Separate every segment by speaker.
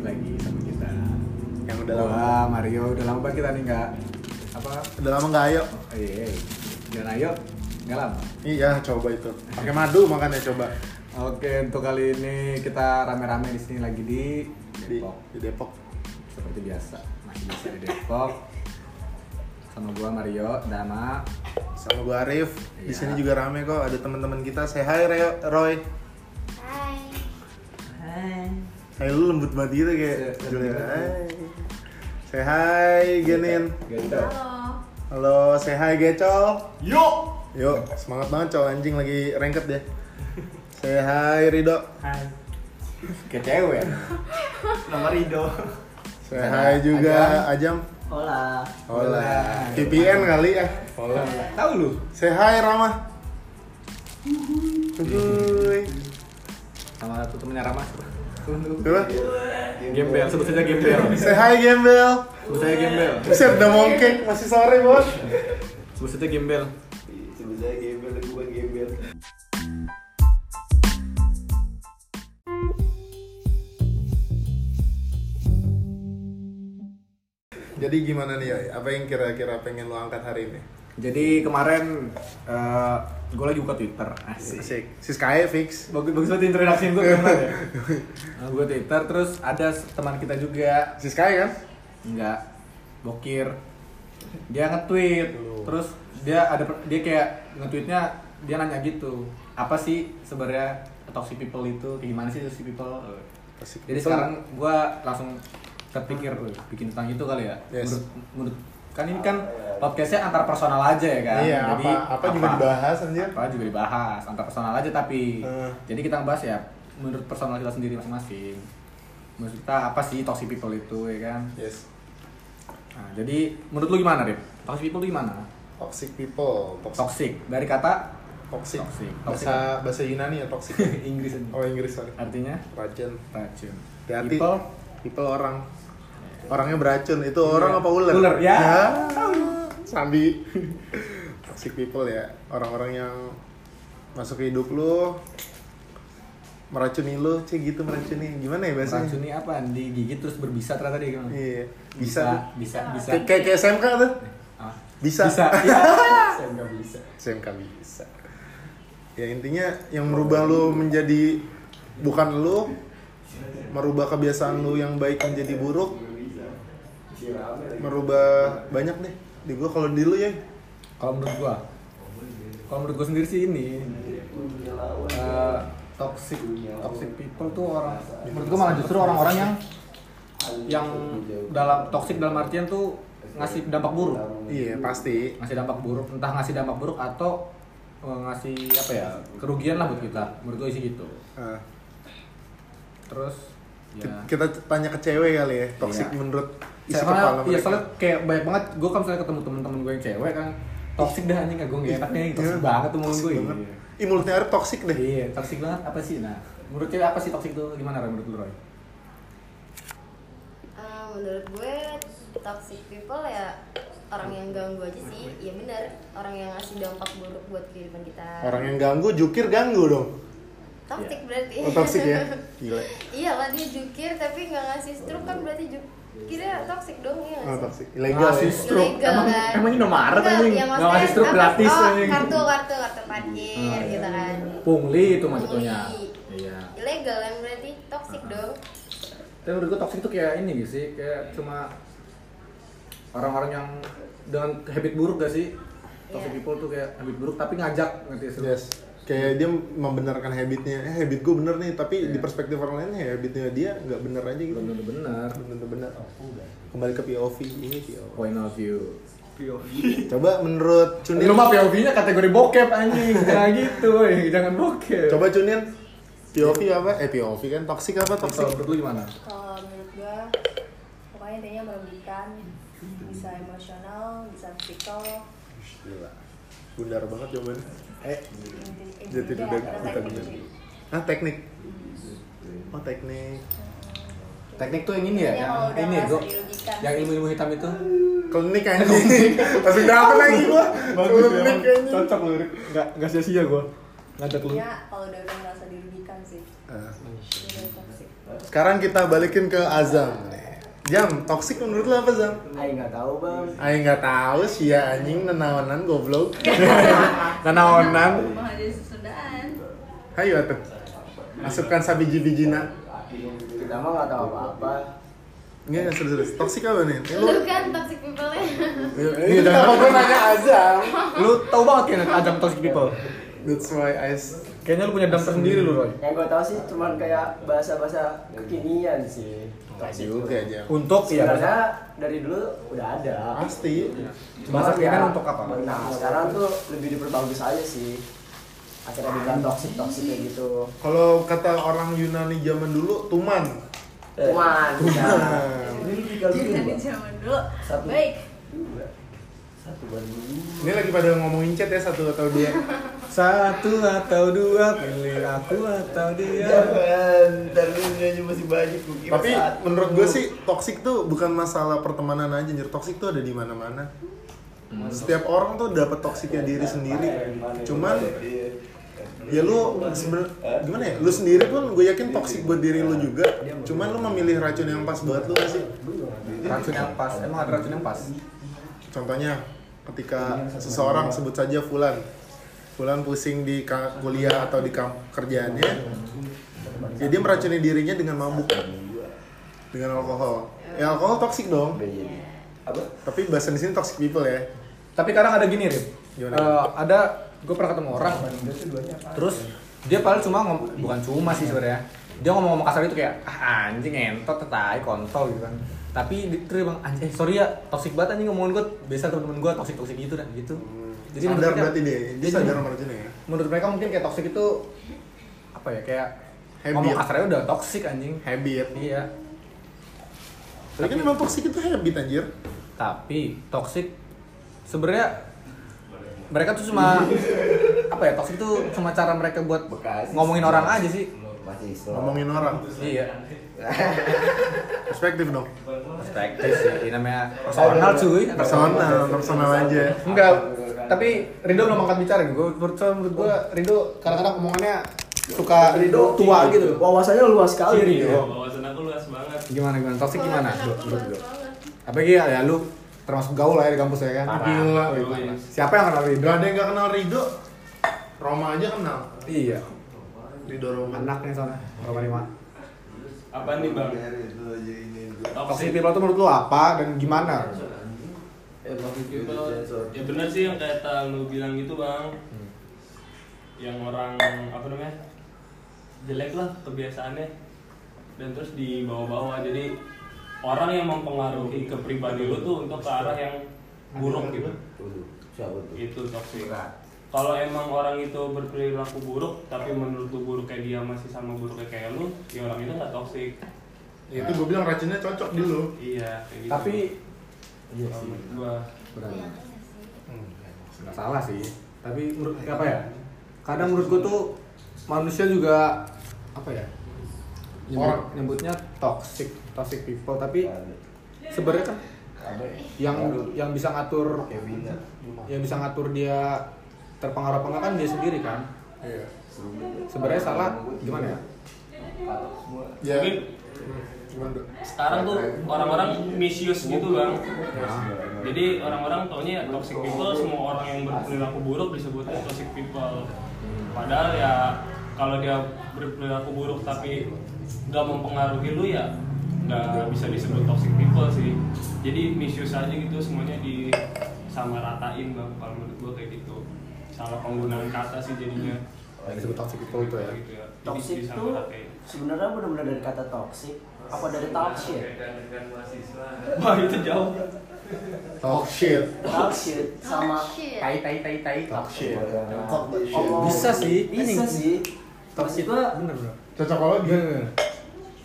Speaker 1: lagi sama kita.
Speaker 2: Yang udah
Speaker 1: Udah
Speaker 2: lama.
Speaker 1: lama, Mario. Udah lama banget kita nih nggak apa?
Speaker 2: Udah lama nggak ayo.
Speaker 1: Oh, iya, iya. Jangan ayo, nggak lama.
Speaker 2: Iya, coba itu. Pakai madu makannya coba.
Speaker 1: Oke, untuk kali ini kita rame-rame di sini lagi di
Speaker 2: Di,
Speaker 1: Depok.
Speaker 2: di Depok.
Speaker 1: Seperti biasa, masih bisa di Depok. Sama gua Mario, Dama.
Speaker 2: Sama gue Arif. Di
Speaker 1: Iya.
Speaker 2: sini juga rame kok. Ada teman-teman kita. Say hi Reo- Roy.
Speaker 3: Hai.
Speaker 2: Hai lu lembut banget gitu kayak.
Speaker 1: Se-
Speaker 2: Gila,
Speaker 1: lembut.
Speaker 2: hai. Say hi Genin.
Speaker 1: Gitu.
Speaker 3: Halo.
Speaker 2: Halo, say hi Gecol.
Speaker 4: Yuk.
Speaker 2: Yuk, semangat banget cowok anjing lagi rengket ya. Say hi Rido.
Speaker 4: Hai.
Speaker 1: Kayak cewek.
Speaker 4: Nama Rido.
Speaker 2: Say hi juga Ajam.
Speaker 4: Hola.
Speaker 2: Hola. VPN kali ya. Hola.
Speaker 1: Tahu lu?
Speaker 2: Say hi Rama. Uhuy.
Speaker 1: Sama satu temennya Rama. Tunduk.
Speaker 2: Coba.
Speaker 1: Gembel, sebut saja gembel.
Speaker 2: Say hi Gembel.
Speaker 1: Sebut saja gembel.
Speaker 2: Buset udah mongke, masih sore bos.
Speaker 1: Sebut saja gembel.
Speaker 4: Sebenarnya gembel, bukan gembel.
Speaker 2: Jadi gimana nih Yoy? Apa yang kira-kira pengen lo angkat hari ini?
Speaker 1: Jadi kemarin eh gue lagi buka Twitter. Asik.
Speaker 2: Asik. Si Sky fix.
Speaker 1: Bagus bagus banget introduksi gue keren ya. gue Twitter terus ada s- teman kita juga
Speaker 2: Si Sky kan?
Speaker 1: nggak bokir. Dia nge-tweet terus dia ada per- dia kayak nge-tweetnya dia nanya gitu. Apa sih sebenarnya toxic people itu? Kayak gimana sih toxic people?
Speaker 2: Asik.
Speaker 1: Jadi sekarang gue langsung terpikir "Wih, bikin tentang itu kali ya.
Speaker 2: Yes. Ah,
Speaker 1: Menurut, menurut kan ini kan podcastnya antar personal aja ya kan.
Speaker 2: Iya,
Speaker 1: Jadi
Speaker 2: apa, apa juga dibahas anjir?
Speaker 1: apa juga dibahas antar personal aja tapi
Speaker 2: Eh.
Speaker 1: jadi kita ngebahas ya menurut personal kita sendiri masing-masing menurut kita apa sih toxic people itu ya kan
Speaker 2: Yes.
Speaker 1: nah, jadi menurut lu gimana Rip? toxic people itu gimana
Speaker 2: Toxic people. Toxic.
Speaker 1: toxic dari kata
Speaker 2: Toxic.
Speaker 1: Toxic.
Speaker 2: Bahasa bahasa Yunani ya toxic.
Speaker 1: Inggris aja.
Speaker 2: oh Inggris sorry.
Speaker 1: artinya
Speaker 2: Racun.
Speaker 1: racun
Speaker 2: Hati-hati.
Speaker 1: people
Speaker 2: People orang. Orangnya beracun. Itu orang apa ular?
Speaker 1: Ular, ya.
Speaker 2: Sambi. toxic people ya. Orang-orang yang masuk ke hidup lu meracuni lu, cie gitu meracuni. Gimana ya bahasanya?
Speaker 1: racun ini apa digigit terus berbisa ternyata dia gimana
Speaker 2: Iya. Bisa.
Speaker 1: bisa
Speaker 2: tuh.
Speaker 1: bisa bisa
Speaker 2: Kayak kayak- kayak SMK tuh.
Speaker 1: Ah,
Speaker 2: Bisa.
Speaker 1: bisa saya nggak bisa
Speaker 2: SMK bisa. Ya intinya yang merubah lu menjadi bukan lu merubah kebiasaan lu yang baik menjadi buruk merubah banyak deh di gua kalau di lu ya
Speaker 1: kalau menurut gua kalau menurut gua sendiri sih ini eh, toxic toxic people tuh orang menurut gua malah justru orang-orang yang yang dalam toxic dalam artian tuh ngasih dampak buruk
Speaker 2: iya pasti
Speaker 1: ngasih dampak buruk entah ngasih dampak buruk atau eh, ngasih apa ya kerugian lah buat kita menurut gua sih gitu
Speaker 2: Ah,
Speaker 1: terus
Speaker 2: ki-
Speaker 1: ya
Speaker 2: kita tanya ke cewek kali ya toxic
Speaker 1: Iya.
Speaker 2: menurut isi
Speaker 1: Saya
Speaker 2: kepala
Speaker 1: soalnya, iya,
Speaker 2: mereka.
Speaker 1: soalnya kayak banyak banget gue kan misalnya ketemu temen-temen gue yang cewek kan toxic dah anjing gue gak enak nih toxic
Speaker 2: Iya.
Speaker 1: banget tuh mulut
Speaker 2: Toxic
Speaker 1: gue
Speaker 2: banget.
Speaker 1: Iya.
Speaker 2: Ih, mulutnya Arif toxic deh
Speaker 1: Iya, toxic banget apa sih? Nah, menurut cewek apa sih toxic itu? Gimana Roy, menurut lu Roy?
Speaker 3: Eh, menurut gue toxic people ya orang yang ganggu aja sih. Ya benar, orang yang ngasih dampak buruk buat kehidupan kita.
Speaker 2: orang yang ganggu jukir ganggu dong
Speaker 1: iya.
Speaker 3: Toxic berarti.
Speaker 2: oh, toxic ya gila
Speaker 3: iya lah dia jukir tapi nggak ngasih struk kan berarti jukirnya toxic dong ya.
Speaker 2: oh, toxic ilegal ya.
Speaker 1: Rasis. Struk.
Speaker 3: Ilegal
Speaker 1: Emang-
Speaker 3: kan.
Speaker 1: emang Indomaret, anjing?
Speaker 3: ya,
Speaker 1: Nggak
Speaker 3: maksudnya
Speaker 1: ngasih struk
Speaker 3: apa-
Speaker 1: gratis,
Speaker 3: Oh,
Speaker 1: anjing.
Speaker 3: kartu kartu kartu parkir
Speaker 1: Ah, iya.
Speaker 3: gitu kan.
Speaker 1: Pungli itu maksudnya.
Speaker 3: Pungli.
Speaker 1: Iya.
Speaker 3: Ilegal kan berarti
Speaker 1: Ah,
Speaker 3: toxic dong.
Speaker 1: Tapi menurut gue toxic itu kayak ini gitu sih, kayak cuma orang-orang yang dengan habit buruk gak sih? Toxic
Speaker 3: Iya.
Speaker 1: people tuh kayak habit buruk tapi ngajak ngerti sih?
Speaker 2: Yes. Kayak dia membenarkan habitnya. Eh habit gue bener nih, tapi
Speaker 1: Iya.
Speaker 2: di perspektif orang lain ya habitnya dia nggak bener aja gitu.
Speaker 1: Belum tentu benar.
Speaker 2: Bener bener. Kembali ke POV ini POV.
Speaker 1: Point of view.
Speaker 2: Coba menurut Cunin.
Speaker 1: Ini mah POV-nya kategori bokep anjing. Jangan gitu, woy. jangan bokep.
Speaker 2: Coba Cunin. POV apa? Eh POV kan toksik apa toksik?
Speaker 1: Kalau menurut lu gimana?
Speaker 5: kalau menurut gua pokoknya intinya merugikan bisa emosional bisa psikol
Speaker 2: Gila. Bundar banget jawabannya. Eh,
Speaker 5: inti-
Speaker 2: dia
Speaker 5: intinya
Speaker 2: tidak
Speaker 5: ada
Speaker 2: kita
Speaker 5: teknik
Speaker 2: bener. Hah, teknik. Oh, teknik.
Speaker 1: Teknik tuh yang ini ya,
Speaker 5: Iya,
Speaker 1: yang
Speaker 5: kalau udah
Speaker 1: ini
Speaker 5: merasa
Speaker 1: gua
Speaker 5: dirugikan.
Speaker 1: yang ilmu-ilmu hitam itu.
Speaker 2: Klinik anjing. Langsung dapat lagi ya, gua. Klinik anjing.
Speaker 1: Cocok lu, Rik. Enggak enggak sia-sia gua ngajak lu.
Speaker 5: Iya. intinya kalau udah udah merasa dirugikan kelihatan sih
Speaker 2: Eh,
Speaker 5: dia toxic
Speaker 2: sekarang kita balikin ke Azam nih. Jam, toksik menurut lo apa Zam?
Speaker 4: Ayo nggak tahu bang.
Speaker 2: Aing nggak tahu sih ya anjing nenaonan goblok. nenaonan.
Speaker 6: Mah jadi sesundaan.
Speaker 2: Hayo atuh. Masukkan sabiji bijina.
Speaker 4: Kita mah nggak tahu apa-apa.
Speaker 2: Ini serius serius. Toksik apa nih? Eh,
Speaker 3: Lu kan toxic people-nya.
Speaker 2: Ini kenapa gue nanya Azam?
Speaker 1: lu tau banget kayaknya ajang toxic people
Speaker 2: That's why I s-
Speaker 1: kayaknya lu punya dam tersendiri lu Roy
Speaker 4: Yang gue tahu sih cuman kayak bahasa-bahasa kekinian sih.
Speaker 2: Nggak juga Jam.
Speaker 1: untuk ya
Speaker 4: Sebenarnya dari dulu udah ada.
Speaker 2: Pasti.
Speaker 1: bahasa
Speaker 4: Cuman ya,
Speaker 1: kekinian untuk apa
Speaker 4: Nah sekarang tuh lebih diperbagus aja sih. Akhirnya dibilang toksik toksik kayak gitu.
Speaker 2: Kalau kata orang Yunani zaman dulu tuman.
Speaker 4: Cuman. ya.
Speaker 2: Cuman.
Speaker 4: Ini lu tinggal
Speaker 6: Jadi
Speaker 4: dulu,
Speaker 6: dari
Speaker 4: Bang.
Speaker 6: zaman dulu.
Speaker 4: Satu.
Speaker 6: Baik.
Speaker 4: Dua. Satu banding.
Speaker 2: Ini lagi pada ngomongin chat ya satu atau dua.
Speaker 1: satu atau dua pilih aku atau dia
Speaker 4: Jangan, ntar lu nyanyi masih banyak gua kira
Speaker 2: Tapi
Speaker 4: satu.
Speaker 2: menurut gue sih toksik tuh bukan masalah pertemanan aja, nyir toksik tuh ada di mana-mana.
Speaker 4: Hmm.
Speaker 2: Setiap orang tuh dapat toksiknya diri sendiri. Cuman ya
Speaker 4: Iya.
Speaker 2: lu sebener- gimana ya? Lu sendiri pun gue
Speaker 4: Iya,
Speaker 2: yakin toksik buat diri lu juga. Cuman lu memilih racun yang pas buat lu gak sih?
Speaker 1: Iya. racun yang pas emang ada racun yang pas
Speaker 2: Contohnya
Speaker 4: Iya,
Speaker 2: ketika seseorang sebut saja Fulan. Fulan pusing di ka- kuliah atau di kam- kerjaannya. Ya dia meracuni dirinya dengan mabuk. Dengan alkohol. Ya alkohol toksik dong.
Speaker 4: Apa?
Speaker 2: Tapi bahasan di sini toxic people ya.
Speaker 1: tapi kadang ada gini Rim
Speaker 2: Gimana?
Speaker 1: Eh, ada gue pernah ketemu orang terus dia paling cuma ngom- bukan cuma sih sebenarnya dia ngomong-ngomong kasar itu kayak ah, anjing entot tetai kontol gitu kan tapi di- terus dia bilang anjing eh, sorry ya toxic banget anjing ngomongin gue biasa temen-temen gue toxic toxic gitu dah gitu
Speaker 2: Jadi sadar
Speaker 1: mereka-
Speaker 2: berarti dia, dia
Speaker 1: jadi
Speaker 2: sadar meracunnya ya.
Speaker 1: menurut mereka mungkin kayak toxic itu apa ya kayak
Speaker 2: Habit.
Speaker 1: ngomong kasarnya udah toxic anjing
Speaker 2: Habit.
Speaker 1: iya
Speaker 2: Tapi kan emang toxic itu habit anjir.
Speaker 1: tapi toxic sebenarnya mereka tuh cuma apa ya toxic tuh cuma cara mereka buat
Speaker 4: Bekasi.
Speaker 1: ngomongin orang aja sih
Speaker 4: Masih slow.
Speaker 2: Ngomongin orang.
Speaker 1: iya
Speaker 2: Perspektif dong.
Speaker 1: perspektif sih ini namanya personal cuy
Speaker 2: Personal, personal aja.
Speaker 1: enggak tapi Rido belum angkat bicara gue menurut menurut gue Rido kadang-kadang omongannya suka
Speaker 4: Rido
Speaker 1: tua gitu
Speaker 4: Wawasannya luas sekali.
Speaker 1: Kiri, yo.
Speaker 7: Wawasan aku luas banget.
Speaker 1: gimana gimana toxic
Speaker 3: Kalau
Speaker 1: gimana Lu-
Speaker 3: anak aku
Speaker 1: lu- lu.
Speaker 3: luas banget.
Speaker 1: apa ya, ya lu termasuk gaul lah ya di kampus ya kan
Speaker 2: Parah. Gila.
Speaker 1: Wih, parah. siapa yang kenal Rido
Speaker 2: Gak ada yang gak kenal Rido. Roma aja kenal.
Speaker 1: iya
Speaker 2: Rido Roma.
Speaker 1: anaknya sana nomor lima
Speaker 7: Apa nih bang?
Speaker 1: toxic
Speaker 7: Toxic
Speaker 1: people tuh menurut lu apa dan gimana
Speaker 4: Eh,
Speaker 7: toxic
Speaker 4: Iya, gitu.
Speaker 7: people. Ya benar sih yang kata lu bilang gitu bang. Yang orang apa namanya jelek lah kebiasaannya dan terus dibawa-bawa jadi orang yang mempengaruhi ke pribadi lu tuh untuk ke arah yang buruk gitu. Itu toxic. Kalau emang orang itu berperilaku buruk tapi menurut lu buruk kayak dia masih sama buruknya kayak lu, ya orang itu nggak toxic.
Speaker 2: Ya, itu gue bilang racunnya cocok di lu.
Speaker 7: Iya, kayak gitu.
Speaker 1: tapi
Speaker 7: Kalau menurut gua
Speaker 1: berarti
Speaker 3: Kelihatannya sih.
Speaker 1: nggak salah sih tapi menurut apa ya kadang menurut gua tuh manusia juga apa ya orang nyebutnya toxic toxic people tapi sebenarnya kan
Speaker 4: ya?
Speaker 1: yang yang bisa ngatur yang bisa ngatur dia terpengaruh apa enggak kan dia sendiri kan
Speaker 2: Iya.
Speaker 1: sebenarnya salah gimana ya
Speaker 2: Ya.
Speaker 7: Mungkin
Speaker 2: Gimana, Dok?
Speaker 7: sekarang tuh orang-orang misuse gitu bang jadi orang-orang taunya ya toxic people semua orang yang berperilaku buruk disebutnya toxic people padahal ya kalau dia berperilaku buruk tapi nggak mempengaruhi lu ya nggak bisa disebut toxic people sih jadi misuse aja gitu semuanya disamaratain bang kalau menurut gua kayak gitu salah penggunaan kata sih jadinya
Speaker 1: yang disebut toxic people itu ya
Speaker 7: gitu ya Jadi
Speaker 4: Toxic tuh
Speaker 7: disamaratain.
Speaker 4: sebenarnya benar-benar dari kata toxic apa dari talk shit?
Speaker 7: ya? wah itu jauh
Speaker 2: Talk oh, shit.
Speaker 4: Talk shit sama
Speaker 3: Oh, Shit.
Speaker 1: tai tai tai tai
Speaker 2: Talk shit.
Speaker 4: Talk shit.
Speaker 2: Omong-
Speaker 1: Bisa sih.
Speaker 4: Bisa
Speaker 1: Ini-
Speaker 4: sih. Maksud
Speaker 1: toxic
Speaker 4: gua
Speaker 1: bener bro
Speaker 2: Cocok banget dia.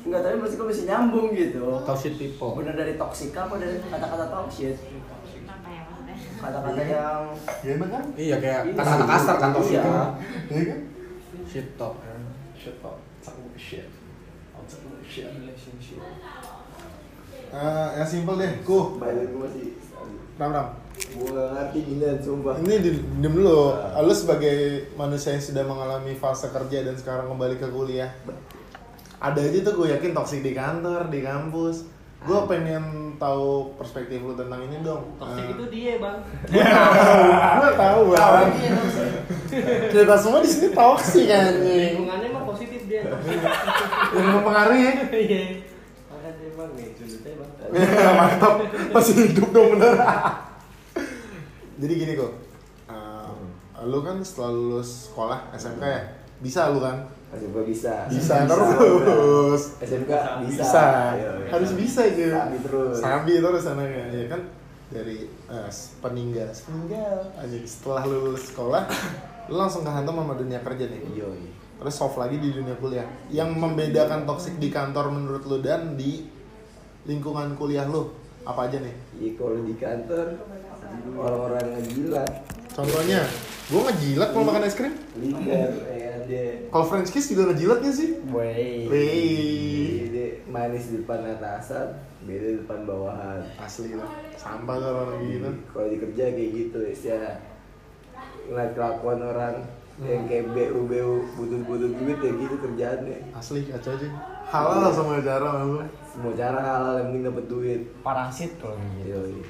Speaker 4: enggak tapi maksud gua masih nyambung gitu.
Speaker 1: toxic people
Speaker 4: Bener dari toxic apa dari kata-kata talk shit?
Speaker 6: Apa ya maksudnya?
Speaker 4: Kata-kata yang
Speaker 2: Ya emang kan?
Speaker 1: iya kayak kata-kata kasar kan toxic
Speaker 4: Iya.
Speaker 2: Iya kan?
Speaker 1: shit talk
Speaker 2: Shit up. Talk shit. Shit. Eh, yang simple deh. Ku.
Speaker 4: balik gua masih
Speaker 2: Ram Ram.
Speaker 4: Gua nggak ngerti gila, sumpah.
Speaker 2: Ini di- diem dulu, lo sebagai manusia yang sudah mengalami fase kerja dan sekarang kembali ke kuliah Ada aja tuh gue yakin toksik di kantor, di kampus Gue pengen tahu perspektif lu tentang ini dong
Speaker 7: Toxic
Speaker 2: Eh,
Speaker 7: itu dia bang.
Speaker 2: Gue tahu bang Kita semua di sini toksik kan Yang
Speaker 7: Lingkungannya mah positif dia.
Speaker 2: mempengaruhi
Speaker 7: Iya. Makanya bang, nih culitnya bang.
Speaker 2: Ya, mantap masih hidup dong bener jadi gini kok Lo lu kan setelah lulus sekolah SMK ya bisa lu kan
Speaker 4: Masih gua bisa.
Speaker 2: bisa terus
Speaker 4: SMK bisa. Iya,
Speaker 2: bisa
Speaker 4: Ayo, ayo.
Speaker 2: harus bisa gitu
Speaker 4: Sambi terus.
Speaker 2: sambi terus anaknya ya kan dari eh, peninggal peninggal aja setelah lu lulus sekolah lu langsung kehantam sama dunia kerja nih
Speaker 4: Iya. iya.
Speaker 2: terus soft lagi di dunia kuliah yang membedakan toksik di kantor menurut lu dan di lingkungan kuliah lu apa aja nih
Speaker 4: Iya kalau di kantor orang-orang yang gila,
Speaker 2: contohnya gue ngejilat kalau makan es krim
Speaker 4: liar, ya dia.
Speaker 2: kalau french kiss juga ngejilatnya sih
Speaker 4: Wey.
Speaker 2: Wey.
Speaker 4: Dia manis di depan atasan, beda di depan bawahan.
Speaker 2: asli lah sampah kalau orang gitu
Speaker 4: Kalau di kerja kayak gitu ya. Ngeliat kelakuan orang yang kayak BU BU butuh-butuh duit ya gitu kerjaannya.
Speaker 2: asli kacau sih halal lah sama cara lu
Speaker 4: Semua cara halal yang penting dapat duit.
Speaker 8: parasit kalau
Speaker 1: Iya.
Speaker 8: gitu
Speaker 4: Yoi.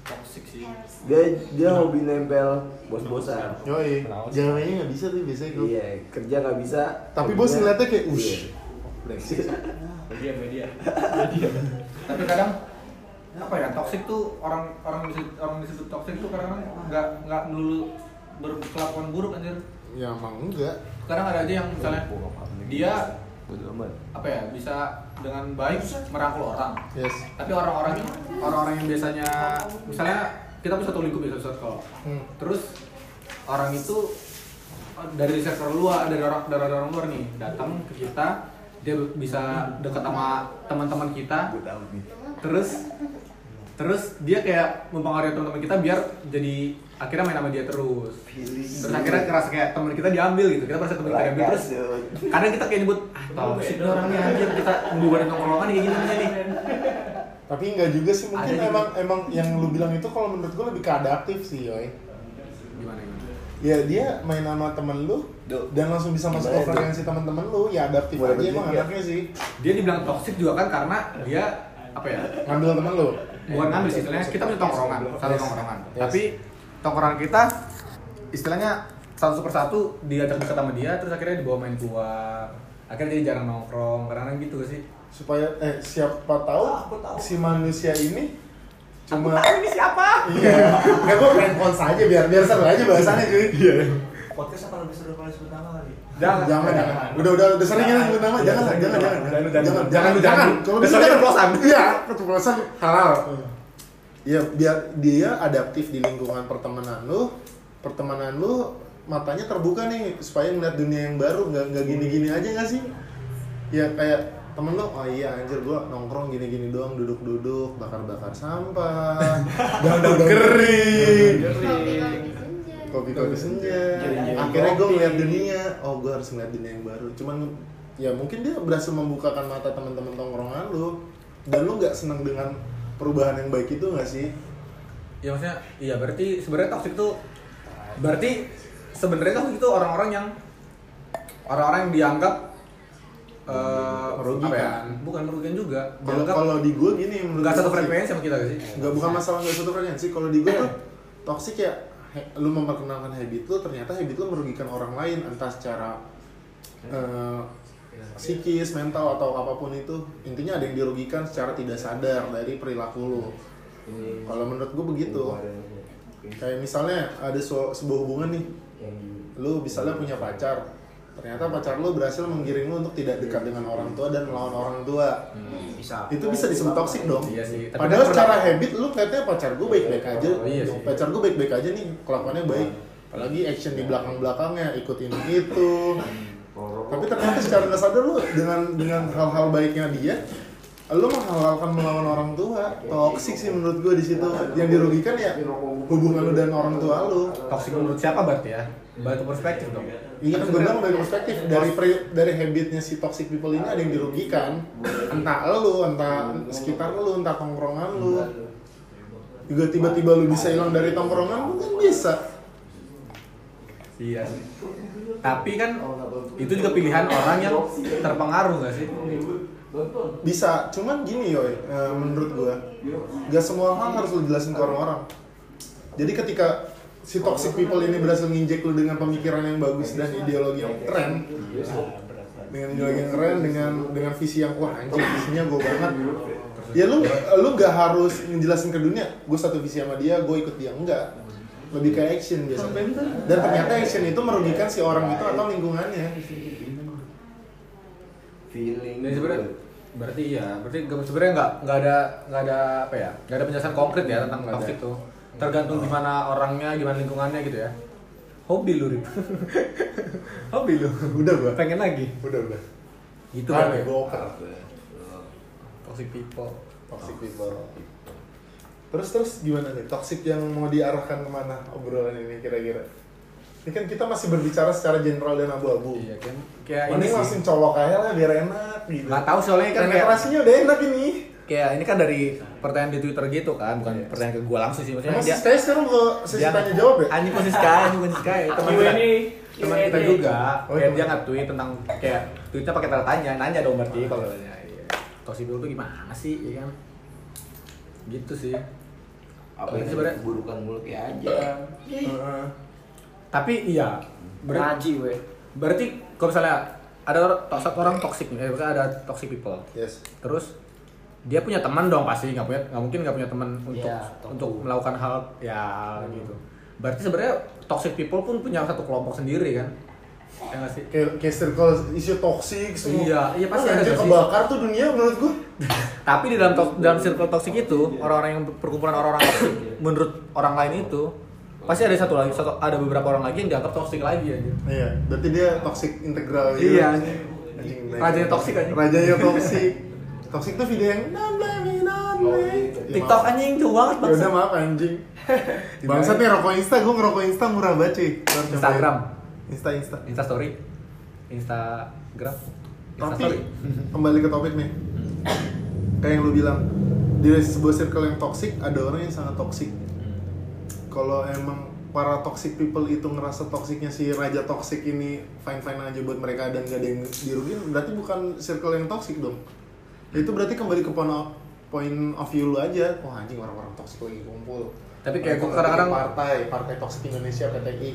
Speaker 7: Toxic sih.
Speaker 4: Dia dia hobi nempel bos-bosan.
Speaker 2: yoi jalannya nggak bisa tuh biasanya gue
Speaker 4: Iya, kerja nggak bisa. Iya.
Speaker 2: tapi bos ngeliatnya kayak ush
Speaker 7: Media media.
Speaker 1: tapi kadang apa ya toksik tuh orang orang disebut, orang disebut toksik tuh kadang nggak nggak melulu berkelakuan buruk anjir
Speaker 2: ya emang enggak
Speaker 1: kadang ada aja yang misalnya dia apa ya bisa dengan baik merangkul orang
Speaker 2: yes
Speaker 1: tapi orang-orang orang-orang yang biasanya misalnya kita punya satu lingkup ya satu circle
Speaker 2: Hmm.
Speaker 1: terus orang itu eh, dari circle luar dari orang dari orang luar nih datang ke kita dia bisa dekat sama teman-teman kita
Speaker 4: Gue tahu nih.
Speaker 1: terus terus dia kayak mempengaruhi teman-teman kita biar jadi akhirnya main sama dia terus terus akhirnya kerasa kayak teman kita diambil gitu kita merasa teman kita diambil terus kadang kita kayak nyebut ah toxic nih orangnya anjir kita bubarin tongkrongan kayak gini gini nih
Speaker 2: tapi enggak juga sih mungkin
Speaker 1: Ada juga.
Speaker 2: emang emang yang lu bilang itu kalau menurut gue lebih ke adaptif sih yoi
Speaker 1: gimana gimana
Speaker 2: ya dia main sama temen lu
Speaker 4: Duh.
Speaker 2: dan langsung bisa masuk ke
Speaker 4: Gimana,
Speaker 2: frekuensi temen-temen lu ya adaptif
Speaker 4: Boleh
Speaker 2: aja emang
Speaker 4: juga.
Speaker 2: anaknya sih
Speaker 1: dia dibilang toxic juga kan karena dia apa ya
Speaker 2: ngambil temen lu
Speaker 1: bukan ngambil sih istilahnya kita punya tongkrongan satu
Speaker 2: Yes.
Speaker 1: tongkrongan
Speaker 2: Yes.
Speaker 1: tapi tongkrongan kita istilahnya satu persatu diajak dekat sama dia terus akhirnya dibawa main keluar akhirnya jadi jarang nongkrong karena gitu sih
Speaker 2: supaya eh siapa tahu, si manusia ini cuma
Speaker 1: Ah, Aku tahu ini siapa
Speaker 2: iya nggak gue main kons aja biar biar seru aja bahasannya cuy iya
Speaker 8: podcast apa lebih seru kalau sebut nama kali
Speaker 2: jangan jangan udah udah udah sering kan sebut nama jangan lah, jangan jangan
Speaker 1: Jangan, jangan.
Speaker 2: jangan jangan jangan Hmm. kalau bisa
Speaker 1: Besoknya
Speaker 2: jangan
Speaker 1: keceplosan.
Speaker 2: iya keceplosan halal Iya, biar dia adaptif di lingkungan pertemanan lu pertemanan lu matanya terbuka nih supaya ngeliat dunia yang baru nggak nggak gini-gini aja nggak sih ya kayak temen lu, oh iya anjir gua nongkrong gini-gini doang duduk-duduk bakar-bakar sampah daun-daun kering
Speaker 3: Kopi kalau di senja.
Speaker 2: kopi kopi senja akhirnya gue ngeliat dunia oh gue harus ngeliat dunia yang baru cuman ya mungkin dia berhasil membukakan mata teman-teman tongkrongan lu dan lu nggak seneng dengan perubahan yang baik itu nggak sih
Speaker 1: ya maksudnya iya berarti sebenarnya toxic itu berarti sebenarnya toxic itu orang-orang yang orang-orang yang dianggap eh
Speaker 2: Merugikan.
Speaker 1: apa ya? bukan merugikan juga
Speaker 2: kalau
Speaker 1: dianggap
Speaker 2: kalau di gue gini menurut
Speaker 1: nggak satu
Speaker 2: gua sih,
Speaker 1: frekuensi sama kita gak sih
Speaker 2: nggak bukan masalah nggak satu frekuensi kalau di gue tuh toksik ya he- lu memperkenalkan habit lu ternyata habit lu merugikan orang lain entah secara eh, psikis mental atau apapun itu intinya ada yang dirugikan secara tidak sadar dari perilaku lu kalau menurut gue begitu kayak misalnya ada su- sebuah hubungan nih lu misalnya punya pacar ternyata pacar lu berhasil menggiring lu untuk tidak dekat dengan orang tua dan melawan orang tua
Speaker 4: Bisa.
Speaker 2: itu bisa disebut toksik dong
Speaker 1: Hmm, Iya sih, tapi
Speaker 2: padahal
Speaker 1: kan
Speaker 2: secara habit lu kelihatannya pacar gue baik-baik aja
Speaker 1: Iya sih. Iya.
Speaker 2: pacar gue baik-baik aja nih kelakuannya baik apalagi action di belakang-belakangnya ikutin itu tapi ternyata secara nggak sadar lu dengan dengan hal-hal baiknya dia lu menghalalkan melawan orang tua toksik sih menurut gue di situ yang dirugikan ya hubungan lu dan orang tua lu
Speaker 1: toxic menurut siapa berarti ya balik ke perspektif dong
Speaker 2: Iya kan gue bilang dari perspektif dari pre- dari habitnya si toxic people ini ada yang dirugikan entah lu entah sekitar lu entah tongkrongan lu juga tiba-tiba lu bisa hilang dari tongkrongan lu kan bisa
Speaker 1: Iya sih. Tapi kan itu juga pilihan orang yang terpengaruh gak sih?
Speaker 2: bisa cuman gini yoi eh, menurut gua gak semua hal harus lu jelasin ke orang-orang jadi ketika si toxic people ini berhasil nginjek lu dengan pemikiran yang bagus dan ideologi yang keren dengan ideologi yang keren dengan dengan visi yang wah anjir visinya gua banget ya lu lu gak harus ngejelasin ke dunia gua satu visi sama dia gua ikut dia enggak lebih ke action biasanya dan ternyata action itu merugikan si orang itu atau lingkungannya
Speaker 4: feeling
Speaker 1: Dan sebenarnya berarti iya, berarti nggak- sebenarnya nggak nggak ada nggak ada apa ya? Nggak ada penjelasan konkret ya tentang toxic tuh. Tergantung gimana orangnya, gimana lingkungannya gitu ya. Hobi lu, Rip. Hobi lu.
Speaker 2: udah gua
Speaker 1: Pengen lagi.
Speaker 2: udah udah
Speaker 1: Gitu
Speaker 2: Nah,
Speaker 1: kan ya.
Speaker 2: boker.
Speaker 1: Toxic people.
Speaker 2: toxic people terus terus gimana nih toxic yang mau diarahkan kemana obrolan ini kira-kira ini kan kita masih berbicara secara general dan abu-abu
Speaker 1: Iya kan? Kayak ini
Speaker 2: mending
Speaker 1: sih.
Speaker 2: langsung colok aja lah biar enak gitu
Speaker 1: Nggak tahu soalnya kan kayak
Speaker 2: penetrasinya udah enak ini
Speaker 1: kayak ini kan dari pertanyaan di Twitter gitu kan, bukan pertanyaan ke gua langsung sih maksudnya
Speaker 2: emang
Speaker 1: dia
Speaker 2: sih kayaknya sekarang ke sesi
Speaker 1: dia-
Speaker 2: tanya jawab ya
Speaker 1: Anjing posisi kaya, anjing posisi kaya. Teman kita, teman kita juga,
Speaker 2: Oh,
Speaker 1: kayak
Speaker 2: iya.
Speaker 1: dia nge-tweet tentang kayak tweetnya pakai tanda tanya, nanya dong berarti kalau nanya. Iya. Toxic people tuh gimana sih, ya kan? Gitu sih.
Speaker 4: apa
Speaker 1: Tapi
Speaker 4: yang
Speaker 1: sebenarnya-
Speaker 4: keburukan mulutnya
Speaker 1: Iya.
Speaker 4: aja
Speaker 2: Heeh.
Speaker 1: Tapi iya,
Speaker 4: Nah.
Speaker 1: berarti
Speaker 9: Ngaji weh.
Speaker 1: berarti kalau misalnya ada orang- satu orang toxic, eh, misalnya ada toxic people,
Speaker 2: yes
Speaker 1: terus dia punya teman dong pasti nggak punya nggak mungkin nggak punya teman untuk
Speaker 9: Iya, tentu.
Speaker 1: untuk melakukan hal ya gitu berarti sebenarnya toxic people pun punya satu kelompok sendiri kan ya nggak sih
Speaker 2: kayak kayak circle isu toxic semua
Speaker 1: Iya, iya, pasti
Speaker 2: Wah,
Speaker 1: ada
Speaker 2: anjir,
Speaker 1: sih.
Speaker 2: kebakar tuh dunia menurut gua
Speaker 1: tapi di dalam to- dalam circle toxic itu orang-orang yang perkumpulan orang-orang toxic menurut orang lain itu pasti ada satu lagi satu ada beberapa orang lagi yang dianggap toxic lagi ya, gitu. aja
Speaker 2: iya berarti dia toxic integral gitu.
Speaker 1: Iya.
Speaker 2: Anjing, naik.
Speaker 1: Rajanya toxic aja.
Speaker 2: rajanya toxic toxic tuh video yang "Nah, blah, blah, blah,
Speaker 1: Oh,
Speaker 2: blah." Ya,
Speaker 1: iya. TikTok
Speaker 2: maaf.
Speaker 1: anjing jauh banget
Speaker 2: Ya
Speaker 1: bangsa
Speaker 2: udah maaf anjing. Bangsat nih rokok Insta, gue ngerokok Insta murah banget cuy. Lu harus cobain.
Speaker 1: Instagram.
Speaker 2: Insta Insta.
Speaker 1: Insta story Instagram Insta
Speaker 2: Tapi
Speaker 1: story
Speaker 2: kembali ke topik nih. Kayak yang lu bilang di sebuah circle yang toxic ada orang yang sangat toxic. Kalau emang para toxic people itu ngerasa toksiknya si raja toxic ini fine fine aja buat mereka dan gak ada yang dirugin, berarti bukan circle yang toxic dong. Itu berarti kembali ke point of, point of view lu aja. Wah anjing orang-orang toxic lagi kumpul.
Speaker 1: Tapi kayak
Speaker 2: Mereka
Speaker 1: gua kadang-kadang-
Speaker 2: partai partai toksik Indonesia PTI.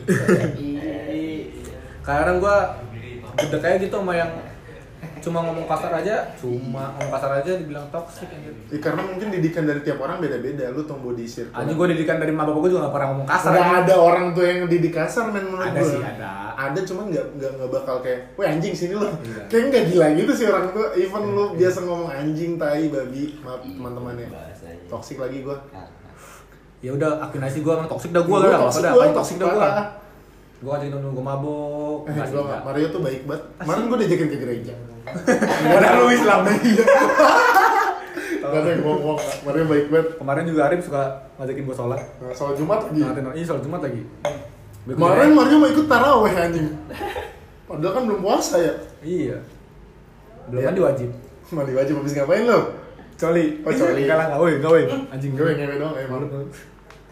Speaker 1: kadang gua gede kayak gitu sama yang cuma ngomong kasar aja cuma ngomong kasar aja dibilang toxic anjir
Speaker 2: Ya, karena mungkin didikan dari tiap orang beda-beda. Lu tumbuh di circle.
Speaker 1: anjing gua didikan dari mama bapak gua juga gak pernah ngomong kasar
Speaker 2: Nggak
Speaker 1: anjing.
Speaker 2: ada orang tuh yang di di kasar men menurut
Speaker 1: Ada
Speaker 2: gua.
Speaker 1: sih, ada.
Speaker 2: Ada cuman nggak nggak nggak bakal kayak, weh anjing sini lo.
Speaker 1: Iya.
Speaker 2: Kayak nggak gila gitu sih orang tuh. Even lu biasa ngomong anjing, tai, babi, maaf teman-temannya.
Speaker 4: bahasanya
Speaker 2: Toksik lagi gua.
Speaker 1: ya udah akuin aja sih gua emang toxic dah gua
Speaker 2: Gua
Speaker 1: udah
Speaker 2: Iya, toxic
Speaker 1: udah
Speaker 2: gua,
Speaker 1: paling toxic dah gua
Speaker 2: parah.
Speaker 1: gua aja nunggu gua mabok
Speaker 2: Eh,
Speaker 1: nggak sih,
Speaker 2: gua
Speaker 1: nggak.
Speaker 2: Mario tuh baik banget. Kemarin gua diajakin ke gereja.
Speaker 1: Padahal lu Islam. Oh.
Speaker 2: Gak ada yang bohong. Mario baik banget.
Speaker 1: kemarin juga Arif suka ngajakin gua sholat
Speaker 2: Nah, Soal Jumat lagi.
Speaker 1: ngatain orang, ih sholat jumat lagi ya. Gua ikut
Speaker 2: Kemarin
Speaker 1: aja.
Speaker 2: Mario mau ikut taraweh anjing. Padahal kan belum puasa ya.
Speaker 1: iya belum
Speaker 2: Iya.
Speaker 1: mandi wajib
Speaker 2: Mandi wajib habis ngapain lo?
Speaker 1: coli
Speaker 2: Oh, coli. Hmm. Iya,
Speaker 1: enggak lah enggak woi enggak woi anjing
Speaker 2: Gue ngewe doang emang.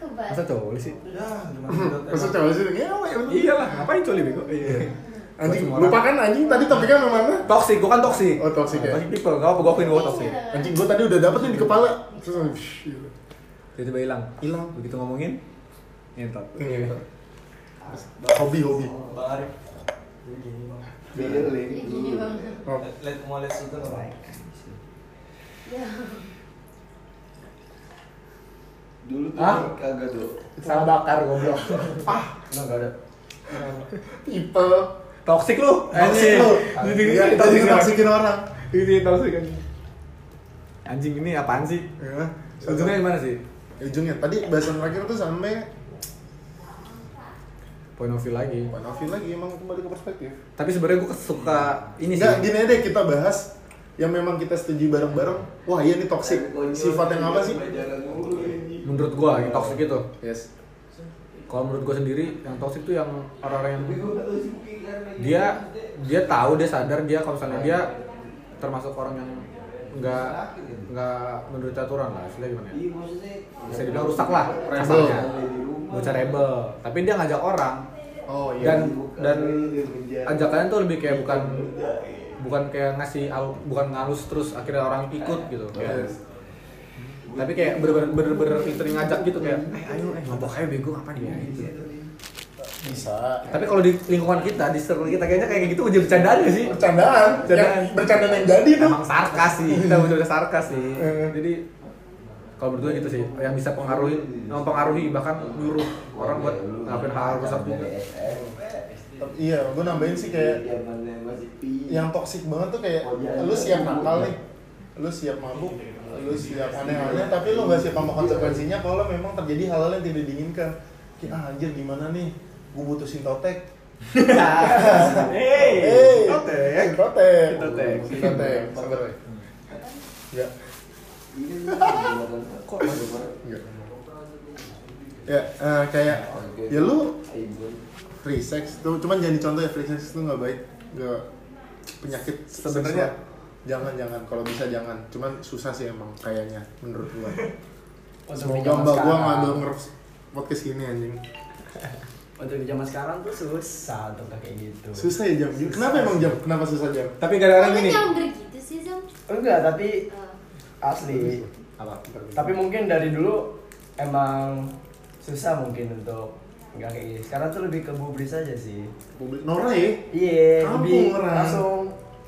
Speaker 3: Kebas.
Speaker 1: masa coli sih
Speaker 2: Masa cowok sih ngewe. bener.
Speaker 1: iyalah ngapain coli bego iya
Speaker 2: Anjing,
Speaker 1: Semua orang.
Speaker 2: lupakan anjing tadi topiknya memang mana?
Speaker 1: toxic gua kan toxic
Speaker 2: Oh, toxic ya?
Speaker 1: toxic people gak apa gua akuin gua toxic
Speaker 2: Anjing gue tadi udah dapet nih di kepala. Terus shh, gitu.
Speaker 1: tiba-tiba hilang
Speaker 2: hilang.
Speaker 1: begitu ngomongin ngentot
Speaker 2: Iya. Hobi hobi.
Speaker 8: Bang Arif
Speaker 2: Iya,
Speaker 8: Jadi gini bang
Speaker 4: feeling
Speaker 3: Jadi Iya, gini bang.
Speaker 2: Oh,
Speaker 8: Let mau lihat situ nggak, Bang?
Speaker 3: Ya.
Speaker 4: dulu tuh
Speaker 1: Hah?
Speaker 4: kagak tuh
Speaker 1: sama bakar goblok ah enggak ada
Speaker 2: people.
Speaker 1: toxic Eh, lu
Speaker 2: Toxic lu.
Speaker 1: Jadi
Speaker 2: Iya,
Speaker 1: ini
Speaker 2: Jadi
Speaker 1: toxic toxic
Speaker 2: toksikin orang.
Speaker 1: ini toxic anjing anjing ini apaan sih
Speaker 2: Ya.
Speaker 1: ujungnya gimana sih
Speaker 2: Ujungnya tadi bahasan terakhir tuh sampai
Speaker 1: point of view lagi
Speaker 2: Pan Afin lagi emang kembali ke perspektif.
Speaker 1: tapi sebenarnya gua suka ini sih
Speaker 2: Enggak, gini aja deh kita bahas yang memang kita setuju bareng-bareng. Wah, iya nih toksik. Sifat yang apa sih?
Speaker 1: menurut gua yang toxic itu
Speaker 2: Yes.
Speaker 1: kalau menurut gua sendiri yang toxic tuh yang orang-orang yang dia dia tahu dia sadar dia kalau misalnya dia termasuk orang yang nggak nggak menurut aturan lah istilah gimana ya?
Speaker 8: Iya maksudnya
Speaker 1: bisa dibilang rusak lah
Speaker 4: Iya.
Speaker 1: rasanya bocah rebel tapi dia ngajak orang
Speaker 2: Oh iya.
Speaker 1: dan dan ajakannya tuh lebih kayak bukan bukan kayak ngasih al- bukan ngalus terus akhirnya orang ikut gitu kayak, tapi kayak bener-bener bener-bener pinter ngajak gitu kayak eh ayo eh ngabok ayo bego ngapain ya gitu.
Speaker 2: bisa.
Speaker 1: tapi kalau di lingkungan kita di circle kita kayaknya kayak gitu ujian bercandaan gak sih
Speaker 2: Bercandaan,
Speaker 1: Bercandaan.
Speaker 2: yang bercandaan yang jadi tuh.
Speaker 1: emang sarkas sih kita bener-bener sarkas sih jadi kalau berdua gitu sih yang bisa pengaruhi mempengaruhi bahkan nyuruh orang buat ngapain hal rusak juga
Speaker 2: Tapi Iya, gue nambahin sih kayak yang toksik banget tuh kayak lu siap nakal nih, lu siap mabuk, lu siap aneh-aneh, tapi lu gak siap sama konsekuensinya kalau memang terjadi hal-hal yang tidak diinginkan. Kayak ah, anjir gimana nih, gue butuh sintotek. Hey, sintotek, sintotek, sintotek, sintotek, sabar ya. Enggak,
Speaker 1: kok
Speaker 2: enggak. Ya, eh, kayak ya lu free sex tuh cuman jangan dicontoh ya free sex tuh nggak baik nggak penyakit
Speaker 1: Sebenarnya-
Speaker 2: seksual. jangan jangan kalau bisa jangan cuman susah sih emang kayaknya menurut gua
Speaker 8: Untuk di
Speaker 2: semoga
Speaker 8: zaman
Speaker 2: mbak gua nggak
Speaker 8: sekarang
Speaker 2: denger podcast ini anjing
Speaker 8: Untuk di zaman sekarang tuh susah untuk kayak gitu
Speaker 2: susah ya jam kenapa emang jam kenapa susah jam
Speaker 1: tapi gara-gara
Speaker 3: Kok
Speaker 1: gini
Speaker 3: nyamber gitu sih, Sam?
Speaker 8: Enggak tapi
Speaker 3: Eh,
Speaker 8: asli
Speaker 1: apa
Speaker 8: Tapi mungkin dari dulu emang susah mungkin untuk nggak kayak gini Sekarang tuh lebih ke bubris aja sih
Speaker 2: publik Nora ya
Speaker 8: Iya,
Speaker 2: Kampung
Speaker 8: lebih
Speaker 2: orang.
Speaker 8: langsung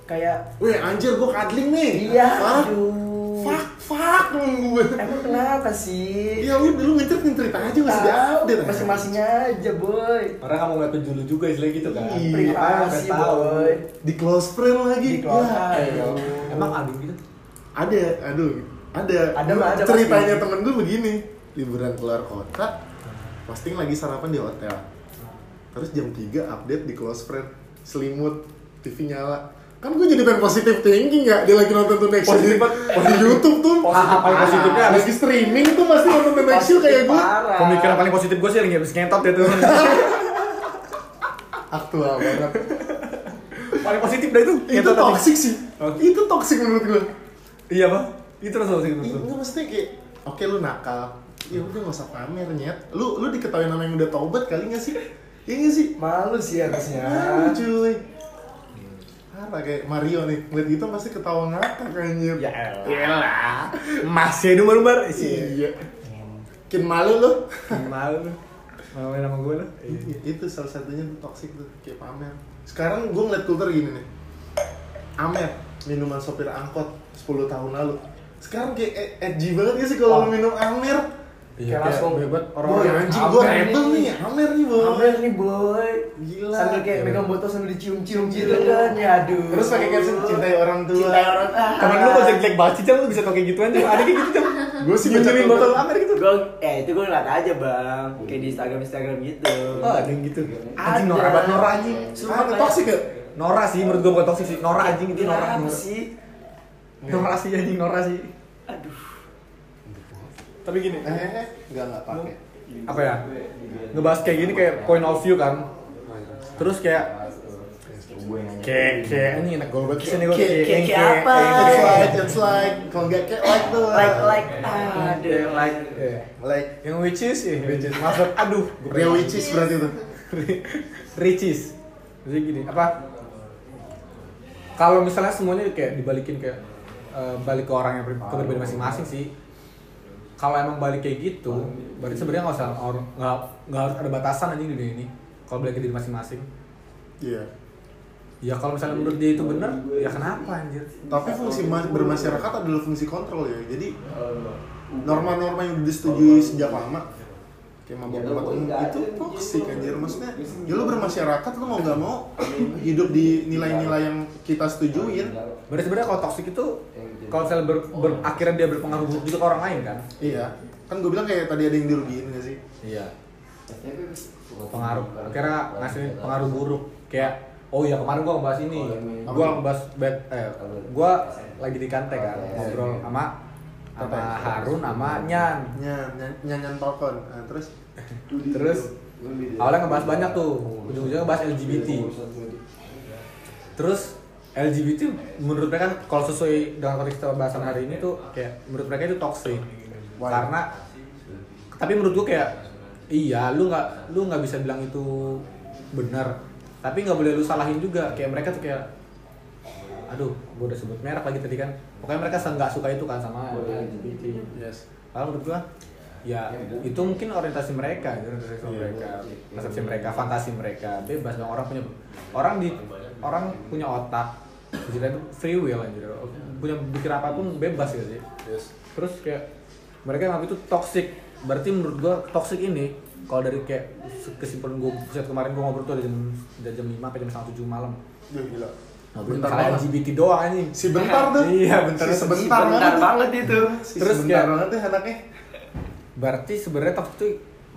Speaker 8: kayak
Speaker 2: weh anjir gua kadling nih
Speaker 8: Iya,
Speaker 2: fuck
Speaker 8: aduh.
Speaker 2: fuck fuck dong gue
Speaker 8: Emang kenapa sih?
Speaker 2: ya udah lu ngecer ngecer aja masih di
Speaker 8: Ah,
Speaker 1: Iya.
Speaker 2: update aja.
Speaker 8: Masing-masingnya aja, boy.
Speaker 1: orang kamu ngeliatin dulu juga istilah gitu kan
Speaker 2: Iya,
Speaker 8: Privasi, boy.
Speaker 2: di close friend
Speaker 8: Di
Speaker 2: lagi
Speaker 8: keluarga.
Speaker 2: Ya,
Speaker 1: iya. emang adem gitu
Speaker 2: ada aduh ada
Speaker 8: Ada mah, ada
Speaker 2: ceritanya
Speaker 8: pasti.
Speaker 2: temen gue begini liburan keluar kota posting lagi sarapan di hotel terus jam 3 update di close friend selimut TV nyala kan gue jadi pengen positive thinking ya dia lagi nonton tuh next
Speaker 1: Positif
Speaker 2: Shield di YouTube tuh
Speaker 1: Positif. Ah, positifnya
Speaker 2: habis di streaming tuh pasti nonton The next Shield kayak gue
Speaker 8: Parah.
Speaker 1: pemikiran paling positif gue sih lagi habis ngentot dia tuh
Speaker 2: aktual banget
Speaker 1: paling positif dah itu
Speaker 2: itu
Speaker 1: Ngentot tadi.
Speaker 2: toxic sih
Speaker 1: Oke.
Speaker 2: itu toxic menurut gue
Speaker 1: iya pak itu terus terus terus, terus.
Speaker 2: Enggak mesti kayak oke lu nakal. Ya udah enggak usah pamer nyet. Lu lu diketahui nama yang udah taubat kali enggak sih? Iya enggak sih?
Speaker 8: Malu sih harusnya.
Speaker 4: Ya.
Speaker 1: Ah,
Speaker 2: Malu cuy. Apa kayak Mario nih, ngeliat gitu pasti ketawa ngakak anjir.
Speaker 1: ya elah masih nomor bar sih
Speaker 2: Iya. Kin malu lu.
Speaker 1: malu lu. mau main sama gue lu
Speaker 2: Iya, itu salah satunya tuh toxic tuh, kayak pamer. Sekarang gue ngeliat kultur gini nih. Amer, minuman sopir angkot 10 tahun lalu. Sekarang kayak e- edgy banget ya sih kalau
Speaker 8: Oh.
Speaker 2: lu minum Amer.
Speaker 8: Kayak langsung
Speaker 1: bebet
Speaker 2: Orang
Speaker 1: orang-orang
Speaker 2: anjing gue
Speaker 8: Amer
Speaker 2: rebel
Speaker 8: nih.
Speaker 2: nih, Amer nih boy.
Speaker 8: Ambil nih, boy.
Speaker 2: Gila.
Speaker 8: Sambil kayak megang botol sambil dicium-cium gitu kan. Ya aduh.
Speaker 2: Terus pakai caption cintai orang tua.
Speaker 8: Cintai orang tua.
Speaker 1: temen lu kalau jelek banget sih jam lu bisa pakai gituan jam ada kayak gitu jam
Speaker 2: Gua sih baca
Speaker 1: nyumin
Speaker 2: tuh.
Speaker 1: botol amer gitu
Speaker 8: Gua, eh itu gue ngeliat aja bang Kayak di Instagram-Instagram gitu
Speaker 1: oh ada yang gitu
Speaker 8: Ada.
Speaker 1: anjing Nora banget Nora anjing
Speaker 8: Sumpah,
Speaker 2: Ah,
Speaker 8: kayak-
Speaker 2: toxic ya?
Speaker 1: Nora sih menurut gue bukan toxic sih Nora anjing itu Nora
Speaker 8: Kenapa sih?
Speaker 1: Nora sih anjing Nora sih
Speaker 8: Aduh
Speaker 1: tapi gini
Speaker 2: Eh, eh, eh. enggak enggak pakai.
Speaker 1: apa ya ngebahas kayak gini kayak point of view kan terus kayak kayak kayak ini enak gue banget sini gue
Speaker 2: Kayak-
Speaker 8: kayak- kayak apa?
Speaker 2: It's like, it's like, kalau nggak kayak like tuh.
Speaker 8: Like like
Speaker 1: Iya.
Speaker 8: Aduh like
Speaker 2: like.
Speaker 1: yang which is eh which is maksud aduh gue
Speaker 2: Ria Wicis berarti tuh.
Speaker 1: ricis jadi gini apa kalau misalnya semuanya kayak dibalikin kayak eh, balik ke orang yang pri- ke pribadi masing-masing sih kalau emang balik kayak gitu berarti sebenarnya nggak usah orang nggak nggak harus ada batasan anjing di dunia ini kalau balik ke diri masing-masing
Speaker 2: Iya.
Speaker 1: ya kalau misalnya menurut dia itu bener ya kenapa anjir
Speaker 2: Tapi fungsi ma- bermasyarakat adalah fungsi kontrol ya. Jadi
Speaker 8: Uh,
Speaker 2: norma-norma yang udah disetujui sejak lama kayak mabok
Speaker 8: Ya,
Speaker 2: mabok umum itu toksik
Speaker 8: gitu.
Speaker 2: anjir maksudnya ya lu bermasyarakat lu mau nggak mau hidup di nilai-nilai yang kita setujuin
Speaker 8: Iya.
Speaker 1: berarti sebenarnya kalau toksik itu kalau misalnya ber- ber- akhirnya dia berpengaruh buruk juga ke orang lain kan
Speaker 2: iya kan gue bilang kayak tadi ada yang dirugiin gak sih
Speaker 1: iya pengaruh akhirnya ngasih pengaruh buruk kayak oh iya kemarin gua ngebahas ini gua ngebahas bad eh gua lagi di kante kan ngobrol sama sama Harun sama Nyan
Speaker 2: nyan nyan- nyanyan balkon nah, terus
Speaker 1: terus awalnya ngebahas banyak tuh ujung-ujungnya ngebahas LGBT terus LGBT menurut mereka kan kalau sesuai dengan konteks kita bahasan hari ini tuh kayak menurut mereka itu toxic
Speaker 2: Why?
Speaker 1: karena tapi menurut gue kayak iya lu nggak lu nggak bisa bilang itu benar tapi nggak boleh lu salahin juga kayak mereka tuh kayak aduh gue udah sebut merek lagi tadi kan pokoknya mereka se- nggak suka itu kan sama LGBT yes kalau menurut gue ya itu mungkin orientasi mereka orientasi seksual
Speaker 2: Iya.
Speaker 1: mereka persepsi mereka fantasi mereka bebas dong orang punya orang di orang punya otak Maksudnya itu free will anjir punya pikir apapun bebas gitu sih terus kayak mereka nganggap itu toxic berarti menurut gua toxic ini kalau dari kayak kesimpulan gua set kemarin gua ngobrol tuh dari jam dari jam 5 sampai jam setengah 7 malam
Speaker 2: Duh,
Speaker 1: ngobrol
Speaker 2: gila. Nah, Bentar
Speaker 1: masalah
Speaker 2: banget.
Speaker 1: LGBT doang anjing
Speaker 2: Si bentar tuh.
Speaker 1: iya bentar
Speaker 2: Si
Speaker 1: doang.
Speaker 2: sebentar banget. tuh.
Speaker 8: itu.
Speaker 2: Si
Speaker 1: Terus
Speaker 2: sebentar
Speaker 1: kayak-
Speaker 2: banget tuh anaknya.
Speaker 1: berarti sebenarnya toxic itu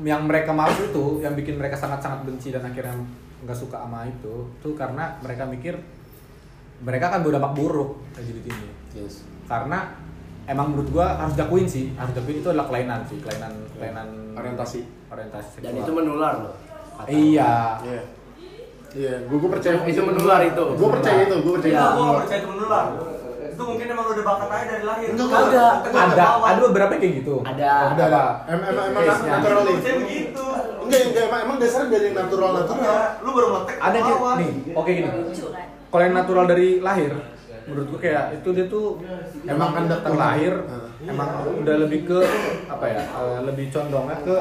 Speaker 1: yang mereka malas itu yang bikin mereka sangat-sangat benci dan akhirnya nggak suka sama itu tuh karena mereka mikir mereka akan berdampak buruk LGBT ini
Speaker 4: Yes.
Speaker 1: karena emang menurut gua harus dakuin sih harus dakuin itu adalah kelainan sih kelainan kelainan
Speaker 4: Orientasi.
Speaker 1: orientasi seksual.
Speaker 9: Dan itu menular loh. Kata-
Speaker 1: iya
Speaker 2: Iya. Iya, gue gue percaya
Speaker 9: Itu menular itu.
Speaker 2: Gue percaya itu, gue percaya.
Speaker 9: Iya.
Speaker 2: itu.
Speaker 9: Gua nggak
Speaker 8: percaya itu menular. Itu mungkin emang udah bakat aja dari lahir.
Speaker 2: Enggak,
Speaker 9: Kagak.
Speaker 2: enggak.
Speaker 1: ada ada beberapa yang kayak gitu
Speaker 9: Ada.
Speaker 2: Ada lah. Em- Emang emang
Speaker 1: Case-nya.
Speaker 2: naturally.
Speaker 8: begitu.
Speaker 1: Iya.
Speaker 8: Iya,
Speaker 2: Enggak, enggak emang emang dasarnya dari natural natural.
Speaker 8: Lu baru ngetek
Speaker 1: ada yang kayak- nih oke gini
Speaker 6: lucu kan
Speaker 1: kalau yang natural dari lahir menurut gua kayak itu dia tuh emang kan datang lahir
Speaker 2: Heeh.
Speaker 1: emang udah lebih ke apa ya eh, lebih condongnya ke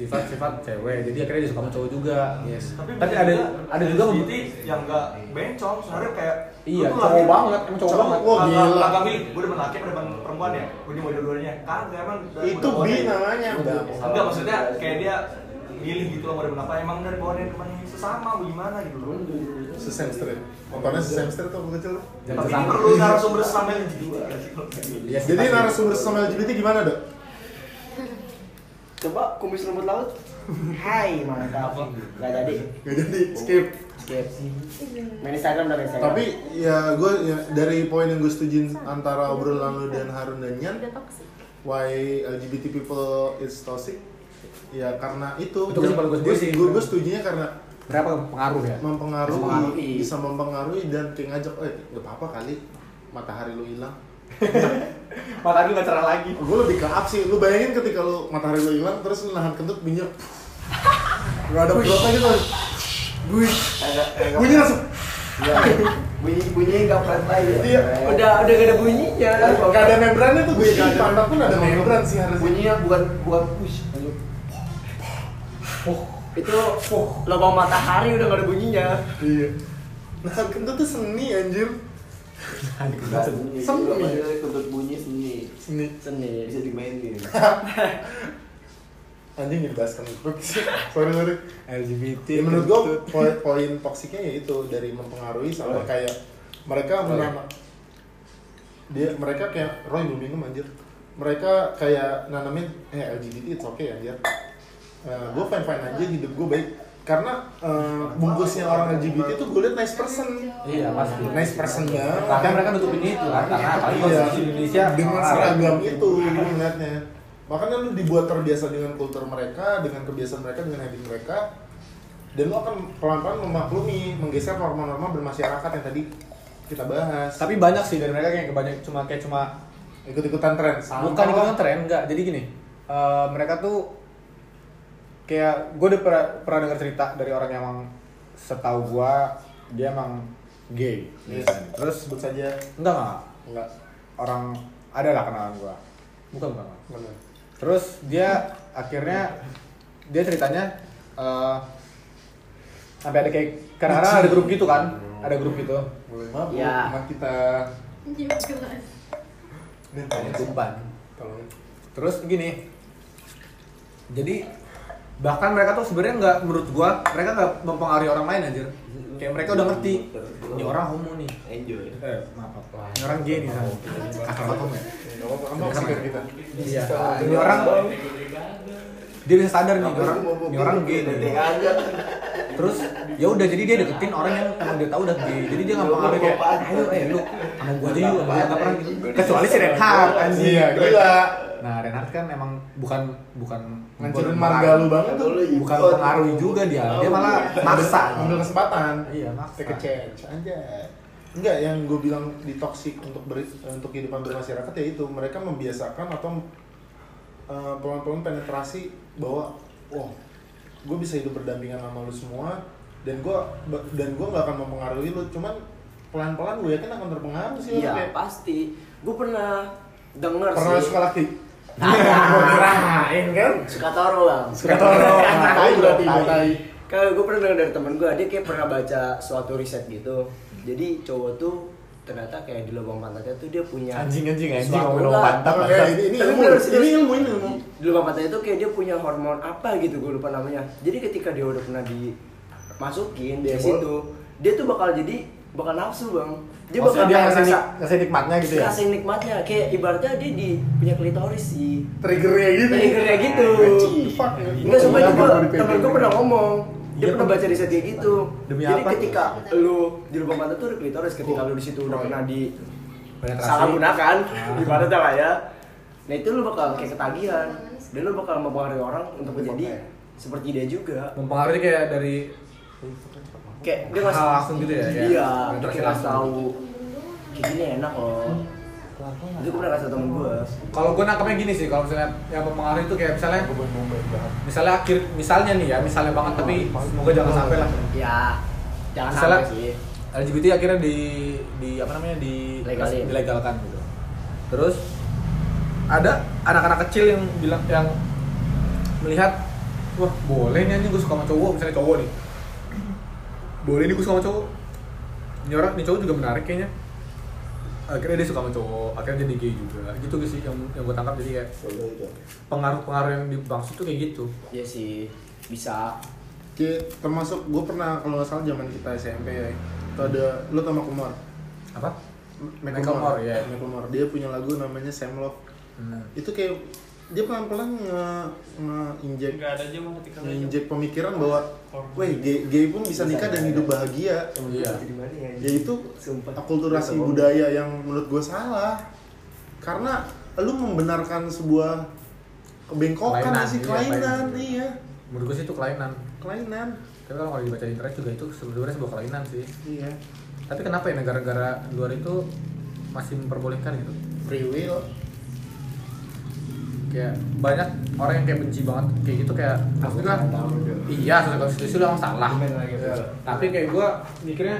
Speaker 1: sifat-sifat cewek jadi akhirnya dia suka sama cowok juga tapi, ada ada juga
Speaker 8: LGBT yang enggak bencong, sebenarnya kayak
Speaker 1: iya
Speaker 8: lu tuh
Speaker 1: cowok
Speaker 8: lahir-
Speaker 1: banget emang cowok
Speaker 2: Cowok,
Speaker 1: banget
Speaker 2: wah,
Speaker 8: Kagak-
Speaker 2: gila.
Speaker 8: Kagak milih, gue demen laki apa demen perempuan ya? Gue demen dua-duanya Kagak emang dari
Speaker 2: Itu
Speaker 8: bawahnya.
Speaker 2: bi
Speaker 8: Iya.
Speaker 2: namanya. Bu.
Speaker 8: Enggak maksudnya kayak dia milih gitu loh mau demen apa Emang dari bawahnya temen sesama apa gimana gitu loh
Speaker 2: Sesemster. Nontonnya sesemster ya. tuh aku kecil.
Speaker 1: Jangan
Speaker 8: Tapi ini
Speaker 1: sesama.
Speaker 8: perlu narasumber sesama yang gitu
Speaker 1: Iya sih,
Speaker 2: Jadi
Speaker 1: pasti.
Speaker 2: narasumber sama LGBT gimana, Dok?
Speaker 9: Coba kumis rumput laut. Hai, mantap. Gak jadi.
Speaker 2: Gak jadi, skip.
Speaker 9: Skip. Main Instagram udah main Instagram.
Speaker 2: Tapi ya gue ya, dari poin yang gue setujuin antara obrolan lu dan Harun dan Nyan,
Speaker 3: udah toxic
Speaker 2: why LGBT people is toxic? Ya karena itu.
Speaker 1: Itu kesimpulan gue sendiri sih.
Speaker 2: Gue gue setujunya karena
Speaker 1: berapa pengaruh ya
Speaker 2: mempengaruhi,
Speaker 9: Mempengaruhi.
Speaker 2: bisa mempengaruhi dan kayak ngajak, eh gak apa-apa kali matahari lu hilang.
Speaker 1: matahari nggak cerah lagi
Speaker 2: Gue lebih ke up sih, lu bayangin ketika lu matahari lu hilang terus lu nahan kentut minyak Gak ada perutnya gitu Gue
Speaker 4: Agak agak-
Speaker 2: Bunyi langsung
Speaker 4: Iya. Bunyi bunyi nggak pantai ya.
Speaker 2: Iya.
Speaker 9: udah udah gak ada bunyinya.
Speaker 2: Gak ada membrannya tuh gue jadi pantat pun ada membran sih harusnya
Speaker 4: Bunyinya bukan bukan push.
Speaker 9: Itu lubang matahari udah gak ada bunyinya.
Speaker 2: Iya Nahan kentut tuh seni anjir
Speaker 4: Nggak bunyi.
Speaker 2: Seni.
Speaker 4: Nggak pantai, Kentut bunyi seni.
Speaker 2: Seni
Speaker 4: Seni bisa dimainin.
Speaker 2: Anjing jadi bahas kentut Sorry sorry
Speaker 1: LGBT
Speaker 2: Ya, menurut gue poin, poin toksiknya ya itu dari mempengaruhi sama kayak mereka menanam dia mereka kayak Roy belum minum anjir mereka kayak nanamin eh LGBT it's okay anjir gue fine fine aja hidup gue baik karena eh, bungkusnya orang LGBT tuh gue liat nice person
Speaker 1: iya pasti
Speaker 2: nice person banget
Speaker 1: karena mereka nutupin itu kan karena apalagi
Speaker 2: Nah, Iya.
Speaker 1: konstitusi Indonesia
Speaker 2: dengan seragam itu
Speaker 1: gitu.
Speaker 2: gue ngeliatnya makanya lu dibuat terbiasa dengan kultur mereka dengan kebiasaan mereka dengan habit mereka dan lu akan pelan-pelan memaklumi menggeser norma-norma bermasyarakat yang tadi kita bahas
Speaker 1: tapi banyak sih dari mereka kayak kebanyakan cuma kayak cuma
Speaker 2: ikut-ikutan tren
Speaker 1: bukan ikut tren enggak jadi gini eh, mereka tuh kayak gue udah pernah, pernah dengar cerita dari orang yang emang setahu gue dia emang gay
Speaker 2: Yes.
Speaker 1: terus
Speaker 2: sebut saja
Speaker 1: enggak enggak
Speaker 2: enggak
Speaker 1: orang ada lah kenalan gue bukan bukan bukan.
Speaker 2: enggak
Speaker 1: Terus dia akhirnya dia ceritanya eh, sampai ada kayak karena ada grup gitu kan, ada grup gitu.
Speaker 2: mulai mabuk
Speaker 9: Ya.
Speaker 2: mah kita
Speaker 3: Iya, jelas.
Speaker 2: nih
Speaker 1: Ada tumpan.
Speaker 2: tolong
Speaker 1: Terus gini. Jadi bahkan mereka tuh sebenarnya nggak menurut gua mereka nggak mempengaruhi orang lain anjir. Kayak mereka udah ngerti ini orang homo nih.
Speaker 4: Enjoy.
Speaker 1: Eh, maaf. Ini orang gay nih. San. Kasar banget ya.
Speaker 2: Ya, apa apa sampai kita
Speaker 1: Iya. Ini orang dia bisa sadar nih ini orang ini orang gay nih.
Speaker 4: aja.
Speaker 1: terus ya udah jadi dia deketin orang yang emang dia tahu udah gay jadi dia nggak pengaruh kayak ayo eh lu sama gua aja yuk nggak pernah gitu kecuali si Renhard anjing
Speaker 2: iya gila
Speaker 1: nah Renhard kan emang bukan bukan
Speaker 2: ngancurin
Speaker 1: bukan-
Speaker 2: marga lu banget tuh
Speaker 1: bukan Oh, iya. pengaruhi juga dia dia malah maksa
Speaker 2: ambil kesempatan
Speaker 1: iya maksa
Speaker 2: take a chance anjay Enggak, yang gue bilang di toxic untuk beri, untuk kehidupan bermasyarakat ya itu mereka membiasakan atau eh, pelan-pelan penetrasi bahwa wah gue bisa hidup berdampingan sama lu semua dan gue dan gue nggak akan mempengaruhi lu cuman pelan-pelan gue yakin akan terpengaruh sih lu
Speaker 4: Iya
Speaker 2: kayak
Speaker 4: pasti. Gue pernah dengar
Speaker 2: pernah
Speaker 4: sih.
Speaker 2: suka laki
Speaker 1: Iya,
Speaker 10: Ngerahin kan?
Speaker 4: Suka toro bang.
Speaker 2: suka tolong tai berarti tai
Speaker 4: Kalau gue pernah denger dari temen gue, dia kayak pernah baca suatu riset gitu. Jadi cowok tuh ternyata kayak di lubang pantatnya tuh dia punya
Speaker 1: Anjing, anjing, anjing,
Speaker 4: suatu-
Speaker 1: ngomong lubang pantat,
Speaker 4: Enggak.
Speaker 2: bangsa. Ini- ini
Speaker 4: Tapi
Speaker 2: ilmu,
Speaker 4: bener, serius.
Speaker 2: ini ilmu, ini ilmu.
Speaker 4: Di lubang pantatnya tuh kayak dia punya hormon apa gitu, gue lupa namanya. Jadi ketika dia udah pernah dimasukin di
Speaker 1: Dia
Speaker 4: situ, dia tuh bakal jadi bakal nafsu bang. Dia
Speaker 1: Maksudnya dia
Speaker 4: bakal kayak
Speaker 1: ngasih,
Speaker 4: ngerasa-
Speaker 1: nik- ngasih nikmatnya gitu ya?
Speaker 4: ngerasain nikmatnya kayak ibaratnya dia di punya klitoris sih
Speaker 2: triggernya gitu
Speaker 4: Triggernya gitu.
Speaker 2: Anjing, fuck ya.
Speaker 4: Enggak sumpah itu
Speaker 2: Gua
Speaker 4: gua,
Speaker 2: baru di
Speaker 4: temen gua
Speaker 2: PPP.
Speaker 4: pernah ngomong dia
Speaker 1: Iya,
Speaker 4: pernah
Speaker 1: Pak.
Speaker 4: baca riset kayak gitu
Speaker 1: Demi
Speaker 4: jadi
Speaker 1: apa?
Speaker 4: ketika lu di lubang pantat tuh ada klitoris ketika lu di situ udah pernah di salah gunakan ibaratnya lah ya nah itu lu bakal kayak ketagihan dan lu bakal mempengaruhi orang untuk menjadi seperti dia juga
Speaker 11: Mempengaruhi kayak dari
Speaker 4: kayak dia ngasih
Speaker 11: Hal langsung gitu ya, kayak
Speaker 4: iya
Speaker 11: interaksi
Speaker 4: dia ngasih
Speaker 11: langsung.
Speaker 4: tahu kayak gini enak loh itu gua pernah kasih tau temen gua
Speaker 1: Kalau gue nangkepnya gini sih, kalau misalnya yang mempengaruhi itu kayak misalnya misalnya akhir misalnya nih ya, misalnya banget tapi semoga jangan sampai lah.
Speaker 4: ya jangan
Speaker 1: Misalnya,
Speaker 4: sampai sih
Speaker 1: LGBT akhirnya di di apa namanya di
Speaker 4: Legalin.
Speaker 1: dilegalkan gitu. Terus ada anak-anak kecil yang bilang yang melihat wah boleh nih anjing gue suka sama cowok misalnya cowok nih boleh nih gue suka sama cowok ini orang ini cowok juga menarik kayaknya akhirnya dia suka sama cowok akhirnya jadi gay juga gitu sih yang yang gue tangkap jadi kayak pengaruh-pengaruh yang dibangsut tuh kayak gitu
Speaker 4: Iya sih bisa
Speaker 2: Ki, termasuk gue pernah kalau nggak salah zaman kita SMP ya itu ada lu tau Makumar
Speaker 1: apa Macklemore,
Speaker 2: Makumar
Speaker 1: iya.
Speaker 2: Makumar dia punya lagu namanya Sam Love
Speaker 1: hmm.
Speaker 2: itu kayak dia pelan-pelan nge, nge injek
Speaker 7: Enggak ada aja mah ketika
Speaker 2: nginjek pemikiran bahwa weh gay, gay pun bisa nikah dan hidup bahagia
Speaker 1: iya
Speaker 4: Jadi mana ya?
Speaker 2: yaitu
Speaker 4: Sumpah.
Speaker 2: akulturasi budaya yang menurut gue salah karena lu membenarkan sebuah kebengkokan
Speaker 1: Kelainan,
Speaker 2: sih
Speaker 1: iya,
Speaker 2: kelainan
Speaker 1: kelainan.
Speaker 2: iya
Speaker 1: menurut gue sih itu kelainan
Speaker 2: kelainan
Speaker 1: tapi kalau kalau dibaca di internet juga itu sebenarnya sebuah kelainan sih
Speaker 2: iya
Speaker 1: tapi kenapa ya negara-negara luar itu masih memperbolehkan gitu
Speaker 2: free will
Speaker 1: kayak banyak orang yang kayak benci banget kayak gitu kayak maksud gua iya sesuai konstitusi lu emang salah Iya. tapi kayak gua mikirnya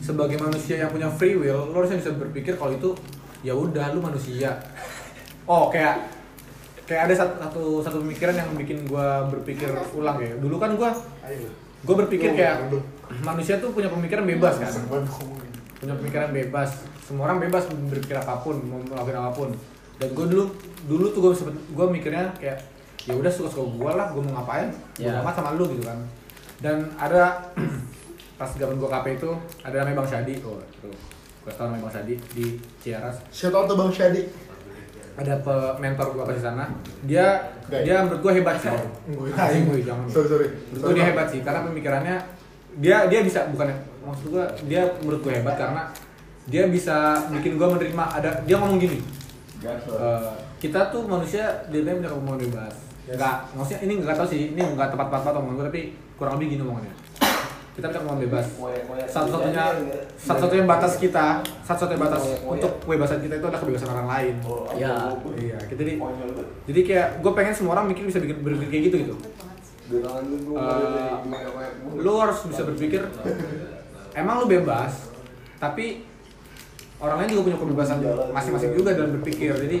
Speaker 1: sebagai manusia yang punya free will lu harusnya bisa berpikir kalau itu ya udah lu manusia oh kayak kayak ada satu, satu satu pemikiran yang bikin gua berpikir ulang ya dulu kan gua gua berpikir kayak manusia tuh punya pemikiran bebas kan punya pemikiran bebas semua orang bebas berpikir apapun mau melakukan apapun dan gue dulu dulu tuh gue gue mikirnya kayak ya udah suka suka gue lah gue mau ngapain gue
Speaker 4: Ya.
Speaker 1: sama lu gitu kan dan ada pas zaman gue KP itu ada namanya Bang Syadi oh itu gue tau namanya Bang Syadi di Ciaras
Speaker 2: shout out to Bang Syadi
Speaker 1: ada pe- mentor gue di sana dia
Speaker 2: Gaya.
Speaker 1: dia menurut gue hebat sih
Speaker 2: Tai.
Speaker 1: Gue jangan
Speaker 2: sorry sorry
Speaker 1: menurut gue dia hebat sih karena pemikirannya dia dia bisa bukan ya, maksud gue dia menurut gue hebat karena dia bisa bikin gue menerima ada dia ngomong gini eh, kita tuh manusia dia punya kemauan bebas nggak maksudnya ini nggak tahu sih ini nggak tepat tepat omongan gue tapi kurang lebih gini omongannya kita punya kemauan bebas satu-satunya satu-satunya batas kita satu-satunya batas untuk kebebasan kita itu adalah kebebasan orang lain
Speaker 4: Ya.
Speaker 1: iya kita jadi jadi kayak gue pengen semua orang mikir bisa bikin berpikir kayak gitu gitu Eh, lu harus bisa berpikir emang lu bebas tapi orang lain juga punya kebebasan masing-masing juga dalam berpikir jadi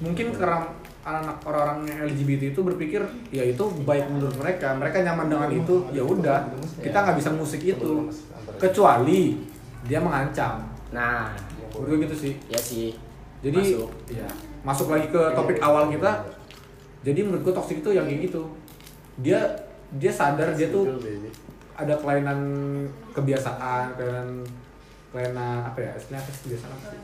Speaker 1: mungkin karena anak orang-orang yang LGBT itu berpikir ya itu baik menurut mereka mereka nyaman dengan itu ya udah kita nggak bisa musik itu kecuali dia mengancam
Speaker 4: Nah,
Speaker 1: menurut gue gitu sih
Speaker 4: ya sih.
Speaker 1: jadi
Speaker 4: Masuk.
Speaker 1: ya, masuk lagi ke topik awal kita jadi menurut gue toxic itu yang kayak gitu dia dia sadar dia tuh ada kelainan kebiasaan kelainan kelainan apa ya istilahnya apa sih kebiasaan apa sih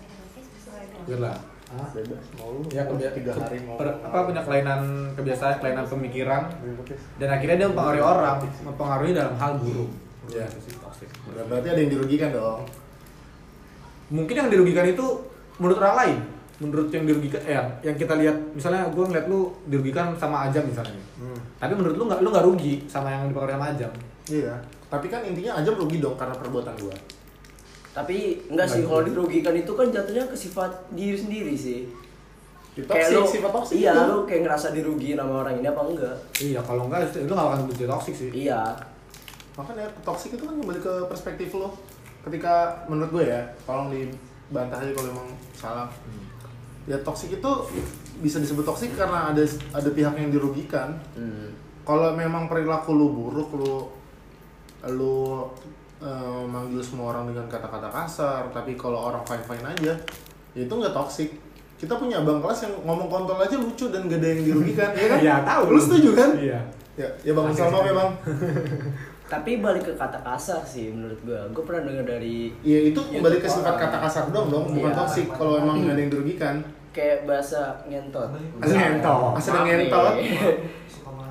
Speaker 1: Bener lah Hah?
Speaker 2: bebas mau lu
Speaker 1: ya kebia-
Speaker 2: tiga hari mau
Speaker 1: per- apa punya kelainan kebiasaan kelainan pemikiran dan akhirnya dia mempengaruhi orang mempengaruhi dalam hal buruk ya itu sih toxic
Speaker 2: berarti ada yang dirugikan dong
Speaker 1: mungkin yang dirugikan itu menurut orang lain menurut yang dirugikan eh yang kita lihat misalnya gue ngeliat lu dirugikan sama ajam misalnya
Speaker 2: Hmm.
Speaker 1: tapi menurut lu nggak lu nggak rugi sama yang dipengaruhi sama ajam
Speaker 2: Iya, tapi kan intinya aja rugi dong karena perbuatan gua.
Speaker 12: tapi enggak sih kalau dirugikan itu kan jatuhnya ke sifat diri sendiri sih
Speaker 2: Di
Speaker 12: kayak
Speaker 2: toxic,
Speaker 12: lu
Speaker 2: sifat toxic gitu.
Speaker 12: iya
Speaker 2: itu.
Speaker 12: lu kayak ngerasa dirugiin sama orang ini apa enggak
Speaker 1: Iya, kalau enggak itu lu gak akan benci toxic sih.
Speaker 12: iya
Speaker 2: makanya toxic itu kan kembali ke perspektif lo ketika menurut gue ya tolong dibantah aja kalau emang salah ya toxic itu bisa disebut toxic karena ada ada pihak yang dirugikan kalau memang perilaku lu buruk lu lu eh, manggil semua orang dengan kata-kata kasar tapi kalau orang fine fine aja ya itu nggak toxic kita punya abang kelas yang ngomong kontol aja lucu dan gak ada yang dirugikan ya kan
Speaker 1: Iya, tahu.
Speaker 2: lu setuju kan
Speaker 1: Iya.
Speaker 2: ya ya bang
Speaker 1: Asik,
Speaker 2: Salma
Speaker 1: asik.
Speaker 2: memang
Speaker 12: tapi balik ke kata kasar sih menurut gua gua pernah dengar dari
Speaker 2: Ya itu kembali ke
Speaker 12: YouTube
Speaker 2: sifat
Speaker 12: orang.
Speaker 2: kata kasar dong dong, bukan
Speaker 12: Iya.
Speaker 2: toksik kalau emang ada yang dirugikan.
Speaker 12: kayak bahasa ngentot
Speaker 2: Asal
Speaker 12: Iya.
Speaker 1: Ngentot.
Speaker 2: Asal ngentot.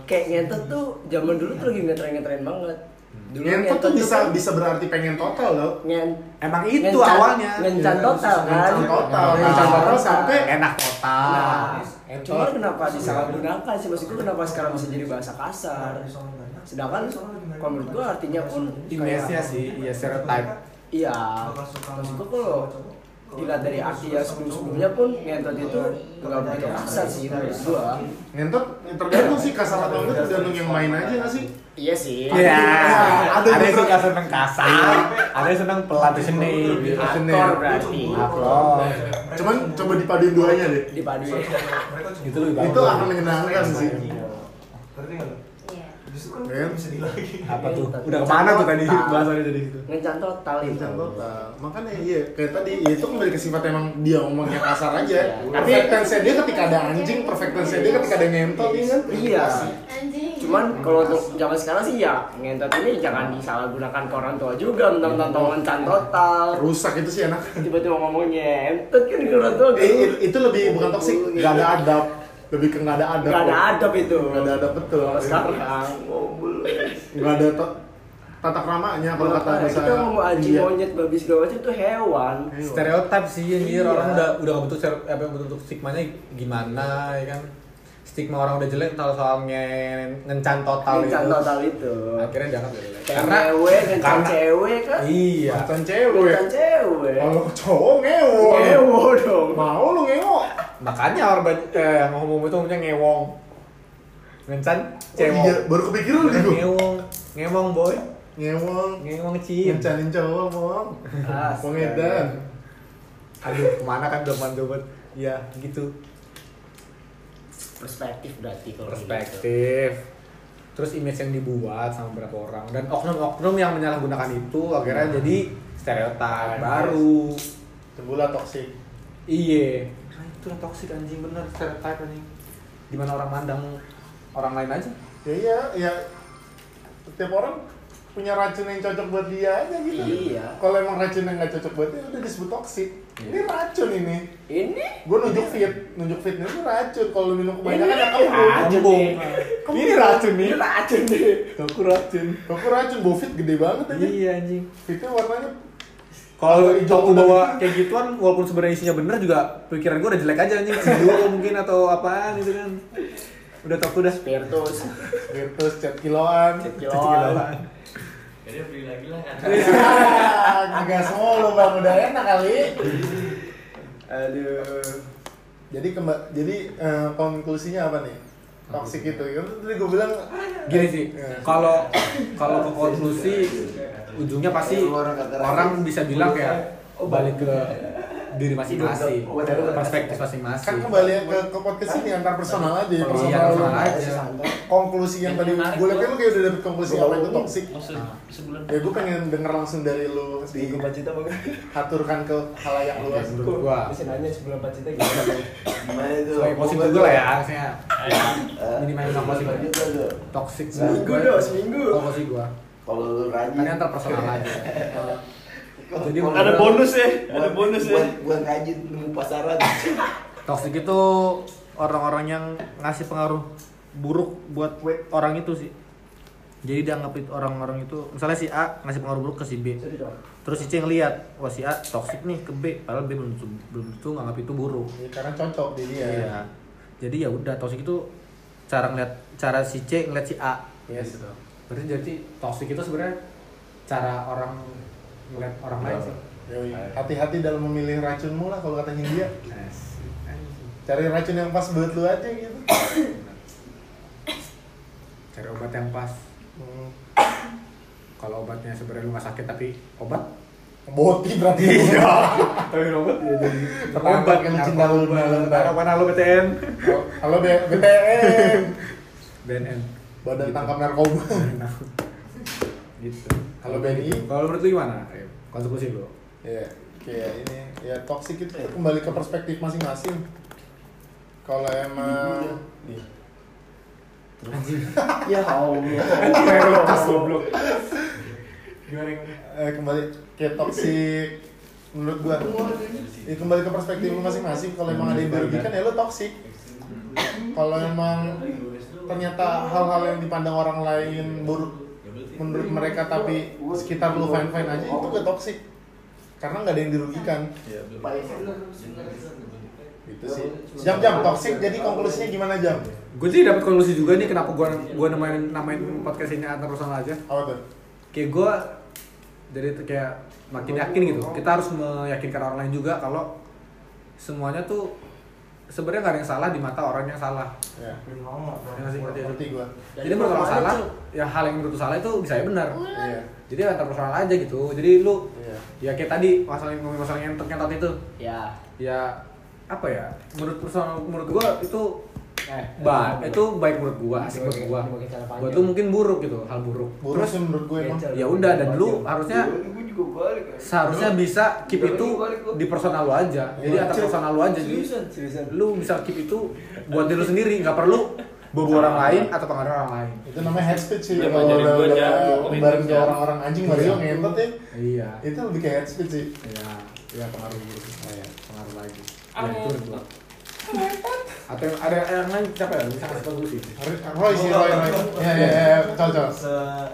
Speaker 12: kayak ngentot tuh zaman dulu tuh lagi ngetren-ngetren banget dulu
Speaker 2: Hmm. Ngentot tuh bisa
Speaker 12: kan
Speaker 2: bisa berarti pengen total loh.
Speaker 12: ngen-
Speaker 1: Emang itu
Speaker 12: ngencan-
Speaker 1: awalnya.
Speaker 12: ngencan total kan
Speaker 2: Ngencan total.
Speaker 1: Nah,
Speaker 2: Ngencan total sampai
Speaker 1: Enak total.
Speaker 12: Nah, cuma kenapa disalahgunakan sih maksudku kenapa sekarang bisa jadi bahasa kasar sedangkan kalau menurut gua artinya pun
Speaker 1: Image-nya
Speaker 12: ya?
Speaker 1: sih, iya stereotype.
Speaker 12: iya maksudku kalau dilihat dari arti yang sebelum-sebelumnya
Speaker 4: Iya.
Speaker 3: Iya.
Speaker 12: pun ngentot itu nggak begitu kasar sih ya, menurut gua
Speaker 2: Ngentot ya tergantung sih kasar atau enggak tergantung yang main aja nggak sih?
Speaker 12: iya
Speaker 1: Iya.
Speaker 12: sih
Speaker 2: Ada
Speaker 1: Ada yang
Speaker 2: yang ber-
Speaker 1: suka seneng kasar, ada yang seneng pelatih seni, gitu seni.
Speaker 12: aktor berarti
Speaker 1: Upload.
Speaker 2: Cuman coba dipaduin duanya deh.
Speaker 12: dipaduin
Speaker 1: Itu lebih bagus.
Speaker 2: Itu akan menyenangkan sih.
Speaker 3: Iya.
Speaker 2: Kan?
Speaker 1: Apa tuh?
Speaker 12: Ngentot.
Speaker 1: Udah kemana tuh tadi bahasanya jadi gitu?
Speaker 12: ngencan total itu
Speaker 2: Ngencan total. Makanya iya kayak tadi ya itu kembali ke sifat emang dia ngomongnya kasar aja.
Speaker 12: Iya.
Speaker 2: Tapi perfectance dia ketika ada anjing, perfectance dia ketika ada ngentot ini kan.
Speaker 12: iya sih
Speaker 3: Anjing.
Speaker 12: Cuman kalau untuk zaman sekarang sih ya ngentot ini jangan disalahgunakan ke orang tua juga mentang-mentang
Speaker 2: Iya.
Speaker 12: tahu ngencan total.
Speaker 2: Rusak itu sih enak.
Speaker 12: Tiba-tiba ngomongnya entot kan ke orang tua
Speaker 2: Eh,
Speaker 12: gitu.
Speaker 2: it- itu lebih bukan toksik, nggak ada adab, lebih ke nggak ada adab.
Speaker 12: Gak Iya. ada adab itu.
Speaker 2: Nggak ada adab, betul.
Speaker 12: Kalau sekarang ngobul.
Speaker 2: Nggak ada to- tata keramanya kalau kata bahasa.
Speaker 12: Iya, Kita ngomong anjing
Speaker 2: Iya.
Speaker 12: monyet babi segala macam itu hewan.
Speaker 2: Hewan.
Speaker 1: stereotip sih anjir
Speaker 12: Iya.
Speaker 1: orang udah udah nggak bentuk stere- apa bentuk stigmanya gimana ya kan stigma orang udah jelek kalau soal nge- ngencan total
Speaker 12: Ngencan
Speaker 1: itu
Speaker 12: total itu.
Speaker 1: akhirnya dianggap jelek
Speaker 12: Kayak cewek, ngencan
Speaker 1: karena-
Speaker 12: cewek kan.
Speaker 1: iya
Speaker 2: Macan cewek.
Speaker 12: Ngencan cewek.
Speaker 2: Kalau cowok ngewo.
Speaker 12: Ngewo dong.
Speaker 2: Mau lu ngewo.
Speaker 1: makanya orang ban- eh, yang ngomong itu ngomongnya ngewong ngencan
Speaker 2: Oh, iya,
Speaker 1: cewong
Speaker 2: baru kepikiran gitu. lagi gue.
Speaker 1: ngewong ngewong boy
Speaker 2: Ngewong.
Speaker 1: ngewong cim
Speaker 2: Ngecanin cowok, Mong.
Speaker 12: Astaga.
Speaker 2: Mong Edan.
Speaker 1: aduh kemana kan doman doman ya gitu
Speaker 12: Perspektif berarti kalau gitu.
Speaker 1: perspektif terus image yang dibuat sama beberapa orang dan oknum-oknum yang menyalahgunakan itu akhirnya jadi stereotip baru
Speaker 2: Tebula toksik.
Speaker 1: iye nah, itulah toksik anjing bener stereotip anjing dimana orang mandang orang lain aja
Speaker 2: Ya iya, ya setiap orang punya racun yang cocok buat dia aja gitu.
Speaker 12: Iya.
Speaker 2: Kalau emang racun yang nggak cocok buat dia udah disebut toksik. Ini racun ini.
Speaker 12: Ini
Speaker 2: Gue nunjuk fit, nunjuk fit ini racun. Kalau lu minum kebanyakan ya kamu
Speaker 12: racun
Speaker 1: Kembung.
Speaker 12: nih.
Speaker 1: ini racun nih
Speaker 12: Racun nih.
Speaker 1: aku racun
Speaker 2: Kamu racun, bau fit gede banget aja.
Speaker 1: iya anjing
Speaker 2: Fitnya warnanya
Speaker 1: kalau
Speaker 2: Atau hijau
Speaker 1: aku
Speaker 2: muda
Speaker 1: bawa kayak gituan walaupun sebenarnya isinya bener juga pikiran gue udah jelek aja anjing Sidu mungkin atau apaan gitu kan udah tau udah
Speaker 12: Virtus.
Speaker 2: Virtus cat Gitu, kiloan.
Speaker 12: Kiloan.
Speaker 7: Jadi beli lagi lah kan.
Speaker 2: Agak semua lu bang udah enak kali.
Speaker 12: Aduh.
Speaker 2: Jadi kemba- jadi eh, konklusinya apa nih? Toksik itu. Ya, tadi gue bilang
Speaker 1: gini sih
Speaker 12: Iya.
Speaker 1: kalau kalau ke konklusi ujungnya pasti orang bisa bilang ya balik ke diri masing-masing perspektif
Speaker 2: kan
Speaker 1: masing-masing
Speaker 2: kembali ke, ke podcast ini antar personal aja ya,
Speaker 12: Oh,
Speaker 1: iya
Speaker 2: personal lu.
Speaker 1: sama aja
Speaker 2: konklusi yang tadi gue liatnya lu kayak udah dapet konklusi apa itu toxic
Speaker 7: Maksud Oh, sebulan.
Speaker 2: ya gue pengen denger langsung dari lu
Speaker 12: Di
Speaker 2: dihaturkan
Speaker 12: Gempa Cita bang.
Speaker 2: ke halayak luas
Speaker 1: menurut gua
Speaker 12: Masih nanya sebelum Gempa Cita gimana? Bang?
Speaker 4: Gimana
Speaker 12: Iya,
Speaker 4: itu?
Speaker 1: sesuai positif dulu lah ya harusnya
Speaker 7: Ya.
Speaker 1: minimal enam positif
Speaker 4: Gimana juga tuh?
Speaker 1: toxic
Speaker 12: Seminggu dong, seminggu.
Speaker 1: konklusi gua
Speaker 4: Kalau lu rajin.
Speaker 1: ini antar personal aja jadi
Speaker 12: Ada bonus ya, ada
Speaker 4: Buat-
Speaker 12: bonus ya.
Speaker 4: buat- Buat rajin nemu pasaran.
Speaker 1: toxic itu orang-orang yang ngasih pengaruh buruk buat orang itu sih jadi dianggap itu- orang-orang itu misalnya si A ngasih pengaruh buruk ke si B terus si C ngeliat wah si A toxic nih ke B padahal B belum tentu- belum tentu nganggap itu buruk
Speaker 2: Ya, karena cocok di dia
Speaker 1: Iya. jadi ya udah toxic itu cara ngeliat cara si C ngeliat si A Gitu.
Speaker 2: Yes.
Speaker 1: berarti jadi toxic itu sebenarnya cara orang ngeliat orang lain sih
Speaker 2: Yoi. Hati-hati dalam memilih racunmu lah kalau kata Hindia.
Speaker 1: Nah,
Speaker 2: Cari racun yang pas buat lu aja gitu.
Speaker 1: cari obat yang pas
Speaker 2: Hmm.
Speaker 1: kalau obatnya sebenarnya lu nggak sakit tapi obat
Speaker 2: Boti berarti.
Speaker 1: Iya.
Speaker 2: Tapi robot ya jadi.
Speaker 1: Obat
Speaker 2: Obat
Speaker 1: kan,
Speaker 2: yang mencinta lu
Speaker 1: Bentar,
Speaker 2: lebar.
Speaker 1: apaan halo BTN
Speaker 2: Halo B- BTN.
Speaker 1: BNN
Speaker 2: Badan tangkap narkoba.
Speaker 1: gitu
Speaker 2: Halo BNI.
Speaker 1: kalau menurut lu gimana Ayo, konsekuensi lu
Speaker 2: Iya. Kayak ini ya toksik itu kembali ke perspektif masing-masing. Kalau emang Iya.
Speaker 4: Ya Allah.
Speaker 1: Kayak lepas, goblok. Gimana, gimana?
Speaker 2: eh, kembali ke toksik menurut gua ya, kembali ke perspektif lu masing-masing kalau emang ada yang dirugikan ya lu toksik kalau emang ternyata hal-hal yang dipandang orang lain buruk menurut mereka tapi sekitar lu fine fine aja itu gak toksik karena nggak ada yang dirugikan gitu sih jam jam toksik jadi konklusinya gimana jam
Speaker 1: gue sih dapat konklusi juga nih kenapa gue gue namain namain podcast ini antar personal aja
Speaker 2: apa tuh
Speaker 1: kayak gue jadi tuh kayak makin yakin gitu kita harus meyakinkan orang lain juga kalau semuanya tuh sebenarnya nggak ada yang salah di mata orang yang salah
Speaker 2: ya
Speaker 1: Ya nggak sih? Ngerti ya?
Speaker 2: ngerti gua
Speaker 1: jadi menurut orang salah ya hal yang menurut lu salah itu bisa ya benar
Speaker 2: iya
Speaker 1: jadi antar personal aja gitu jadi lu
Speaker 2: iya
Speaker 1: ya kayak tadi masalah yang masalah yang terkentot itu
Speaker 4: Ya.
Speaker 1: ya apa ya menurut personal menurut gua itu
Speaker 13: Eh,
Speaker 1: baik itu baik menurut gua asik menurut gua buat lu mungkin buruk gitu hal buruk
Speaker 2: buruk sih menurut gue emang
Speaker 1: ya udah dan lu harusnya
Speaker 12: ya.
Speaker 1: seharusnya bisa keep itu di personal lu aja jadi
Speaker 2: Iya.
Speaker 1: antar personal lu aja jadi lu bisa keep itu buat diri lu sendiri nggak perlu bobo orang lain atau pengaruh orang lain
Speaker 2: itu namanya head speech sih
Speaker 7: Iya,
Speaker 2: kalau
Speaker 7: jadi
Speaker 2: udah
Speaker 7: gua
Speaker 2: udah
Speaker 7: jago,
Speaker 2: bareng
Speaker 7: jago.
Speaker 2: orang-orang anjing Mario ngentot ya
Speaker 1: iya
Speaker 2: itu lebih kayak head speech sih
Speaker 1: iya iya pengaruh buruk Iya, pengaruh lagi ya
Speaker 7: Amin.
Speaker 1: itu menurut gua atau yang- ada yang lain siapa ya bisa kasih konklusi
Speaker 2: Roy sih Roy Roy ya ya ya cocok
Speaker 9: Se-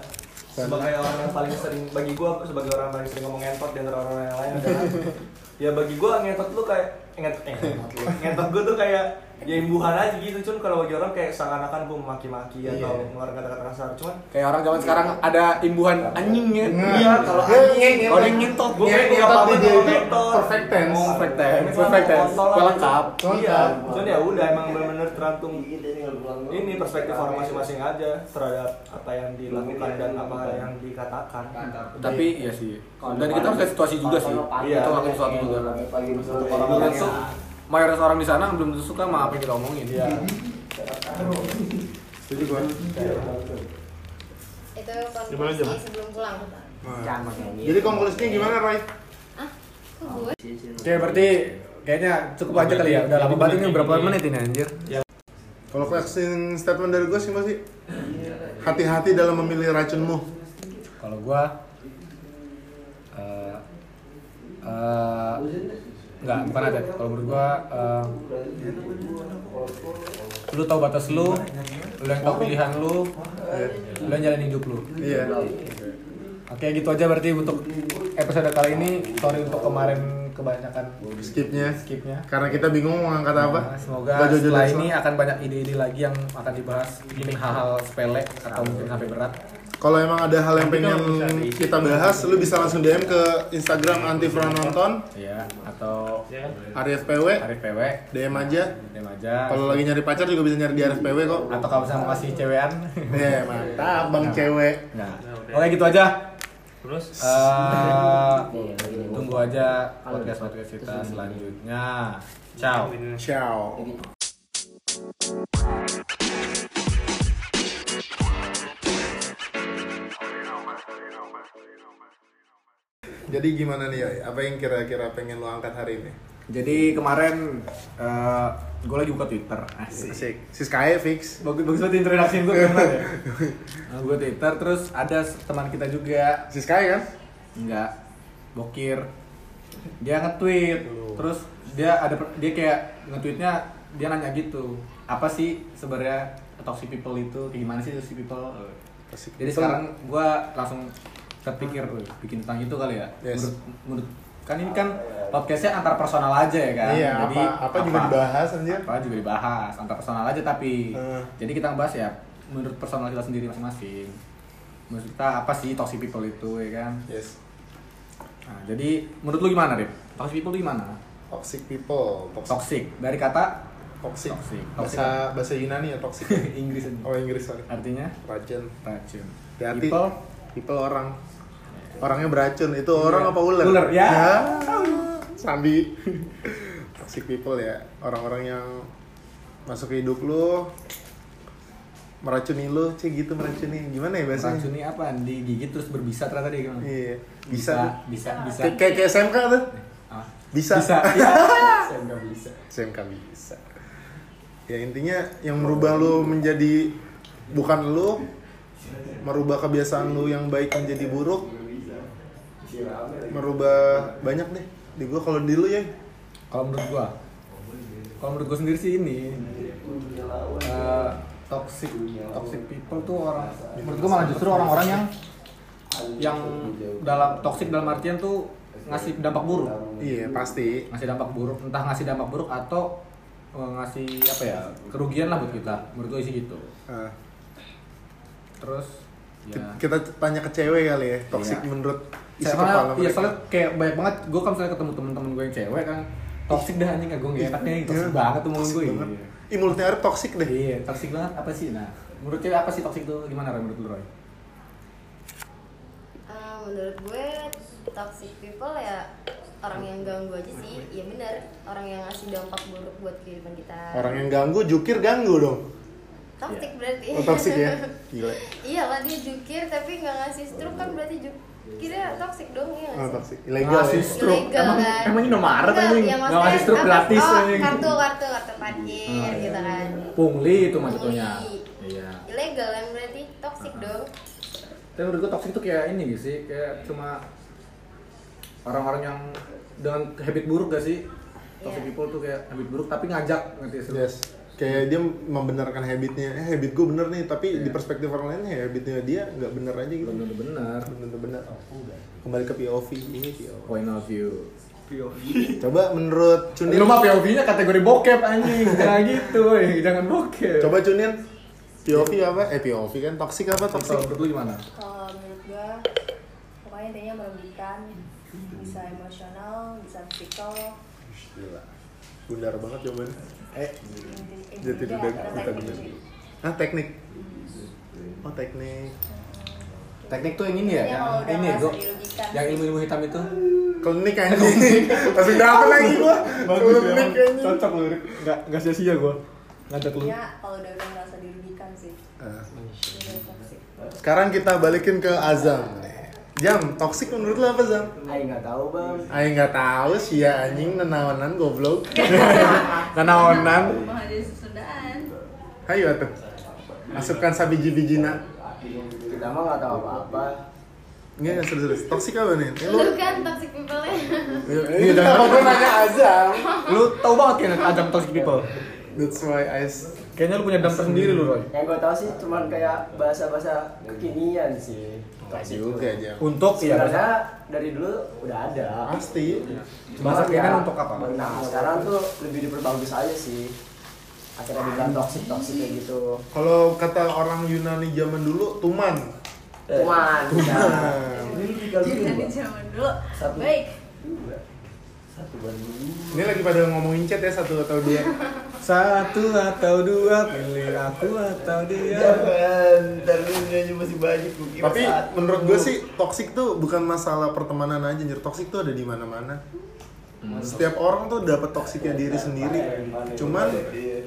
Speaker 9: sebagai orang yang paling sering bagi gua sebagai orang yang paling sering ngomong ngentot di antara orang yang lain adalah ya bagi gua ngentot lu kayak eh, ngentot eh, ngentot lu ngentot gua tuh kayak ya imbuhan aja gitu cun kalau bagi orang kayak seakan-akan gua memaki-maki atau ngeluarin kata-kata kasar cuman
Speaker 1: kayak orang zaman sekarang ada imbuhan anjingnya
Speaker 9: iya kalau
Speaker 1: Hmm.
Speaker 9: anjing
Speaker 1: kalau yang ngintot
Speaker 9: gua kayak
Speaker 2: ngentot
Speaker 9: apa apa
Speaker 2: di-
Speaker 9: tuh
Speaker 2: di-
Speaker 9: ngentot Iya.
Speaker 2: perfect tense.
Speaker 9: Ngomong
Speaker 1: Perfect tense,
Speaker 9: ngomong
Speaker 1: perfect tense.
Speaker 9: kontol aja.
Speaker 1: Lengkap.
Speaker 9: iya
Speaker 2: Lengkap.
Speaker 9: cuman ya udah emang benar-benar tergantung ini perspektif orang masing-masing aja terhadap apa yang dilakukan dan apa yang dikatakan
Speaker 1: tapi ya sih dan kita harus lihat situasi juga sih
Speaker 9: Iya.
Speaker 1: itu makin suatu juga kan.
Speaker 12: pagi sore
Speaker 1: belum tentu mayoritas orang di sana belum tentu suka sama apa yang kita omongin
Speaker 2: Iya. setuju gue
Speaker 3: Itu
Speaker 2: Gimana,
Speaker 3: konklusi
Speaker 2: Jam?
Speaker 3: sebelum pulang.
Speaker 2: jadi konklusinya gimana Roy
Speaker 3: Ah, kok gue?
Speaker 12: Iya,
Speaker 1: oke berarti kayaknya cukup aja kali ya udah lama banget ini berapa menit ini anjir
Speaker 2: kalau closing statement dari gue sih masih
Speaker 1: Iya.
Speaker 2: hati-hati dalam memilih racunmu
Speaker 1: kalau gua eh eh, nggak bukan ada kalau menurut gua eh, lu tahu batas lu lu yang tahu pilihan lu lu yang jalanin hidup lu
Speaker 2: iya
Speaker 1: oke gitu aja berarti untuk episode kali ini sorry untuk kemarin kebanyakan
Speaker 2: skipnya
Speaker 1: skipnya
Speaker 2: karena kita bingung mau ngangkat apa
Speaker 1: Nah, semoga
Speaker 2: Gak jauh-jauh
Speaker 1: setelah
Speaker 2: dari
Speaker 1: ini
Speaker 2: sana.
Speaker 1: akan banyak ide-ide lagi yang akan dibahas mungkin hal-hal sepele atau mungkin
Speaker 2: Iya.
Speaker 1: sampai berat
Speaker 2: kalau emang ada hal yang pengen kita bahas lu bisa langsung DM ke Instagram Antifra Nonton
Speaker 1: ya atau
Speaker 2: Iya.
Speaker 7: kan.
Speaker 2: Arif PW
Speaker 1: Arif PW
Speaker 2: DM aja
Speaker 1: DM aja
Speaker 2: Kalau lagi nyari pacar juga bisa nyari di RFPW kok.
Speaker 1: atau kalau misalnya masih cewekan
Speaker 2: Eh, mantap bang cewek.
Speaker 1: nah oke gitu aja
Speaker 7: terus
Speaker 1: Eh, tunggu aja podcast podcast kita selanjutnya ciao
Speaker 2: Ciao. Jadi gimana nih, Yoy? Apa yang kira-kira pengen lo angkat hari ini?
Speaker 1: jadi kemarin eh gue lagi buka twitter asik
Speaker 2: Asik. Si Sky fix.
Speaker 1: bagus bagus banget introduksi gue keren banget ya nah, gue twitter terus ada teman kita juga
Speaker 2: Si Sky kan?
Speaker 1: Enggak. Bokir. Dia nge-tweet.
Speaker 2: Gitu.
Speaker 1: Terus dia ada per- dia kayak nge-tweetnya dia nanya gitu. Apa sih sebenarnya toxic people itu? Kayak gimana sih toxic people?
Speaker 2: Oh.
Speaker 1: Jadi sekarang gua langsung terpikir "Wih, bikin tentang itu kali ya.
Speaker 2: Yes. Ah,
Speaker 1: Menurut, menurut- kan ini kan podcastnya antar personal aja ya kan.
Speaker 2: Iya,
Speaker 1: Jadi,
Speaker 2: apa, apa juga dibahas ya? anjir.
Speaker 1: Apa juga dibahas antar personal aja tapi.
Speaker 2: Eh.
Speaker 1: Jadi kita ngebahas ya menurut personal kita sendiri masing-masing. Menurut kita apa sih toxic people itu ya kan?
Speaker 2: Yes.
Speaker 1: Nah, jadi menurut lu gimana, Rip? Toxic people itu gimana?
Speaker 2: Toxic people. Toxic.
Speaker 1: Toxic. Dari kata
Speaker 2: Toxic.
Speaker 1: Toxic.
Speaker 2: Bahasa bahasa Yunani ya toxic.
Speaker 1: Inggris aja.
Speaker 2: Oh Inggris sorry.
Speaker 1: Artinya?
Speaker 2: Racun.
Speaker 1: Racun.
Speaker 2: Hati-hati.
Speaker 1: People? Iya.
Speaker 2: People orang. Orangnya beracun. Itu orang apa ular?
Speaker 1: Ular, ya.
Speaker 2: Sambi. toxic people ya. Orang-orang yang masuk ke hidup lu meracuni lu, cie gitu meracuni. Gimana ya bahasanya?
Speaker 1: Racun ini apa? Digigit terus berbisa ternyata dia gimana?
Speaker 2: Iya. Bisa.
Speaker 1: Bisa, bisa, bisa.
Speaker 2: Kayak kayak- kayak SMK tuh.
Speaker 1: Ah.
Speaker 2: Bisa.
Speaker 1: Bisa. Iya. Saya nggak bisa.
Speaker 2: SMK bisa. Ya intinya yang merubah lu menjadi bukan lu merubah kebiasaan lu yang baik menjadi buruk merubah banyak deh di gua kalau di lu ya
Speaker 14: kalau menurut gua kalau menurut gua sendiri sih ini eh, toxic toxic people tuh orang menurut gua malah justru orang-orang yang
Speaker 1: Yang dalam toxic dalam artian tuh ngasih dampak buruk.
Speaker 2: iya pasti
Speaker 1: Ngasih dampak buruk, entah ngasih dampak buruk atau eh, ngasih apa ya? kerugian lah buat kita. Menurut gua sih gitu.
Speaker 2: Ah,
Speaker 1: Terus
Speaker 2: ki-
Speaker 1: ya
Speaker 2: kita tanya ke cewek kali ya toxic
Speaker 1: Iya.
Speaker 2: menurut isi kepala
Speaker 1: Soalnya, iya
Speaker 2: mereka.
Speaker 1: soalnya kayak banyak banget gue kalau misalnya ketemu temen-temen gue yang cewek kan toxic dah anjing gak gue gak enak nih toxic
Speaker 2: Iya,
Speaker 1: banget tuh mulut
Speaker 2: toxic
Speaker 1: gue
Speaker 2: banget. Ih mulutnya Arif toxic deh.
Speaker 1: Iya, toxic banget apa sih? Nah, menurut cewek apa sih toxic tuh gimana Roy menurut lu Roy?
Speaker 3: Eh, menurut gue toxic people ya orang yang ganggu aja sih ya bener orang yang ngasih dampak buruk buat kehidupan kita
Speaker 2: orang yang ganggu jukir ganggu dong
Speaker 3: toxic berarti
Speaker 2: oh, toxic ya gila
Speaker 3: iya lah dia jukir tapi nggak ngasih struk kan berarti jukirnya toxic dong ya
Speaker 2: oh, toxic ilegal
Speaker 1: Ngasih
Speaker 2: ya.
Speaker 1: stroke. Emang- emang Indomaret, anjing?
Speaker 3: kan? ya,
Speaker 1: Nggak
Speaker 3: maksudnya
Speaker 1: ngasih struk
Speaker 3: apa-
Speaker 1: gratis,
Speaker 3: oh,
Speaker 1: anjing. Oh, iya.
Speaker 3: kartu kartu kartu parkir gitu kan
Speaker 1: Pungli itu mah jatuhnya. Iya.
Speaker 3: ilegal yang berarti toxic dong
Speaker 1: Tapi menurut gue toxic tuh kayak ini gitu sih, kayak cuma orang-orang yang dengan habit buruk gak sih? Toxic
Speaker 3: Iya.
Speaker 1: people tuh kayak habit buruk tapi ngajak ngerti sih? lu?
Speaker 2: Yes. Kayak dia membenarkan habitnya, eh habit gue bener nih, tapi di perspektif orang lain ya habitnya dia nggak Iya. bener Oh, aja gitu.
Speaker 1: Belum tentu benar.
Speaker 2: Belum tentu bener. Kembali ke POV ini POV.
Speaker 1: Point of view.
Speaker 2: Coba menurut Cunin.
Speaker 1: Lu mah POV-nya kategori bokep anjing. Jangan gitu, woy. jangan bokep.
Speaker 2: Coba Cunin. POV apa? Eh POV kan toksik apa? Toksik.
Speaker 1: Kalau menurut lu gimana?
Speaker 15: Kalau menurut gua pokoknya intinya merugikan, bisa emosional, bisa psikol,
Speaker 2: Gila. Bundar banget jawabannya. Eh,
Speaker 15: inti-
Speaker 2: jati
Speaker 15: intinya
Speaker 2: dada
Speaker 15: ada
Speaker 2: kita
Speaker 15: teknik
Speaker 2: bener.
Speaker 15: sih.
Speaker 2: Ah, teknik. Oh, teknik.
Speaker 1: Teknik tuh yang ini ya,
Speaker 15: Iya,
Speaker 1: yang
Speaker 15: kalau udah
Speaker 1: ini
Speaker 15: merasa
Speaker 1: gua.
Speaker 15: dirugikan.
Speaker 1: Yang ilmu-ilmu hitam itu.
Speaker 2: Klinik anjing. Langsung dapet lagi gua. ya, Klinik anjing.
Speaker 1: Cocok lu, Rip. Enggak enggak sia-sia gua. Ngajak lu.
Speaker 15: Ya, kalau udah udah merasa dirugikan sih.
Speaker 2: Ah.
Speaker 15: Udah toxic.
Speaker 2: Sekarang kita balikin ke Azam. Jam, toksik menurut lo apa Zam?
Speaker 12: Ayo nggak tahu bang.
Speaker 2: Ayo nggak tahu sih ya anjing nenaonan goblok. nenaonan.
Speaker 4: Rumah ada sesudaan.
Speaker 2: Hayo atuh. Masukkan sabiji bijina.
Speaker 12: Kita mah nggak tahu apa-apa.
Speaker 2: Enggak, enggak serius, serius. Toksik apa nih?
Speaker 4: Iya.
Speaker 2: Eh, Lu
Speaker 3: lu kan toxic people nya
Speaker 2: Iya, jangan apa nanya Azam.
Speaker 1: Lu tahu banget kayaknya Adam toxic people.
Speaker 2: That's why I s-
Speaker 1: Kayaknya lu punya dam tersendiri lu, Roy.
Speaker 12: Yang gue tahu sih cuman kayak bahasa-bahasa kekinian sih. Toxic tuh.
Speaker 2: juga aja.
Speaker 1: Untuk ya
Speaker 12: Sebenarnya dari dulu udah ada.
Speaker 2: Pasti.
Speaker 1: bahasa
Speaker 12: Cuman
Speaker 1: kekinian
Speaker 12: ya,
Speaker 1: kan untuk apa?
Speaker 12: Nah sekarang tuh lebih diperbagus aja sih. Akhirnya dibilang toxic toxic kayak gitu.
Speaker 2: Kalau kata orang Yunani zaman dulu, tuman.
Speaker 1: eh,
Speaker 12: Cuman. ya.
Speaker 2: Tuman.
Speaker 4: Jadi zaman dulu.
Speaker 12: Satu.
Speaker 4: Baik.
Speaker 2: Ini lagi pada ngomongin chat ya satu atau dua.
Speaker 1: satu atau dua pilih aku atau
Speaker 2: Iya.
Speaker 1: dia.
Speaker 16: terusnya masih banyak gue kira
Speaker 2: Tapi
Speaker 16: saat-
Speaker 2: menurut gue sih toksik tuh bukan masalah pertemanan aja, anjir. Toksik tuh ada di mana-mana.
Speaker 16: Hmm.
Speaker 2: Setiap orang tuh dapat toksiknya diri sendiri. Cuman
Speaker 16: Iya.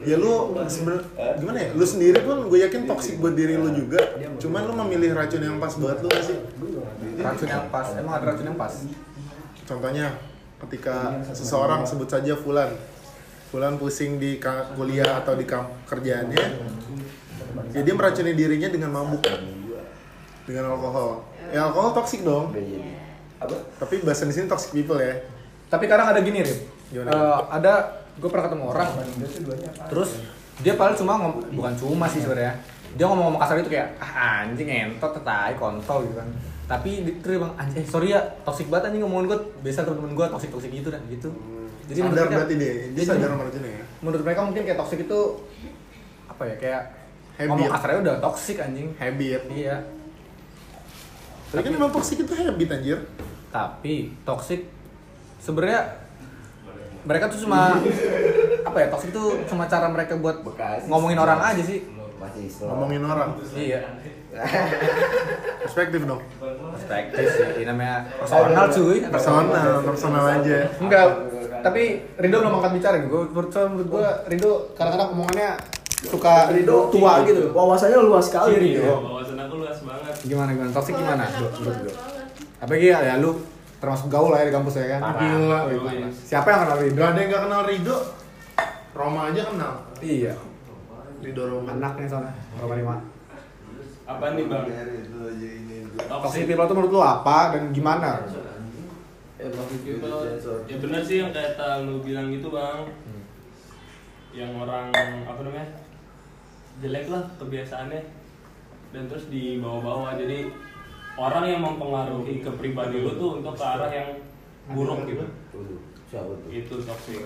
Speaker 16: Iya,
Speaker 2: ya lu sebener- gimana ya? Lu sendiri pun gue yakin toksik buat diri lu juga. Cuman lu memilih racun yang pas buat lu gak sih?
Speaker 1: Racun yang pas.
Speaker 2: Iya.
Speaker 1: Emang ada racun yang pas?
Speaker 2: Contohnya ketika seseorang sebut saja Fulan. Fulan pusing di ka- kuliah atau di kam- kerjaannya. Ya dia meracuni dirinya dengan mabuk. Dengan alkohol. Ya alkohol toksik dong. Tapi bahasa di sini toxic people ya.
Speaker 1: Tapi kadang ada gini, Rip.
Speaker 2: Gimana?
Speaker 1: Eh, ada gue pernah ketemu orang. Terus dia paling cuma ngom- bukan cuma sih sebenarnya. Dia ngomong-ngomong kasar itu kayak ah, anjing entot tetai kontol gitu kan. Tapi di- terus dia bilang anjing eh, sorry ya toksik banget anjing ngomongin gue biasa temen-temen gue toksik toksik gitu dan gitu.
Speaker 2: Jadi sadar
Speaker 1: mereka-
Speaker 2: berarti dia, dia
Speaker 1: jadi
Speaker 2: sadar meracuni ya.
Speaker 1: menurut mereka mungkin kayak toksik itu apa ya kayak
Speaker 2: Habit.
Speaker 1: ngomong kasarnya udah toksik anjing.
Speaker 2: Habit.
Speaker 1: Iya.
Speaker 2: Tapi kan emang toksik itu habit anjir.
Speaker 1: tapi toxic sebenarnya mereka tuh cuma apa ya toxic tuh cuma cara mereka buat ngomongin orang aja sih
Speaker 2: Ngomongin orang.
Speaker 1: iya
Speaker 2: Perspektif dong.
Speaker 1: perspektif sih ini namanya personal cuy
Speaker 2: Personal, personal aja.
Speaker 1: enggak tapi Rido belum angkat bicara gue menurut menurut gue Rido kadang-kadang omongannya suka Rido tua gitu
Speaker 12: Wawasannya luas sekali.
Speaker 1: Si Rido.
Speaker 7: Wawasan aku luas banget.
Speaker 1: gimana gimana toxic gimana apa ya ya lu termasuk gaul lah ya di kampus ya kan
Speaker 2: Parah. Gila.
Speaker 1: Wih, parah. siapa yang kenal Rido
Speaker 2: Gak ada yang gak kenal Rido. Roma aja kenal.
Speaker 1: iya
Speaker 2: Rido Roma.
Speaker 1: anaknya soalnya Roma lima
Speaker 7: Apa nih bang?
Speaker 1: toxic people tuh menurut lu apa dan gimana
Speaker 7: Toxic
Speaker 12: Gitu.
Speaker 7: people. Ya benar sih yang kata lu bilang gitu bang. Yang orang apa namanya jelek lah kebiasaannya dan terus dibawa-bawa jadi orang yang mempengaruhi ke pribadi lu tuh untuk ke arah yang buruk gitu. Itu toxic.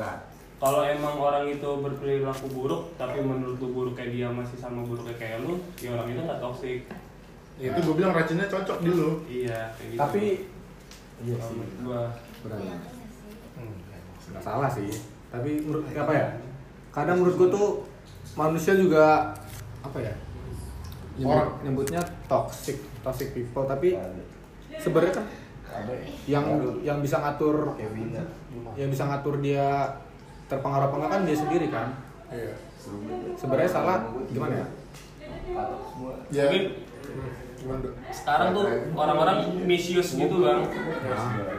Speaker 7: Kalau emang orang itu berperilaku buruk tapi menurut lu buruk kayak dia masih sama buruknya kayak lu, ya orang itu nggak toxic.
Speaker 2: Ya, itu gue bilang racunnya cocok di lu.
Speaker 7: Iya, kayak gitu.
Speaker 1: Tapi
Speaker 7: iya sih. Gua
Speaker 3: iya.
Speaker 1: nggak salah sih tapi menurut apa ya kadang menurut gue tuh manusia juga apa ya orang nyebutnya toxic toxic people tapi sebenarnya kan yang yang bisa ngatur yang bisa ngatur dia terpengaruh apa enggak kan dia sendiri kan
Speaker 2: Iya.
Speaker 1: sebenarnya salah gimana ya
Speaker 2: Ya.
Speaker 7: Mungkin sekarang tuh orang-orang misuse gitu bang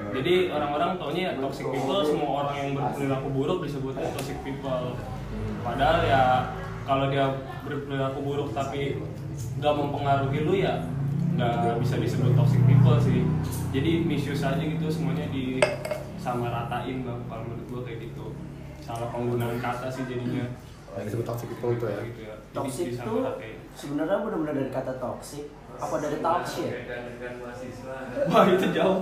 Speaker 7: jadi orang-orang taunya ya toxic people semua orang yang berperilaku buruk disebutnya toxic people padahal ya kalau dia berperilaku buruk tapi nggak mempengaruhi lu ya nggak bisa disebut toxic people sih jadi misuse aja gitu semuanya disamaratain bang kalau menurut gua kayak gitu salah penggunaan kata sih jadinya
Speaker 1: yang disebut toxic people itu ya
Speaker 7: gitu ya Jadi
Speaker 12: Toxic itu
Speaker 7: disamaratain.
Speaker 12: sebenarnya benar-benar dari kata toxic apa dari
Speaker 7: Iya,
Speaker 12: talk shit?
Speaker 7: wah itu jauh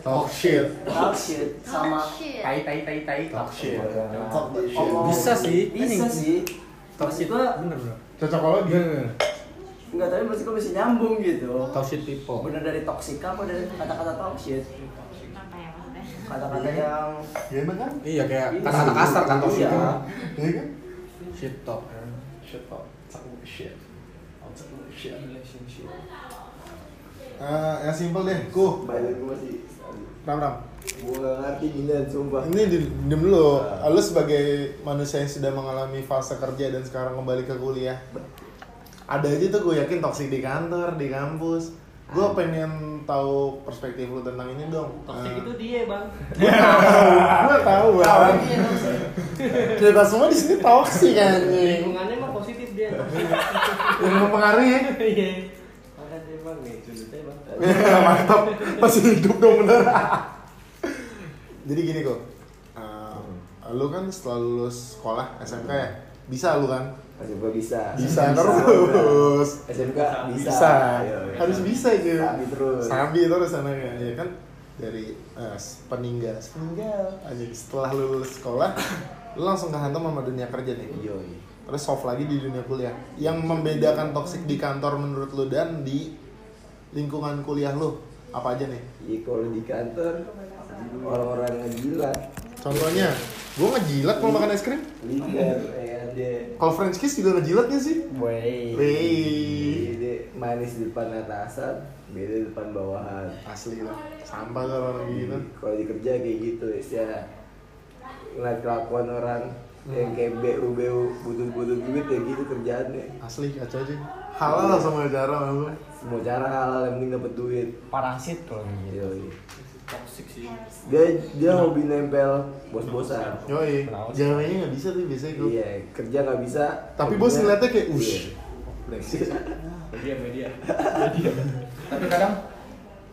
Speaker 2: Talk shit.
Speaker 12: Talk shit sama
Speaker 3: Talk Oh, shit.
Speaker 12: tai tai tai tai.
Speaker 2: Talk shit. Oh.
Speaker 12: Omong-
Speaker 1: Bisa sih,
Speaker 12: Bisa
Speaker 1: ini.
Speaker 12: sih. Maksud
Speaker 1: toxic
Speaker 12: gua
Speaker 1: bener bro
Speaker 2: Cocok kalau dia.
Speaker 12: enggak tapi maksud gua bisa nyambung gitu.
Speaker 1: toxic people
Speaker 12: Bener dari toxic apa dari kata-kata talk shit? Kata-kata yang
Speaker 2: Ya emang kan?
Speaker 1: iya kayak kata-kata kasar kan toxic
Speaker 12: Iya.
Speaker 1: itu
Speaker 2: Iya kan?
Speaker 1: shit talk
Speaker 2: Shit talk. Talk shit. Talk shit. Eh, yang simple deh, ku.
Speaker 4: Balik gue masih
Speaker 2: Ram Ram.
Speaker 4: Gue gak ngerti gini
Speaker 9: Iya,
Speaker 4: sumpah
Speaker 2: Ini di- diem dulu. Lu sebagai manusia yang sudah mengalami fase kerja dan sekarang kembali ke kuliah. Ada aja tuh gue yakin toksik di kantor, di kampus. Gue pengen tahu perspektif lu tentang ini dong.
Speaker 7: toxic
Speaker 2: Eh,
Speaker 7: itu dia bang
Speaker 2: gue tahu bang. Kita semua di sini toksik anjing.
Speaker 7: lingkungannya mah positif dia
Speaker 2: Yang mempengaruhi ya.
Speaker 7: iya
Speaker 2: Ya, mantap masih hidup dong bener jadi gini kok Eh, lu kan setelah lulus sekolah SMK ya bisa lu kan
Speaker 4: Masih gue bisa
Speaker 2: bisa terus
Speaker 4: SMK bisa
Speaker 2: bisa
Speaker 4: Iya, iya.
Speaker 2: harus bisa itu
Speaker 4: Sabi terus.
Speaker 2: sabi terus anaknya ya kan dari eh, peninggal peninggal aja setelah lu lulus sekolah lu langsung kehantam sama dunia kerja nih
Speaker 4: Iya
Speaker 2: terus soft lagi di dunia kuliah yang membedakan toksik di kantor menurut lu dan di lingkungan kuliah lu apa aja nih
Speaker 4: Iya kalau di kantor Orang-orang ngejilat
Speaker 2: contohnya gue ngejilat kalau makan es krim
Speaker 4: Lider Ya
Speaker 12: eh,
Speaker 4: dia
Speaker 2: kalau french kiss juga ngejilat gak sih
Speaker 12: wey.
Speaker 2: Wih,
Speaker 4: Jadi manis di depan atasan, beda di depan bawahan.
Speaker 2: asli lah sampah tuh orang gitu
Speaker 4: Kalau di kerja kayak gitu, ya ngeliat kelakuan orang yang kayak BU BU butuh-butuh duit ya gitu kerjaannya.
Speaker 2: asli kacau aja halal lah sama cara lu
Speaker 4: Semua cara halal yang penting dapat duit.
Speaker 12: Parasit kalau gitu.
Speaker 4: Yoi.
Speaker 7: toxic sih
Speaker 4: Dia dia hobi nempel bos-bosan.
Speaker 2: yoi jalannya nggak bisa tuh biasanya gue
Speaker 4: Iya, kerja nggak bisa.
Speaker 2: tapi
Speaker 4: hobinya-
Speaker 2: bos ngeliatnya kayak
Speaker 4: Iya.
Speaker 2: ush Brexit.
Speaker 7: media media
Speaker 17: tapi kadang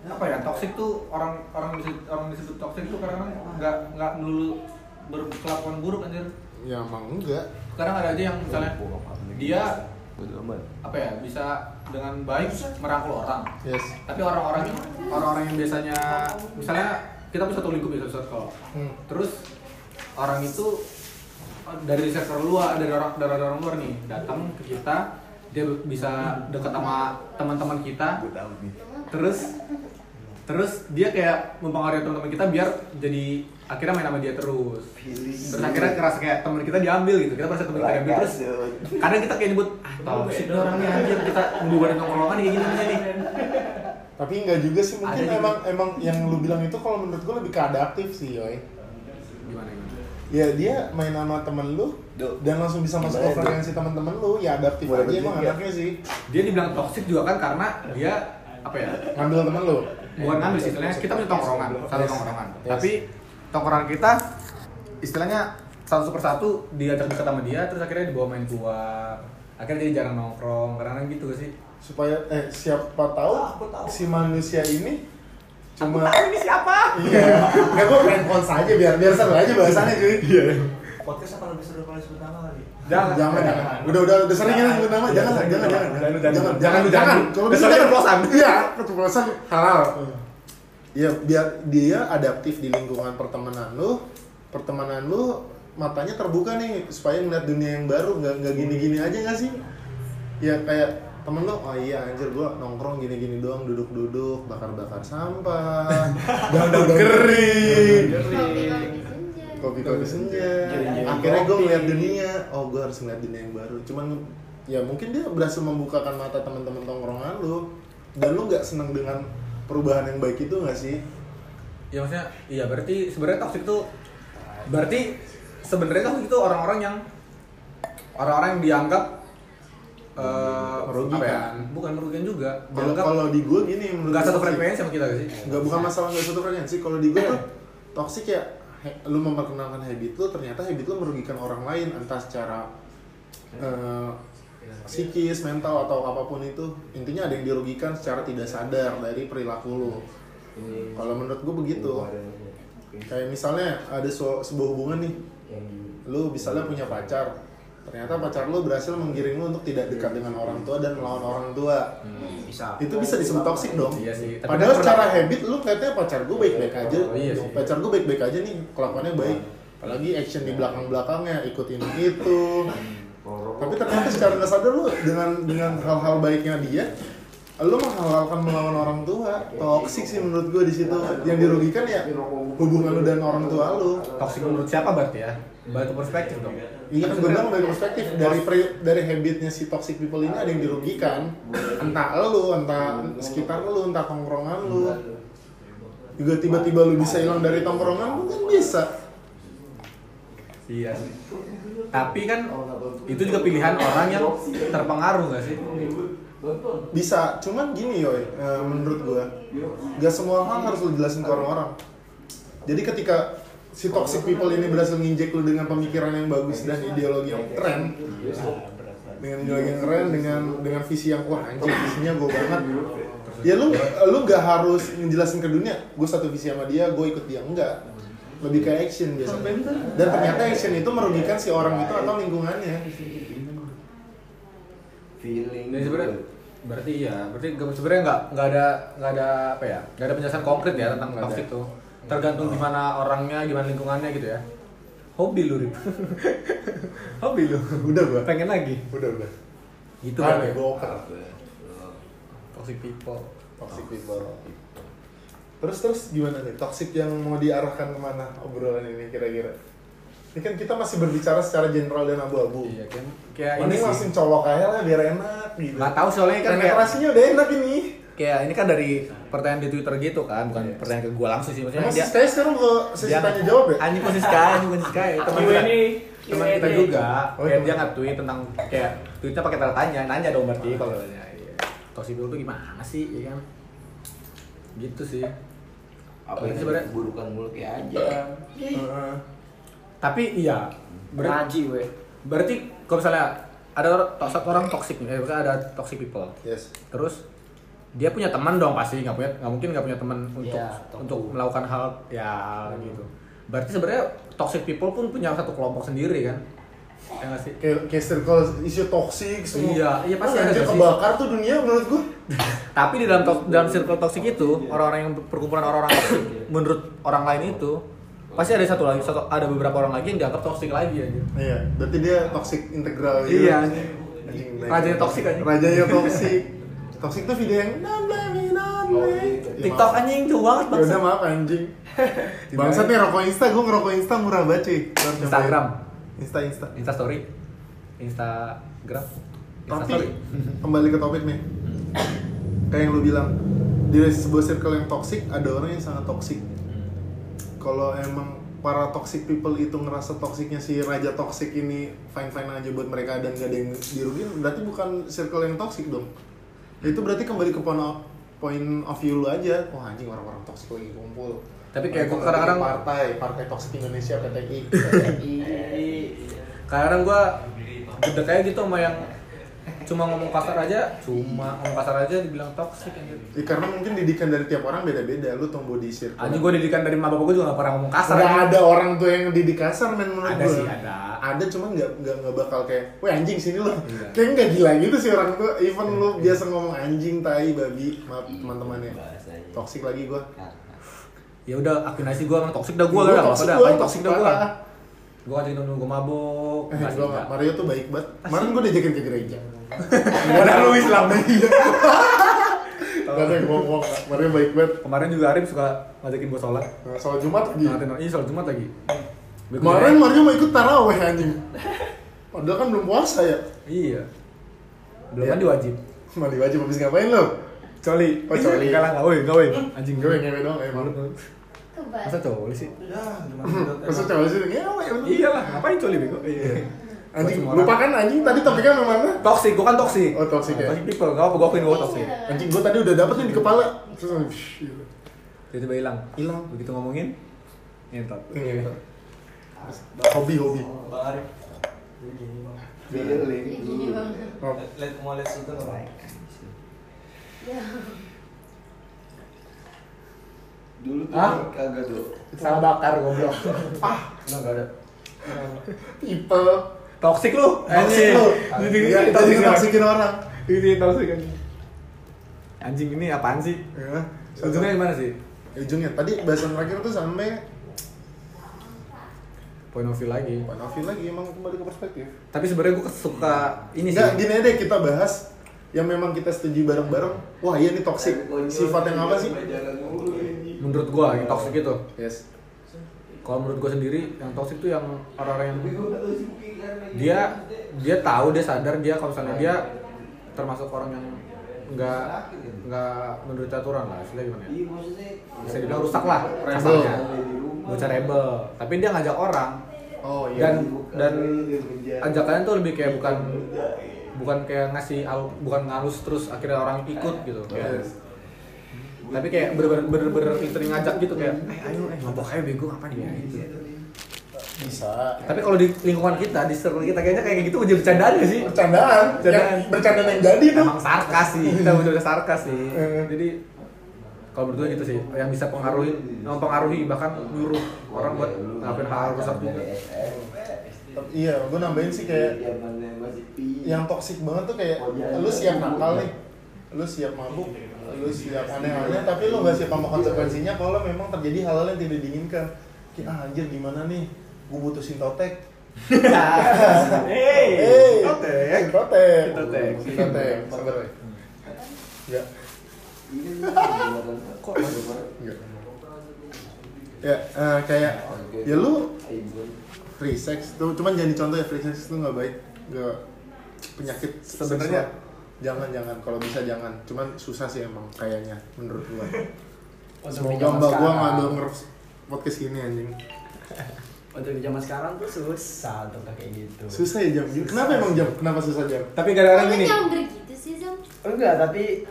Speaker 17: apa ya toxic tuh orang orang disebut, orang disebut toxic tuh kadang nggak nggak melulu berkelakuan buruk anjir
Speaker 2: ya emang enggak
Speaker 17: kadang ada aja yang misalnya dia apa ya bisa dengan baik merangkul orang
Speaker 2: yes
Speaker 17: tapi orang-orang orang-orang yang biasanya misalnya kita punya satu lingkup ya satu sekolah
Speaker 2: Hmm.
Speaker 17: terus orang itu dari sektor luar dari orang dari orang luar nih datang ke kita dia bisa deket sama teman-teman kita terus
Speaker 1: terus dia kayak mempengaruhi teman-teman kita biar jadi akhirnya main sama dia terus terus akhirnya ngerasa kayak teman kita diambil gitu kita merasa teman kita diambil terus kadang kita kayak nyebut ah tau sih ini orangnya anjir kita membubarin tongkrongan kayak gini nih
Speaker 2: Tapi nggak juga sih
Speaker 1: Ada
Speaker 2: mungkin
Speaker 1: juga.
Speaker 2: emang emang yang lu bilang itu kalau menurut gue lebih ke adaptif sih, Yoy.
Speaker 1: gimana gimana
Speaker 2: Ya dia main sama temen lu dan langsung bisa masuk ke
Speaker 1: Gimana, Dok?
Speaker 2: frekuensi temen-temen lu, ya adaptif
Speaker 1: Boleh
Speaker 2: aja emang
Speaker 1: juga.
Speaker 2: anaknya sih.
Speaker 1: dia dibilang toksik juga kan karena dia apa ya
Speaker 2: ngambil temen lu
Speaker 1: bukan ngambil sih istilahnya kita punya tongkrongan satu
Speaker 2: Yes.
Speaker 1: tongkrongan
Speaker 2: Yes.
Speaker 1: tapi tongkrongan kita istilahnya satu persatu diajak dekat sama dia terus akhirnya dibawa main keluar akhirnya jadi jarang nongkrong karena gitu sih
Speaker 2: supaya eh siapa tahu si manusia ini cuma
Speaker 1: ini siapa
Speaker 2: Iya. Enggak gua main cons aja biar biar seru aja bahasannya cuy. Iya.
Speaker 9: Podcast apa lebih seru kalau sebut nama kali?
Speaker 2: Jangan, jangan, jangan. Udah, udah, udah sering kan sebut nama. Jangan, jangan, jangan, jangan, jangan, jangan, jangan,
Speaker 1: jangan.
Speaker 2: jangan. Kalau bisa
Speaker 1: Besoknya
Speaker 2: jangan
Speaker 1: keceplosan.
Speaker 2: Iya, keceplosan halal. Iya, biar dia adaptif di lingkungan pertemanan lu. Pertemanan lu matanya terbuka nih supaya ngeliat dunia yang baru nggak nggak gini-gini aja nggak sih? Ya kayak temen lu, oh iya anjir gua nongkrong gini-gini doang, duduk-duduk, bakar-bakar sampah, daun-daun kering, kopi-kopi senja.
Speaker 1: Jadi-
Speaker 2: Akhirnya gue ngeliat dunia, oh gue harus ngeliat dunia yang baru. Cuman ya mungkin dia berhasil membukakan mata teman-teman tongkrongan lu dan lu nggak seneng dengan perubahan yang baik itu nggak sih?
Speaker 1: ya maksudnya iya berarti sebenarnya toxic itu berarti sebenarnya toxic itu orang-orang yang orang-orang yang dianggap eh
Speaker 2: Merugikan.
Speaker 1: apa ya? bukan merugikan juga
Speaker 2: Kalau
Speaker 1: Dianggap
Speaker 2: kalau di gue gini menurut
Speaker 1: nggak
Speaker 2: gua
Speaker 1: satu
Speaker 2: sih.
Speaker 1: frekuensi sama kita nggak sih
Speaker 2: nggak bukan masalah nggak satu frekuensi kalau di gue tuh toxic ya he- lu memperkenalkan habit lu ternyata habit lu merugikan orang lain entah secara eh, psikis mental atau apapun itu intinya ada yang dirugikan secara tidak sadar dari perilaku lu kalau menurut gue begitu kayak misalnya ada su- sebuah hubungan nih lu misalnya punya pacar ternyata pacar lu berhasil menggiring lu untuk tidak dekat dengan orang tua dan melawan orang tua
Speaker 4: Bisa.
Speaker 2: itu bisa disebut toksik dong
Speaker 1: Hmm, Iya sih. Tapi
Speaker 2: padahal
Speaker 1: kan
Speaker 2: secara
Speaker 1: pernah-
Speaker 2: habit lu katanya pacar gue baik-baik aja
Speaker 1: Oh, iya sih. Hmm.
Speaker 2: pacar gue baik-baik aja nih kelakuannya baik apalagi action di belakang-belakangnya ikutin itu
Speaker 1: Hmm. Oh.
Speaker 2: tapi ternyata secara nggak sadar lu dengan dengan hal-hal baiknya dia lu menghalalkan melawan orang tua toksik sih menurut gue di situ yang dirugikan ya hubungan lu dan orang tua lu
Speaker 1: toxic menurut siapa berarti ya batu perspektif dong
Speaker 2: Iya kan gue bilang dari perspektif dari pri- dari habitnya si toxic people ini ada yang dirugikan entah lu entah sekitar lu entah tongkrongan lu juga tiba-tiba lu bisa hilang dari tongkrongan mungkin bisa
Speaker 1: iya sih tapi kan itu juga pilihan orang yang terpengaruh nggak sih
Speaker 2: bisa cuman gini yoi eh, menurut gue gak semua hal harus lu jelasin ke orang-orang jadi ketika si toxic people ini berhasil nginjek lu dengan pemikiran yang bagus dan ideologi yang keren dengan ideologi yang keren dengan dengan visi yang wah anjir visinya gue banget ya lu lu gak harus ngejelasin ke dunia gue satu visi sama dia gue ikut dia enggak lebih ke action biasanya dan ternyata action itu merugikan si orang itu atau lingkungannya
Speaker 18: feeling
Speaker 1: Jadi sebenarnya berarti iya, berarti nggak- sebenarnya nggak nggak ada nggak ada apa ya, nggak ada penjelasan konkret ya tentang
Speaker 18: Nggak ada.
Speaker 1: toxic tuh. Tergantung gimana orangnya, gimana lingkungannya gitu ya. Oh. Hobi lu, Rip. Hobi lu.
Speaker 2: Udah gua.
Speaker 1: Pengen lagi.
Speaker 2: udah udah
Speaker 1: Gitu kan.
Speaker 2: Ah, gue oper.
Speaker 1: Toxic people.
Speaker 2: toxic people terus terus gimana nih toxic yang mau diarahkan kemana obrolan ini kira-kira ini kan kita masih berbicara secara general dan abu-abu
Speaker 1: Iya kan. Kayak ini
Speaker 2: Mending
Speaker 1: sih.
Speaker 2: langsung colok aja lah biar enak gitu
Speaker 1: Nggak tahu soalnya kan kayak
Speaker 2: penetrasinya udah enak ini
Speaker 1: kayak ini kan dari pertanyaan di Twitter gitu kan, bukan
Speaker 2: Iya.
Speaker 1: pertanyaan ke gua langsung sih maksudnya
Speaker 2: Emang
Speaker 1: Iya, dia.
Speaker 2: sesi sekarang ke sesi
Speaker 1: dia-
Speaker 2: tanya jawab ya?
Speaker 1: Anjing posisi Sky, anjing posisi Sky. Teman
Speaker 7: Q&A.
Speaker 1: kita, teman kita
Speaker 7: Q&A.
Speaker 1: juga,
Speaker 2: Oh,
Speaker 1: kayak
Speaker 2: teman.
Speaker 1: dia nge-tweet tentang kayak tweetnya pakai tanda tanya, nanya dong berarti kalau nanya. Iya. Toxic people tuh gimana sih, ya kan? Gitu sih.
Speaker 18: apa yang
Speaker 1: Tapi sebenarnya-
Speaker 18: burukan mulutnya aja
Speaker 1: Iya.
Speaker 2: Heeh.
Speaker 1: Tapi iya,
Speaker 18: Nah.
Speaker 1: ber-
Speaker 4: Ngaji we.
Speaker 1: berarti kalau misalnya ada orang, toxic orang toxic, eh, bukan ada toxic people.
Speaker 2: yes
Speaker 1: Terus dia punya teman dong pasti nggak punya nggak mungkin nggak punya teman untuk
Speaker 4: Iya, tentu.
Speaker 1: untuk melakukan hal ya gitu. Berarti sebenarnya toxic people pun punya satu kelompok sendiri kan? Ya nggak sih?
Speaker 2: kayak kayak circle isu toxic semua
Speaker 1: Iya, iya pasti
Speaker 2: Wah,
Speaker 1: ada
Speaker 2: anjir,
Speaker 1: sih.
Speaker 2: kebakar tuh dunia menurut gua
Speaker 1: Tapi di dalam to- dalam circle toksik itu orang-orang yang perkumpulan orang-orang toksik menurut orang lain itu pasti ada satu lagi satu ada beberapa orang lagi yang dianggap toksik lagi aja.
Speaker 2: iya berarti dia toxic integral gitu.
Speaker 1: Iya.
Speaker 2: Anjing,
Speaker 1: Rajanya toxic, anjing.
Speaker 2: "Nah, rajanya toxic toxic tuh video yang "Nam, nam, nam, nam."
Speaker 18: Oh, iya.
Speaker 2: TikTok
Speaker 19: anjing tuh banget
Speaker 2: bangsa. Ya Udah Iya, maaf anjing. Bangsat nih rokok Insta, gue ngerokok Insta murah banget cuy. Lu harus cobain.
Speaker 1: Instagram.
Speaker 2: Insta Insta.
Speaker 1: Insta story. Instagram.
Speaker 2: Tapi kembali ke topik nih. Kayak yang lu bilang di sebuah circle yang toksik ada orang yang sangat toksik. Kalau emang para toxic people itu ngerasa toksiknya si raja toksik ini fine fine aja buat mereka dan gak ada yang dirugiin berarti bukan circle yang toksik dong itu berarti kembali ke point of, point of view lu aja wah anjing orang-orang toksik lagi kumpul
Speaker 1: Tapi kayak
Speaker 2: Mereka
Speaker 1: gua kadang-kadang-
Speaker 2: lagi partai partai toksik Indonesia PTI
Speaker 1: kadang gua gede kayak gitu sama yang cuma ngomong kasar aja cuma ngomong kasar aja dibilang toksik anjir
Speaker 2: Ya, karena mungkin didikan dari tiap orang beda-beda lu tumbuh di circle
Speaker 1: anjing gua didikan dari mama bapak gua juga gak pernah ngomong kasar
Speaker 2: Nggak
Speaker 1: anjing.
Speaker 2: ada orang tuh yang didik kasar men menurut
Speaker 1: Ada
Speaker 2: gua.
Speaker 1: sih, ada.
Speaker 2: Ada cuman nggak nggak nggak bakal kayak, wah anjing sini lo.
Speaker 1: Iya.
Speaker 2: Kayak nggak gila gitu sih orang tuh. Even lu biasa ngomong anjing, tai, babi, maaf teman-teman ya. Toksik lagi gua.
Speaker 1: ya udah akuin aja sih gua emang toksik dah gua
Speaker 2: Gua
Speaker 1: udah
Speaker 2: toxic
Speaker 1: udah
Speaker 2: gua,
Speaker 1: paling
Speaker 2: toxic
Speaker 1: toksik dah gua
Speaker 2: parah.
Speaker 1: gua ngajakin temen gua mabok ngasih
Speaker 2: Eh, gua
Speaker 1: enggak.
Speaker 2: nggak- Mario tuh baik banget. Kemarin gua diajakin ke gereja.
Speaker 1: Gua dah lu Islam nih.
Speaker 2: Gak ada yang ngomong, Mario baik banget. Nah,
Speaker 1: Kemarin juga Arif suka ngajakin gua sholat.
Speaker 2: Sholat Jumat lagi.
Speaker 1: Ngajakin, iya sholat Jumat lagi. Gua ikut
Speaker 2: Kemarin
Speaker 1: aja.
Speaker 2: Mario mau ikut taraweh anjing. Padahal kan belum puasa ya.
Speaker 1: Iya. Belum
Speaker 2: Iya.
Speaker 1: mandi wajib.
Speaker 2: Mandi wajib habis ngapain lo?
Speaker 1: Coli.
Speaker 2: Oh, coli. Hmm?
Speaker 1: Enggak lah, enggak woi, enggak woi. Anjing
Speaker 2: Gue ngewe doang ya, malu.
Speaker 3: Kebal.
Speaker 1: Masa coli sih?
Speaker 2: Maksud cowok sih, ngewe.
Speaker 1: Iya lah, ngapain coli bego? Iya.
Speaker 2: Anjing,
Speaker 1: Buat semua
Speaker 2: lupa kan anjing tadi topiknya mana?
Speaker 1: Toxic, gua kan toxic.
Speaker 2: Oh, toxic ya.
Speaker 1: Toxic people, enggak apa gua akuin gua toxic.
Speaker 2: Anjing gua tadi udah dapet nih di kepala. Terus shh, gitu.
Speaker 1: Tiba-tiba hilang.
Speaker 2: hilang.
Speaker 1: Begitu ngomongin ngentot.
Speaker 2: Iya. Hobi-hobi.
Speaker 9: Bang Arif. Gini bang.
Speaker 20: Feeling.
Speaker 3: Gini banget.
Speaker 2: Oh,
Speaker 9: Let mau lihat sultan nggak?
Speaker 3: Ya.
Speaker 20: Dulu tuh
Speaker 1: Hah?
Speaker 20: kagak tuh.
Speaker 1: Sama bakar goblok.
Speaker 21: Enggak enggak ada.
Speaker 2: People.
Speaker 1: Toxic lu.
Speaker 2: Toxic Iya.
Speaker 1: anjing.
Speaker 2: lu.
Speaker 1: Jadi
Speaker 2: Iya,
Speaker 1: jadi
Speaker 2: jadi
Speaker 1: toxic orang.
Speaker 2: toksikin orang.
Speaker 1: Jadi toxic anjing. Anjing ini apaan sih?
Speaker 2: Ya.
Speaker 1: Ujungnya gimana sih?
Speaker 2: Ujungnya ya, tadi bahasan terakhir tuh sampai
Speaker 1: Point of view lagi.
Speaker 2: Point of view lagi emang kembali ke perspektif.
Speaker 1: Tapi sebenarnya gue suka ini sih.
Speaker 2: Enggak, gini aja deh kita bahas yang memang kita setuju bareng-bareng. Wah, iya nih toksik. Sifat yang apa sih?
Speaker 1: Menurut gue yang toxic itu.
Speaker 2: Yes.
Speaker 1: Kalau menurut gue sendiri yang toxic itu yang orang-orang yang dia dia tahu dia sadar dia kalau misalnya dia termasuk orang yang nggak nggak menurut aturan lah istilah gimana ya bisa dibilang rusak lah kasarnya bocah rebel tapi dia ngajak orang
Speaker 2: Oh iya.
Speaker 1: dan dan ajakannya tuh lebih kayak bukan bukan kayak ngasih al- bukan ngalus terus akhirnya orang ikut gitu Kayak-
Speaker 2: Yes.
Speaker 1: tapi kayak bener-bener bener-bener sering ngajak gitu kayak eh ayo eh mabok ayo bego ngapain ya gitu
Speaker 2: Bisa.
Speaker 1: tapi kalau di lingkungan kita di circle kita kayaknya kayak gitu udah bercandaan gak sih
Speaker 2: Bercandaan,
Speaker 1: Bercandaan.
Speaker 2: yang bercandaan yang jadi tuh.
Speaker 1: emang sarkas sih Iya. kita Iya. udah sarkas sih jadi kalau berdua gitu sih yang bisa pengaruhi mempengaruhi bahkan nyuruh orang buat ngapain hal rusak juga
Speaker 2: Tapi Iya, gue nambahin sih kayak yang toksik banget tuh kayak lu siap nakal nih lu siap mabuk lu siap aneh-aneh tapi lu gak siap sama konsekuensinya kalau memang terjadi hal-hal yang tidak diinginkan kayak ah anjir gimana nih gue butuh sintotek
Speaker 1: hey
Speaker 2: eh sintotek sintotek sintotek sintotek ya Enggak. ya eh, kayak ya lu free sex tuh cuman jadi contoh ya free sex tuh nggak baik nggak penyakit
Speaker 1: Sebenarnya.
Speaker 2: seksual. jangan jangan kalau bisa jangan cuman susah sih emang kayaknya menurut gua semoga mbak gua nggak denger podcast ini anjing
Speaker 21: Untuk di zaman sekarang tuh susah untuk kayak gitu.
Speaker 2: susah ya jam kenapa emang jam kenapa susah jam
Speaker 1: tapi gara-gara
Speaker 3: Tapi
Speaker 1: gini
Speaker 3: nyamber gitu sih, Sam.
Speaker 4: Enggak, tapi
Speaker 3: Eh,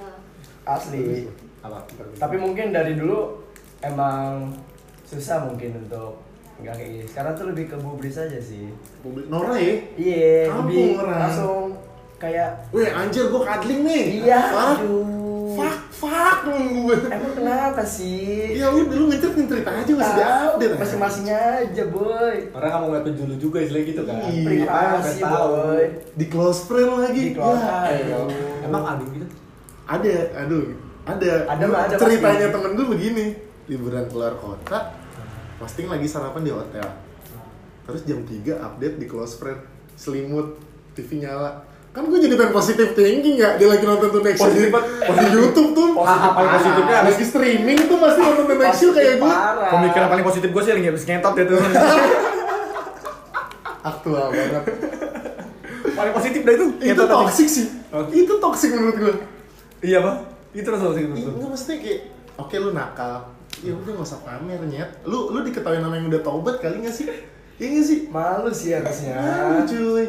Speaker 4: asli.
Speaker 1: apa
Speaker 4: Tapi mungkin dari dulu emang susah mungkin untuk nggak kayak gini. Sekarang tuh lebih ke bubris aja sih.
Speaker 2: publik Nora ya
Speaker 4: Iya,
Speaker 2: Kampung
Speaker 4: lebih
Speaker 2: orang.
Speaker 4: langsung kayak
Speaker 2: Wih anjir gua kadling nih
Speaker 4: iya,
Speaker 2: fuck
Speaker 4: aduh.
Speaker 2: fuck fuck dong gue
Speaker 4: Emang kenapa sih?
Speaker 2: ya lu dulu ngecer ngecer aja masih di
Speaker 4: Tahu,
Speaker 2: update anjing.
Speaker 4: masing-masingnya aja, boy.
Speaker 1: orang nggak mau ngeliatin dulu juga istilah gitu kan
Speaker 2: Iya.
Speaker 4: Privasi,
Speaker 1: pengen tahu. Iya.
Speaker 4: boy.
Speaker 2: di close friend lagi Iya.
Speaker 4: Di close
Speaker 2: Wah,
Speaker 4: friend.
Speaker 2: ayo.
Speaker 1: emang aduh gitu
Speaker 2: ada aduh ada
Speaker 4: Ada mah, ada
Speaker 2: ceritanya
Speaker 4: pasti.
Speaker 2: temen gue begini liburan keluar kota posting lagi sarapan di hotel terus jam 3 update di close friend selimut TV nyala Kan gue jadi pengen positive thinking ya, dia lagi nonton tuh next
Speaker 1: Positif
Speaker 2: Year. di YouTube tuh.
Speaker 1: Positif
Speaker 2: Ah,
Speaker 1: paling positifnya
Speaker 2: Lagi streaming tuh pasti nonton The next Year kayak gue.
Speaker 1: Pemikiran paling positif gue sih yang habis ngentot ya tuh.
Speaker 2: Aktual banget.
Speaker 1: paling positif dah itu.
Speaker 2: Itu
Speaker 1: ngentot tadi.
Speaker 2: toxic sih.
Speaker 4: Oh.
Speaker 2: Itu toxic menurut gue.
Speaker 1: Iya pak. Itu rasa toxic menurut
Speaker 2: Enggak mesti kayak oke lu nakal. Ya udah gak usah pamer nyet. Lu lu diketahui nama yang udah taubat kali gak sih? Iya gak sih?
Speaker 8: Malu sih harusnya.
Speaker 2: Malu cuy.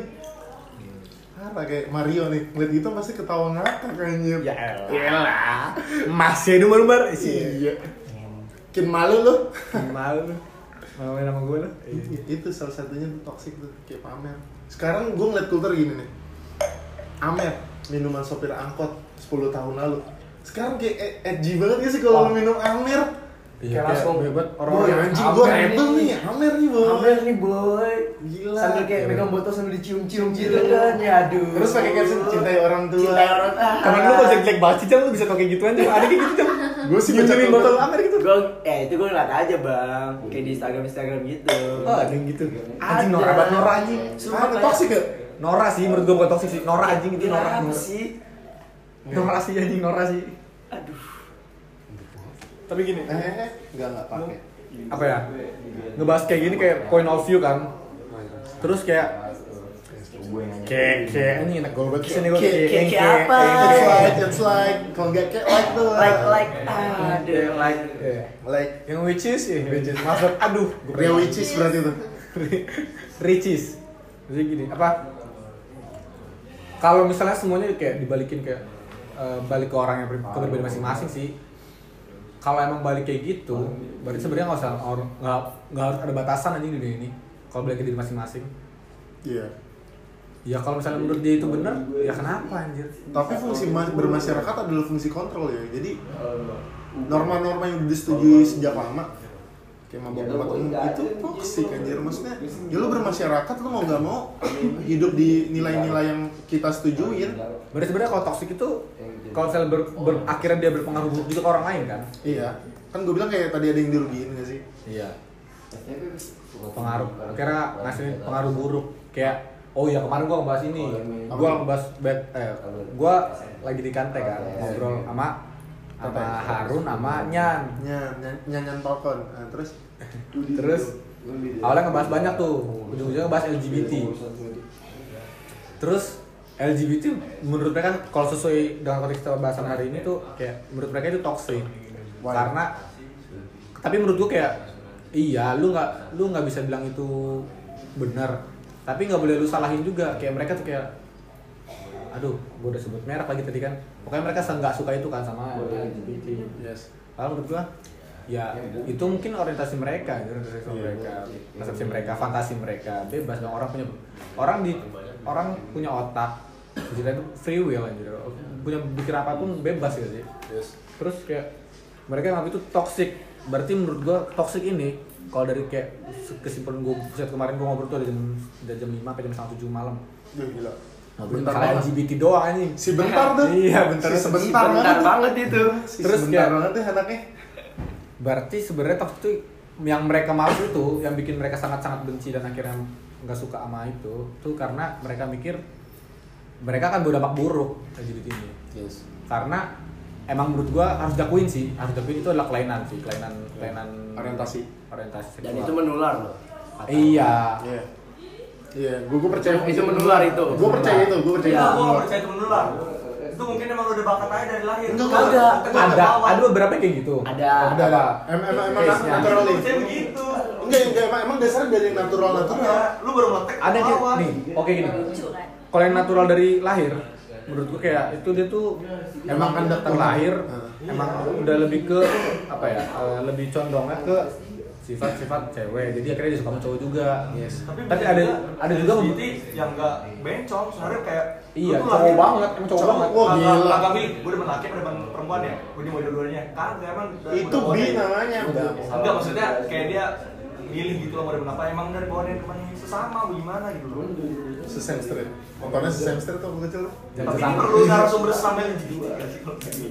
Speaker 2: Apa kayak Mario nih, ngeliat gitu pasti ketawa ngakak anjir. Ya
Speaker 1: Iyalah. Masih ada umbar-umbar.
Speaker 2: Iya. Makin malu lu.
Speaker 1: Malu lu. Malu main sama gue lu.
Speaker 2: Iya, itu salah satunya tuh toxic tuh kayak pamer sekarang gue ngeliat kultur gini nih Amer minuman sopir angkot 10 tahun lalu sekarang kayak ed- edgy banget gak sih kalau lu minum Amer
Speaker 1: Iya,
Speaker 8: Kayak langsung
Speaker 1: bebas
Speaker 2: Iya. Boy,
Speaker 8: yang
Speaker 2: anjing gue
Speaker 8: Amer
Speaker 2: rebel
Speaker 8: nih.
Speaker 2: nih, Amer nih boy
Speaker 8: Amer nih boy.
Speaker 2: Gila. Iya.
Speaker 8: Sambil kayak
Speaker 1: Iya,
Speaker 8: megang
Speaker 1: bener.
Speaker 8: botol sambil dicium-cium gitu kan. Ya aduh.
Speaker 2: Terus
Speaker 4: gitu.
Speaker 2: pakai caption cintai orang tua.
Speaker 8: Cintai orang tua.
Speaker 1: Temen lu kalau jelek banget sih, Cam, lu bisa tau kayak gituan, Cam. Ada kayak gitu, Cam.
Speaker 2: Gue sih baca
Speaker 1: Nyumin
Speaker 2: kultur
Speaker 1: botol Amer gitu.
Speaker 12: Gue, eh itu gue ngeliat aja bang, kayak di Instagram Instagram gitu.
Speaker 1: Oh, ada yang gitu. Anjing Nora banget, Nora anjing.
Speaker 12: Sumpah,
Speaker 2: Ada
Speaker 12: kayak-
Speaker 2: toxic ya?
Speaker 1: Nora sih menurut gue bukan toxic sih. Nora anjing itu Nora. Nora.
Speaker 12: Kenapa sih?
Speaker 1: Nora sih anjing Nora sih.
Speaker 12: Aduh.
Speaker 7: Tapi gini,
Speaker 2: Eh, eh, eh, enggak, enggak pakai
Speaker 1: Apa ya? Ngebahas kayak gini kayak point of view kan. Terus kayak kayak kayak ini enak gue banget sih nih gue
Speaker 2: Kayak- kayak-
Speaker 12: kayak apa?
Speaker 2: It's like, it's like, kalau nggak kayak like tuh
Speaker 12: Like like Ah. aduh like.
Speaker 2: Like
Speaker 1: Yang which is ya, which is. Maksud, aduh, gue
Speaker 2: Real witches berarti tuh
Speaker 1: Ricis. Jadi gini, apa? Kalau misalnya semuanya kayak dibalikin kayak eh, balik ke orang yang ber- ke pribadi masing-masing sih. Kalau emang balik kayak gitu, berarti sebenarnya nggak usah orang nggak nggak harus ada batasan aja di dunia ini. Kalau balik ke diri masing-masing.
Speaker 2: Iya
Speaker 1: Ya kalau misalnya menurut dia itu benar, ya kenapa anjir?
Speaker 2: Tapi fungsi ma- bermasyarakat adalah fungsi kontrol ya. Jadi norma-norma yang disetujui sejak lama kayak mabok mabok umum itu toksik anjir maksudnya ya lu bermasyarakat lu mau nggak mau hidup di nilai-nilai yang kita setujuin
Speaker 1: Berarti sebenarnya kalau toksik itu kalau misalnya ber- ber- akhirnya dia berpengaruh buruk juga ke orang lain kan?
Speaker 2: iya kan gue bilang kayak tadi ada yang dirugiin gak sih
Speaker 1: Iya. Pengaruh. Akhirnya ngasih pengaruh buruk. Kayak oh iya kemarin gua ngebahas ini. Gua ngebahas bad eh gua lagi di kante kan ngobrol sama sama Harun sama Nyan.
Speaker 2: nyan nyan- nyanyan tokon nah, terus
Speaker 1: Terus awalnya ngebahas banyak tuh. Ujung-ujungnya ngebahas LGBT. Terus LGBT menurut mereka kalau sesuai dengan konteks kita bahasan hari ini tuh kayak menurut mereka itu toxic.
Speaker 2: Why?
Speaker 1: Karena tapi menurut gue kayak iya lu nggak lu nggak bisa bilang itu benar tapi nggak boleh lu salahin juga kayak mereka tuh kayak aduh gue udah sebut merek lagi tadi kan pokoknya mereka se- nggak suka itu kan sama LGBT yes kalau menurut gue ya itu mungkin orientasi mereka orientasi
Speaker 2: Iya,
Speaker 1: seksual mereka persepsi mereka fantasi mereka bebas dong orang punya orang di orang punya otak jadi itu free will anjir punya pikir apapun bebas gitu sih terus kayak mereka nganggap itu toxic berarti menurut gua toxic ini kalau dari kayak kesimpulan gua set kemarin gua ngobrol tuh dari jam dari jam 5 sampai jam setengah 7 malam
Speaker 2: Duh,
Speaker 1: ngobrolin
Speaker 2: gila Nah, Bentar
Speaker 1: masalah
Speaker 2: banget.
Speaker 1: LGBT doang anjing
Speaker 2: si bentar tuh
Speaker 1: Iya, bentar.
Speaker 2: si sebentar
Speaker 12: Bentar
Speaker 2: banget
Speaker 12: banget itu.
Speaker 2: si
Speaker 1: Terus
Speaker 2: sebentar
Speaker 1: kayak-
Speaker 2: banget tuh anaknya
Speaker 1: berarti sebenarnya toxic itu yang mereka mau itu yang bikin mereka sangat-sangat benci dan akhirnya nggak suka sama itu tuh karena mereka mikir mereka akan berdampak buruk LGBT ini
Speaker 2: yes
Speaker 1: karena emang menurut gua harus dakuin sih harus dakuin itu adalah kelainan sih kelainan kelainan
Speaker 2: Orientasi.
Speaker 1: orientasi seksual.
Speaker 12: Dan itu menular loh.
Speaker 1: iya
Speaker 2: Iya. Iya, gue gue percaya
Speaker 12: Itu- itu menular itu.
Speaker 2: Gue percaya itu, gue percaya.
Speaker 9: Iya,
Speaker 2: itu
Speaker 9: gue
Speaker 2: menular.
Speaker 9: percaya itu menular.
Speaker 1: iya,
Speaker 9: Itu mungkin emang udah bakat aja dari lahir.
Speaker 2: Enggak,
Speaker 9: Bukan-
Speaker 12: enggak.
Speaker 9: bukan dari
Speaker 1: ada
Speaker 9: bawah.
Speaker 1: ada beberapa yang kayak gitu
Speaker 12: Ada.
Speaker 2: Ada ada. Emang emang emang
Speaker 1: Case-nya.
Speaker 9: Gue
Speaker 2: naturally.
Speaker 9: percaya begitu.
Speaker 2: Enggak enggak emang emang dasarnya dari yang natural natural.
Speaker 9: Iya, lu baru ngetek
Speaker 1: ada yang kayak
Speaker 9: bawah.
Speaker 1: nih oke gini
Speaker 6: lucu kan?
Speaker 1: kalau yang natural dari lahir menurut gue kayak itu dia tuh emang kan datang lahir emang udah lebih ke apa ya eh, lebih condongnya ke sifat-sifat cewek jadi akhirnya dia suka sama cowok juga
Speaker 9: Tapi,
Speaker 1: tapi ada ada juga
Speaker 9: LGBT yang enggak bencong, sebenarnya kayak
Speaker 1: iya
Speaker 9: lu tuh
Speaker 1: cowok
Speaker 9: laki-
Speaker 1: banget emang cowok banget
Speaker 2: Wah,
Speaker 9: Wah, gila.
Speaker 2: gila.
Speaker 9: Kagak milih, gue demen laki apa demen perempuan ya? Gue ini mau dua-duanya. Kagak emang. dari
Speaker 2: Itu
Speaker 9: bawah
Speaker 2: bi
Speaker 9: dari-
Speaker 2: namanya. Udah.
Speaker 9: Enggak maksudnya kayak dia milih gitu loh mau demen apa emang dari bawah dari teman sesama bagaimana gitu loh.
Speaker 2: Sesame Street. Motornya Sesame Street tuh waktu kecil. tuh.
Speaker 1: Dan
Speaker 9: Tapi ini
Speaker 1: sesama.
Speaker 9: perlu narasumber sesama yang gitu.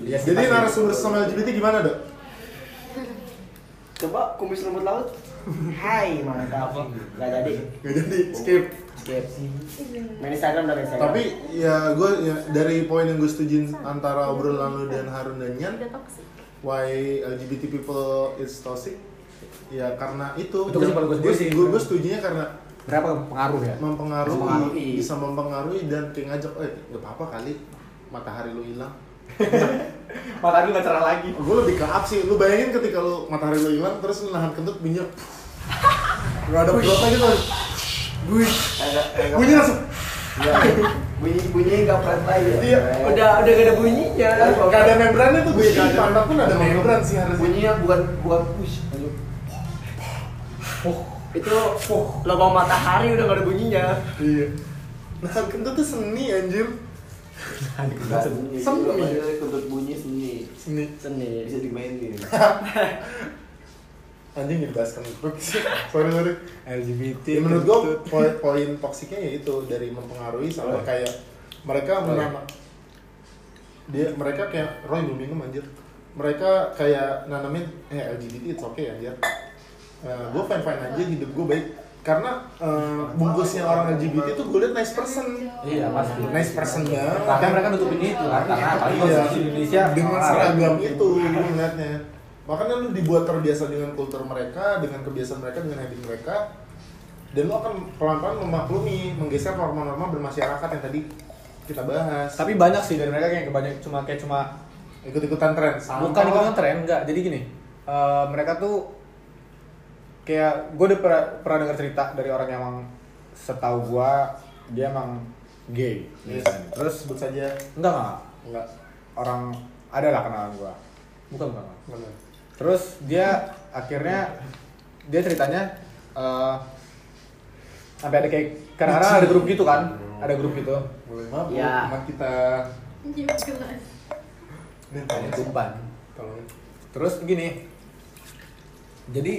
Speaker 1: Iya sih,
Speaker 2: Jadi
Speaker 1: pasti.
Speaker 2: narasumber sama LGBT gimana dok?
Speaker 12: Coba kumis rambut laut. Hai, mantap. Gak jadi.
Speaker 2: Gak jadi, skip.
Speaker 12: Skip. Main Instagram dan Instagram.
Speaker 2: Tapi ya gue ya, dari poin yang gue setujuin antara obrolan lu dan Harun dan Nyan, why LGBT people is toxic? Ya karena itu.
Speaker 1: Itu kesimpulan gue sendiri sih.
Speaker 2: Gue gue setujunya karena
Speaker 1: Berapa pengaruh ya?
Speaker 2: mempengaruhi,
Speaker 1: Mempengaruhi.
Speaker 2: bisa mempengaruhi dan kayak ngajak, eh gak apa-apa kali matahari lu hilang.
Speaker 9: matahari lu gak cerah lagi.
Speaker 2: Gue lebih ke up sih. Lu bayangin ketika lu matahari lu hilang terus lu nahan kentut minyak. Lu ada berapa gitu. Gue bunyi langsung.
Speaker 12: Ya, bunyi-bunyi nggak pantai ya.
Speaker 2: Iya.
Speaker 12: Udah udah gak ada bunyinya.
Speaker 2: Gak ada membrannya tuh gue sih. Pantat pun ada membran sih harusnya.
Speaker 12: Bunyinya bukan bukan push. Itu lubang matahari udah gak ada bunyinya.
Speaker 2: Iya. Nahan kentut tuh seni anjir. Seni.
Speaker 4: Kentut bunyi seni.
Speaker 2: Seni.
Speaker 12: Seni.
Speaker 4: Bisa dimainin.
Speaker 2: Anjing jadi bahas kentut sih. Sorry sorry.
Speaker 17: LGBT.
Speaker 2: Ya, menurut gue poin, poin toksiknya ya itu dari mempengaruhi sama kayak mereka menanam dia mereka kayak Roy belum minum anjir mereka kayak nanamin eh LGBT it's okay anjir gue fine fine aja hidup gue baik karena eh, bungkusnya orang LGBT tuh gue liat nice person
Speaker 17: Iya, pasti.
Speaker 2: nice person banget
Speaker 17: Tapi mereka nutupin itu kan, karena apalagi
Speaker 2: Iya.
Speaker 17: di Indonesia
Speaker 2: dengan
Speaker 1: ah,
Speaker 17: orang-orang.
Speaker 2: seragam itu gue ngeliatnya makanya lu dibuat terbiasa dengan kultur mereka dengan kebiasaan mereka dengan habit mereka dan lu akan pelan-pelan memaklumi menggeser norma-norma bermasyarakat yang tadi kita bahas
Speaker 1: Tapi banyak sih dari mereka kayak kebanyak cuma kayak cuma
Speaker 2: ikut-ikutan tren
Speaker 1: bukan ikutan tren enggak. Jadi gini, eh, mereka tuh kayak gue udah pernah, pernah dengar cerita dari orang yang emang setahu gue dia emang gay
Speaker 2: Yes.
Speaker 1: misalnya. Terus
Speaker 2: sebut saja
Speaker 1: enggak enggak
Speaker 2: enggak
Speaker 1: orang ada lah kenalan gue. Bukan bukan. bukan.
Speaker 2: benar
Speaker 1: Terus dia akhirnya dia ceritanya eh, sampai ada kayak karena ada grup gitu kan, ada grup gitu.
Speaker 2: boleh mabuk
Speaker 12: Ya.
Speaker 2: teman kita ini tanya sih.
Speaker 1: Tumpan.
Speaker 2: tolongin
Speaker 1: Terus gini, jadi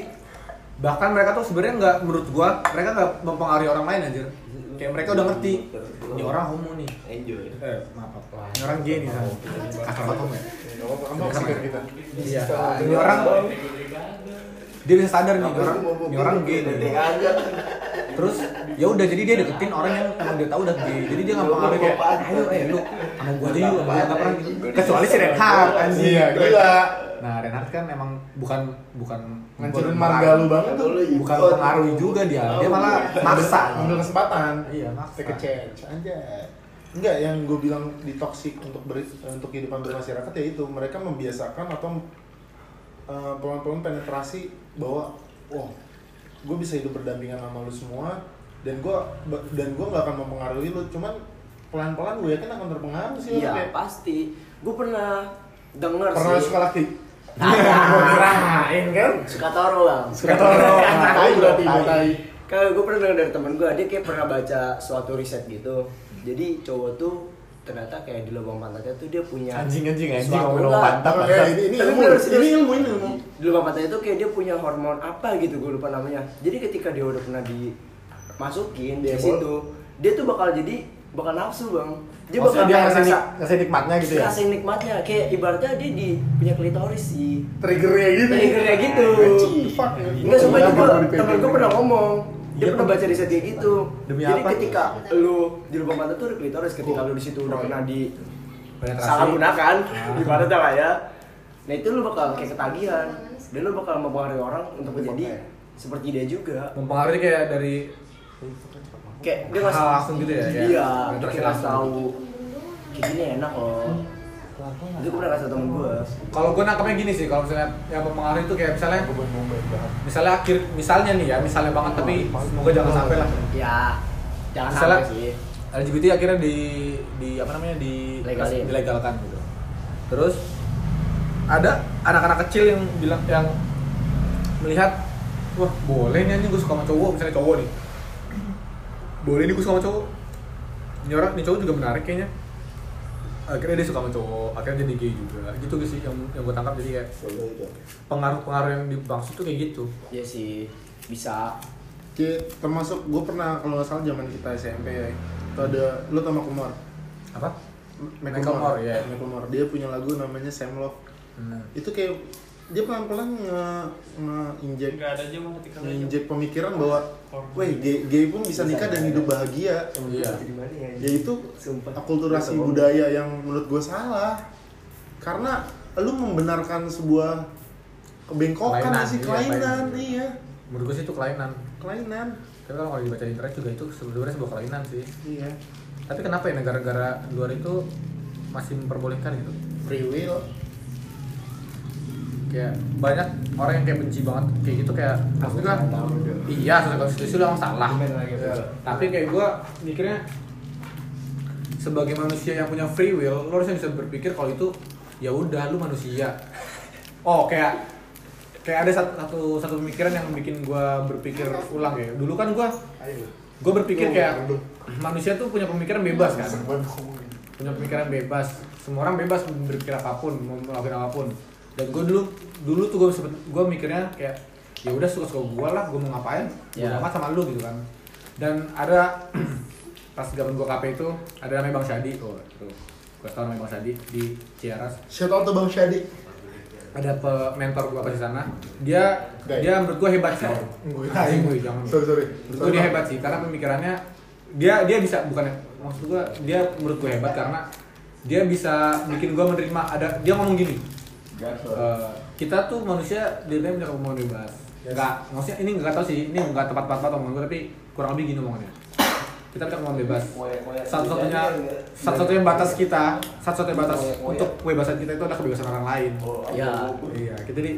Speaker 1: bahkan mereka tuh sebenarnya nggak menurut gua mereka nggak mempengaruhi orang lain anjir kayak mereka udah ngerti ini orang homo nih
Speaker 4: Enjoy.
Speaker 1: eh maaf apa ini orang gay nih kan kasar banget homo ya
Speaker 2: Gak apa-apa, kan toksik kita
Speaker 1: iya ini orang dia bisa sadar nih ini orang ini orang gay nih terus ya udah jadi dia deketin orang yang emang dia tahu udah gay jadi dia nggak pengaruh kayak ayo eh lu sama gua aja yuk nggak pernah gitu kecuali si Renhard anjir
Speaker 2: iya gila
Speaker 1: Nah, Renard kan emang bukan bukan bukan-
Speaker 2: ngancurin marga lu banget tuh
Speaker 1: Bukan pengaruhi juga dia,
Speaker 12: Oh,
Speaker 1: dia malah
Speaker 12: iya.
Speaker 1: maksa.
Speaker 2: ambil Iya. kesempatan
Speaker 1: Iya, maksa.
Speaker 2: take a chance aja enggak yang gue bilang di toxic untuk ber, untuk kehidupan bermasyarakat ya itu mereka membiasakan atau eh, pelan-pelan penetrasi bahwa wah gue bisa hidup berdampingan sama lu semua dan gue dan gue nggak akan mempengaruhi lu cuman pelan-pelan gue yakin akan terpengaruh sih lu
Speaker 12: Iya,
Speaker 2: kayak
Speaker 12: pasti. Gue pernah denger
Speaker 2: pernah
Speaker 12: sih.
Speaker 2: suka laki
Speaker 1: Nah,
Speaker 12: Kirain kan? Suka toro bang.
Speaker 2: Suka toro. Nah, Tai berarti, tai.
Speaker 12: Kalau gue pernah dengar dari temen gue, dia kayak pernah baca suatu riset gitu. Jadi cowok tuh ternyata kayak di lubang pantatnya tuh dia punya
Speaker 1: Anjing, anjing, anjing,
Speaker 12: suatu-
Speaker 1: ngomongin lubang pantat,
Speaker 12: Enggak,
Speaker 2: bangsa. Tapi
Speaker 12: ilmu,
Speaker 2: bener,
Speaker 12: serius.
Speaker 2: ini ilmu, ini ilmu.
Speaker 12: Di lubang pantatnya tuh kayak dia punya hormon apa gitu, gue lupa namanya. Jadi ketika dia udah pernah dimasukin di
Speaker 2: Dia
Speaker 12: situ, dia tuh bakal jadi bakal nafsu bang. Dia bakal
Speaker 1: Maksudnya dia
Speaker 12: kayak
Speaker 1: ngasih,
Speaker 12: ngerasa-
Speaker 1: nik- ngasih nikmatnya
Speaker 4: Iya.
Speaker 1: gitu ya.
Speaker 12: rasain nikmatnya kayak ibaratnya dia di punya klitoris sih
Speaker 2: triggernya gitu
Speaker 4: Iya.
Speaker 12: triggernya gitu
Speaker 2: Anjing, fuck.
Speaker 12: nggak sumpah itu
Speaker 2: Iya,
Speaker 12: gua
Speaker 2: baru di
Speaker 12: temen gue
Speaker 2: PP.
Speaker 12: pernah ngomong dia
Speaker 1: Iya,
Speaker 12: pernah
Speaker 1: Bang.
Speaker 12: baca riset kayak gitu
Speaker 1: Demi
Speaker 12: jadi
Speaker 1: apa?
Speaker 12: ketika lu di lubang pantat tuh ada klitoris ketika
Speaker 2: Oh.
Speaker 12: lu di situ udah
Speaker 2: Oh.
Speaker 12: pernah di
Speaker 1: Penetrasi.
Speaker 12: salah kan, gunakan
Speaker 1: Ah.
Speaker 12: ibaratnya lah ya nah itu lu bakal kayak ketagihan dan lu bakal mempengaruhi orang untuk menjadi seperti dia juga
Speaker 1: Mempengaruhi kayak dari
Speaker 12: kayak dia
Speaker 1: Hal
Speaker 12: ngasih
Speaker 1: langsung gitu ya, ya?
Speaker 12: iya dia
Speaker 1: Interaksi
Speaker 12: kayak ngasih
Speaker 1: langsung.
Speaker 12: tahu kayak gini enak loh itu gue pernah kasih tau temen gue
Speaker 1: kalau gue nangkepnya gini sih, kalau misalnya yang mempengaruhi itu kayak misalnya misalnya akhir misalnya nih ya, misalnya banget tapi semoga jangan sampai lah.
Speaker 12: Ya, jangan
Speaker 1: Misalnya-
Speaker 12: sampai sih.
Speaker 1: LGBT akhirnya di di apa namanya di
Speaker 12: Legalin.
Speaker 1: dilegalkan gitu. Terus ada anak-anak kecil yang bilang yang melihat wah boleh nih anjing gue suka sama cowok misalnya cowok nih boleh nih gue suka sama cowok ini orang nih cowok juga menarik kayaknya akhirnya dia suka sama cowok akhirnya jadi gay juga gitu sih yang yang gue tangkap jadi kayak pengaruh-pengaruh yang dibangsut tuh kayak gitu
Speaker 12: Iya sih, bisa.
Speaker 2: Ya, termasuk gue pernah kalau nggak salah zaman kita SMP ya itu ada lu tau Makumor
Speaker 1: apa
Speaker 2: M-
Speaker 1: Macklemore, iya.
Speaker 2: Macklemore. dia punya lagu namanya Sam Love
Speaker 1: Hmm.
Speaker 2: itu kayak dia pelan-pelan nge, nge injek
Speaker 7: Nggak ada aja mah ketika
Speaker 2: injek pemikiran bahwa weh gay, gay pun bisa nikah dan hidup bahagia
Speaker 7: Iya.
Speaker 2: ya itu akulturasi budaya yang menurut gue salah karena lu membenarkan sebuah kebengkokan
Speaker 1: Kelainan,
Speaker 2: sih
Speaker 1: iya,
Speaker 2: kelainan
Speaker 1: kelainan.
Speaker 2: iya
Speaker 1: menurut gue sih itu kelainan
Speaker 2: kelainan
Speaker 1: tapi kalau kalau dibaca di internet juga itu sebenarnya sebuah kelainan sih
Speaker 2: iya
Speaker 1: tapi kenapa ya negara-negara di luar itu masih memperbolehkan gitu
Speaker 2: free will
Speaker 1: kayak banyak orang yang kayak benci banget kayak gitu kayak maksud gua iya sesuai konstitusi lu emang salah Iya. tapi kayak gua mikirnya sebagai manusia yang punya free will lu harusnya bisa berpikir kalau itu ya udah lu manusia oh kayak kayak ada satu satu, satu pemikiran yang bikin gua berpikir ulang ya dulu kan gua gua berpikir kayak manusia tuh punya pemikiran bebas kan punya pemikiran bebas semua orang bebas berpikir apapun mau melakukan apapun dan gue dulu dulu tuh gue sempet gue mikirnya kayak ya udah suka suka gue lah gue mau ngapain gue
Speaker 17: Ya.
Speaker 1: amat sama lu gitu kan dan ada pas zaman gue KP itu ada namanya Bang Syadi oh itu gue tau namanya Bang Syadi di Ciaras
Speaker 2: shout out to bang Syadi
Speaker 1: ada pe mentor gue pas di sana dia
Speaker 2: Guy.
Speaker 1: dia menurut gue hebat sih
Speaker 2: Guy.
Speaker 1: Anjing, gue jangan
Speaker 2: Sorry, sorry.
Speaker 1: menurut gue
Speaker 2: Sorry,
Speaker 1: dia
Speaker 2: Bang.
Speaker 1: hebat sih karena pemikirannya dia dia bisa bukan maksud gue dia menurut gue hebat karena dia bisa bikin gue menerima ada dia ngomong gini eh, kita tuh manusia dirinya punya kemauan bebas nggak maksudnya ini nggak tahu sih ini nggak tepat tepat omongan gue tapi kurang lebih gini omongannya kita punya kemauan bebas satu-satunya satu-satunya batas kita satu-satunya batas untuk kebebasan kita itu adalah kebebasan orang lain
Speaker 17: Iya.
Speaker 1: iya kita jadi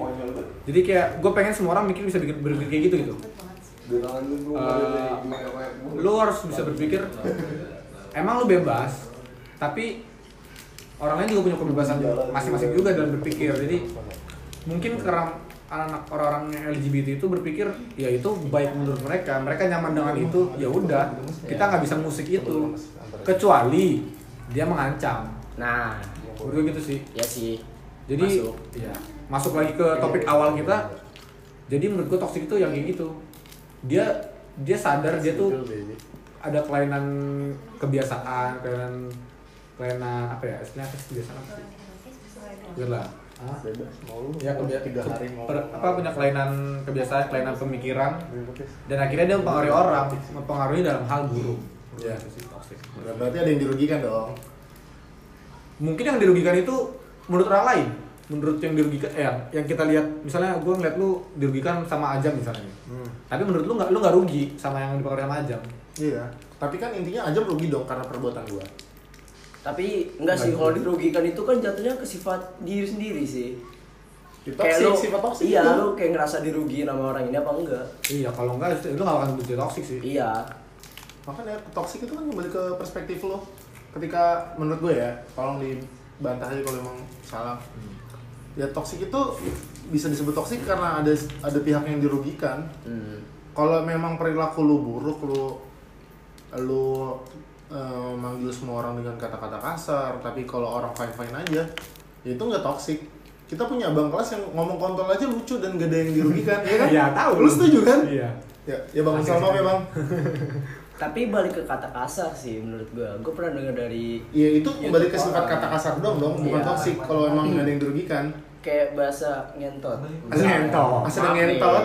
Speaker 1: jadi kayak gue pengen semua orang mikir bisa bikin berpikir kayak gitu gitu Eh, lu harus bisa berpikir emang lu bebas tapi orang lain juga punya kebebasan masing-masing juga dalam berpikir jadi mungkin karena anak-anak orang-orang yang LGBT itu berpikir ya itu baik menurut mereka mereka nyaman dengan itu ya udah kita nggak bisa musik itu kecuali dia mengancam
Speaker 12: Nah,
Speaker 1: menurut gue gitu sih
Speaker 12: ya sih.
Speaker 1: jadi
Speaker 12: Masuk.
Speaker 1: ya, masuk lagi ke topik awal kita jadi menurut gue toxic itu yang kayak gitu dia dia sadar dia tuh ada kelainan kebiasaan kelainan kelainan apa ya istilahnya apa sih kebiasaan apa sih Bener lah Hah? ya kebia- ke- per- apa punya kelainan kebiasaan kelainan pemikiran dan akhirnya dia mempengaruhi orang mempengaruhi dalam hal buruk
Speaker 2: Iya.
Speaker 1: Itu sih toxic.
Speaker 2: berarti ada yang dirugikan dong
Speaker 1: mungkin yang dirugikan itu menurut orang lain menurut yang dirugikan eh yang kita lihat misalnya gue ngeliat lu dirugikan sama ajam misalnya
Speaker 2: Hmm.
Speaker 1: tapi menurut lu nggak lu nggak rugi sama yang dipengaruhi sama ajam
Speaker 2: iya tapi kan intinya aja rugi dong karena perbuatan gua
Speaker 12: Tapi enggak sih
Speaker 2: Enggak
Speaker 12: kalau
Speaker 2: gitu.
Speaker 12: dirugikan itu kan jatuhnya ke sifat diri sendiri sih.
Speaker 2: Di toxic, sifat toxic
Speaker 12: Iya,
Speaker 2: itu.
Speaker 12: lu kayak ngerasa dirugiin sama orang ini apa enggak?
Speaker 1: Iya, kalau enggak itu lu gak akan menjadi toxic sih.
Speaker 12: Iya.
Speaker 2: makanya toxic itu kan kembali ke perspektif lo ketika menurut gue ya tolong dibantah aja kalau emang salah ya toxic itu bisa disebut toxic karena ada ada pihak yang dirugikan kalau memang perilaku lu buruk lu lu eh, manggil semua orang dengan kata-kata kasar tapi kalau orang fine fine aja ya itu nggak toxic kita punya abang kelas yang ngomong kontol aja lucu dan gak ada yang dirugikan ya kan
Speaker 1: Iya, tahu.
Speaker 2: lu setuju kan
Speaker 1: Iya.
Speaker 2: ya ya bang sama ya bang
Speaker 12: Tapi balik ke kata kasar sih menurut gua. Gua pernah dengar dari
Speaker 2: Iya itu kembali ke sifat kata kasar doang dong, bukan
Speaker 12: Iya.
Speaker 2: toksik kalau emang nggak ada yang dirugikan.
Speaker 12: kayak bahasa ngentot.
Speaker 2: Asal ngentot. Asal ngentot.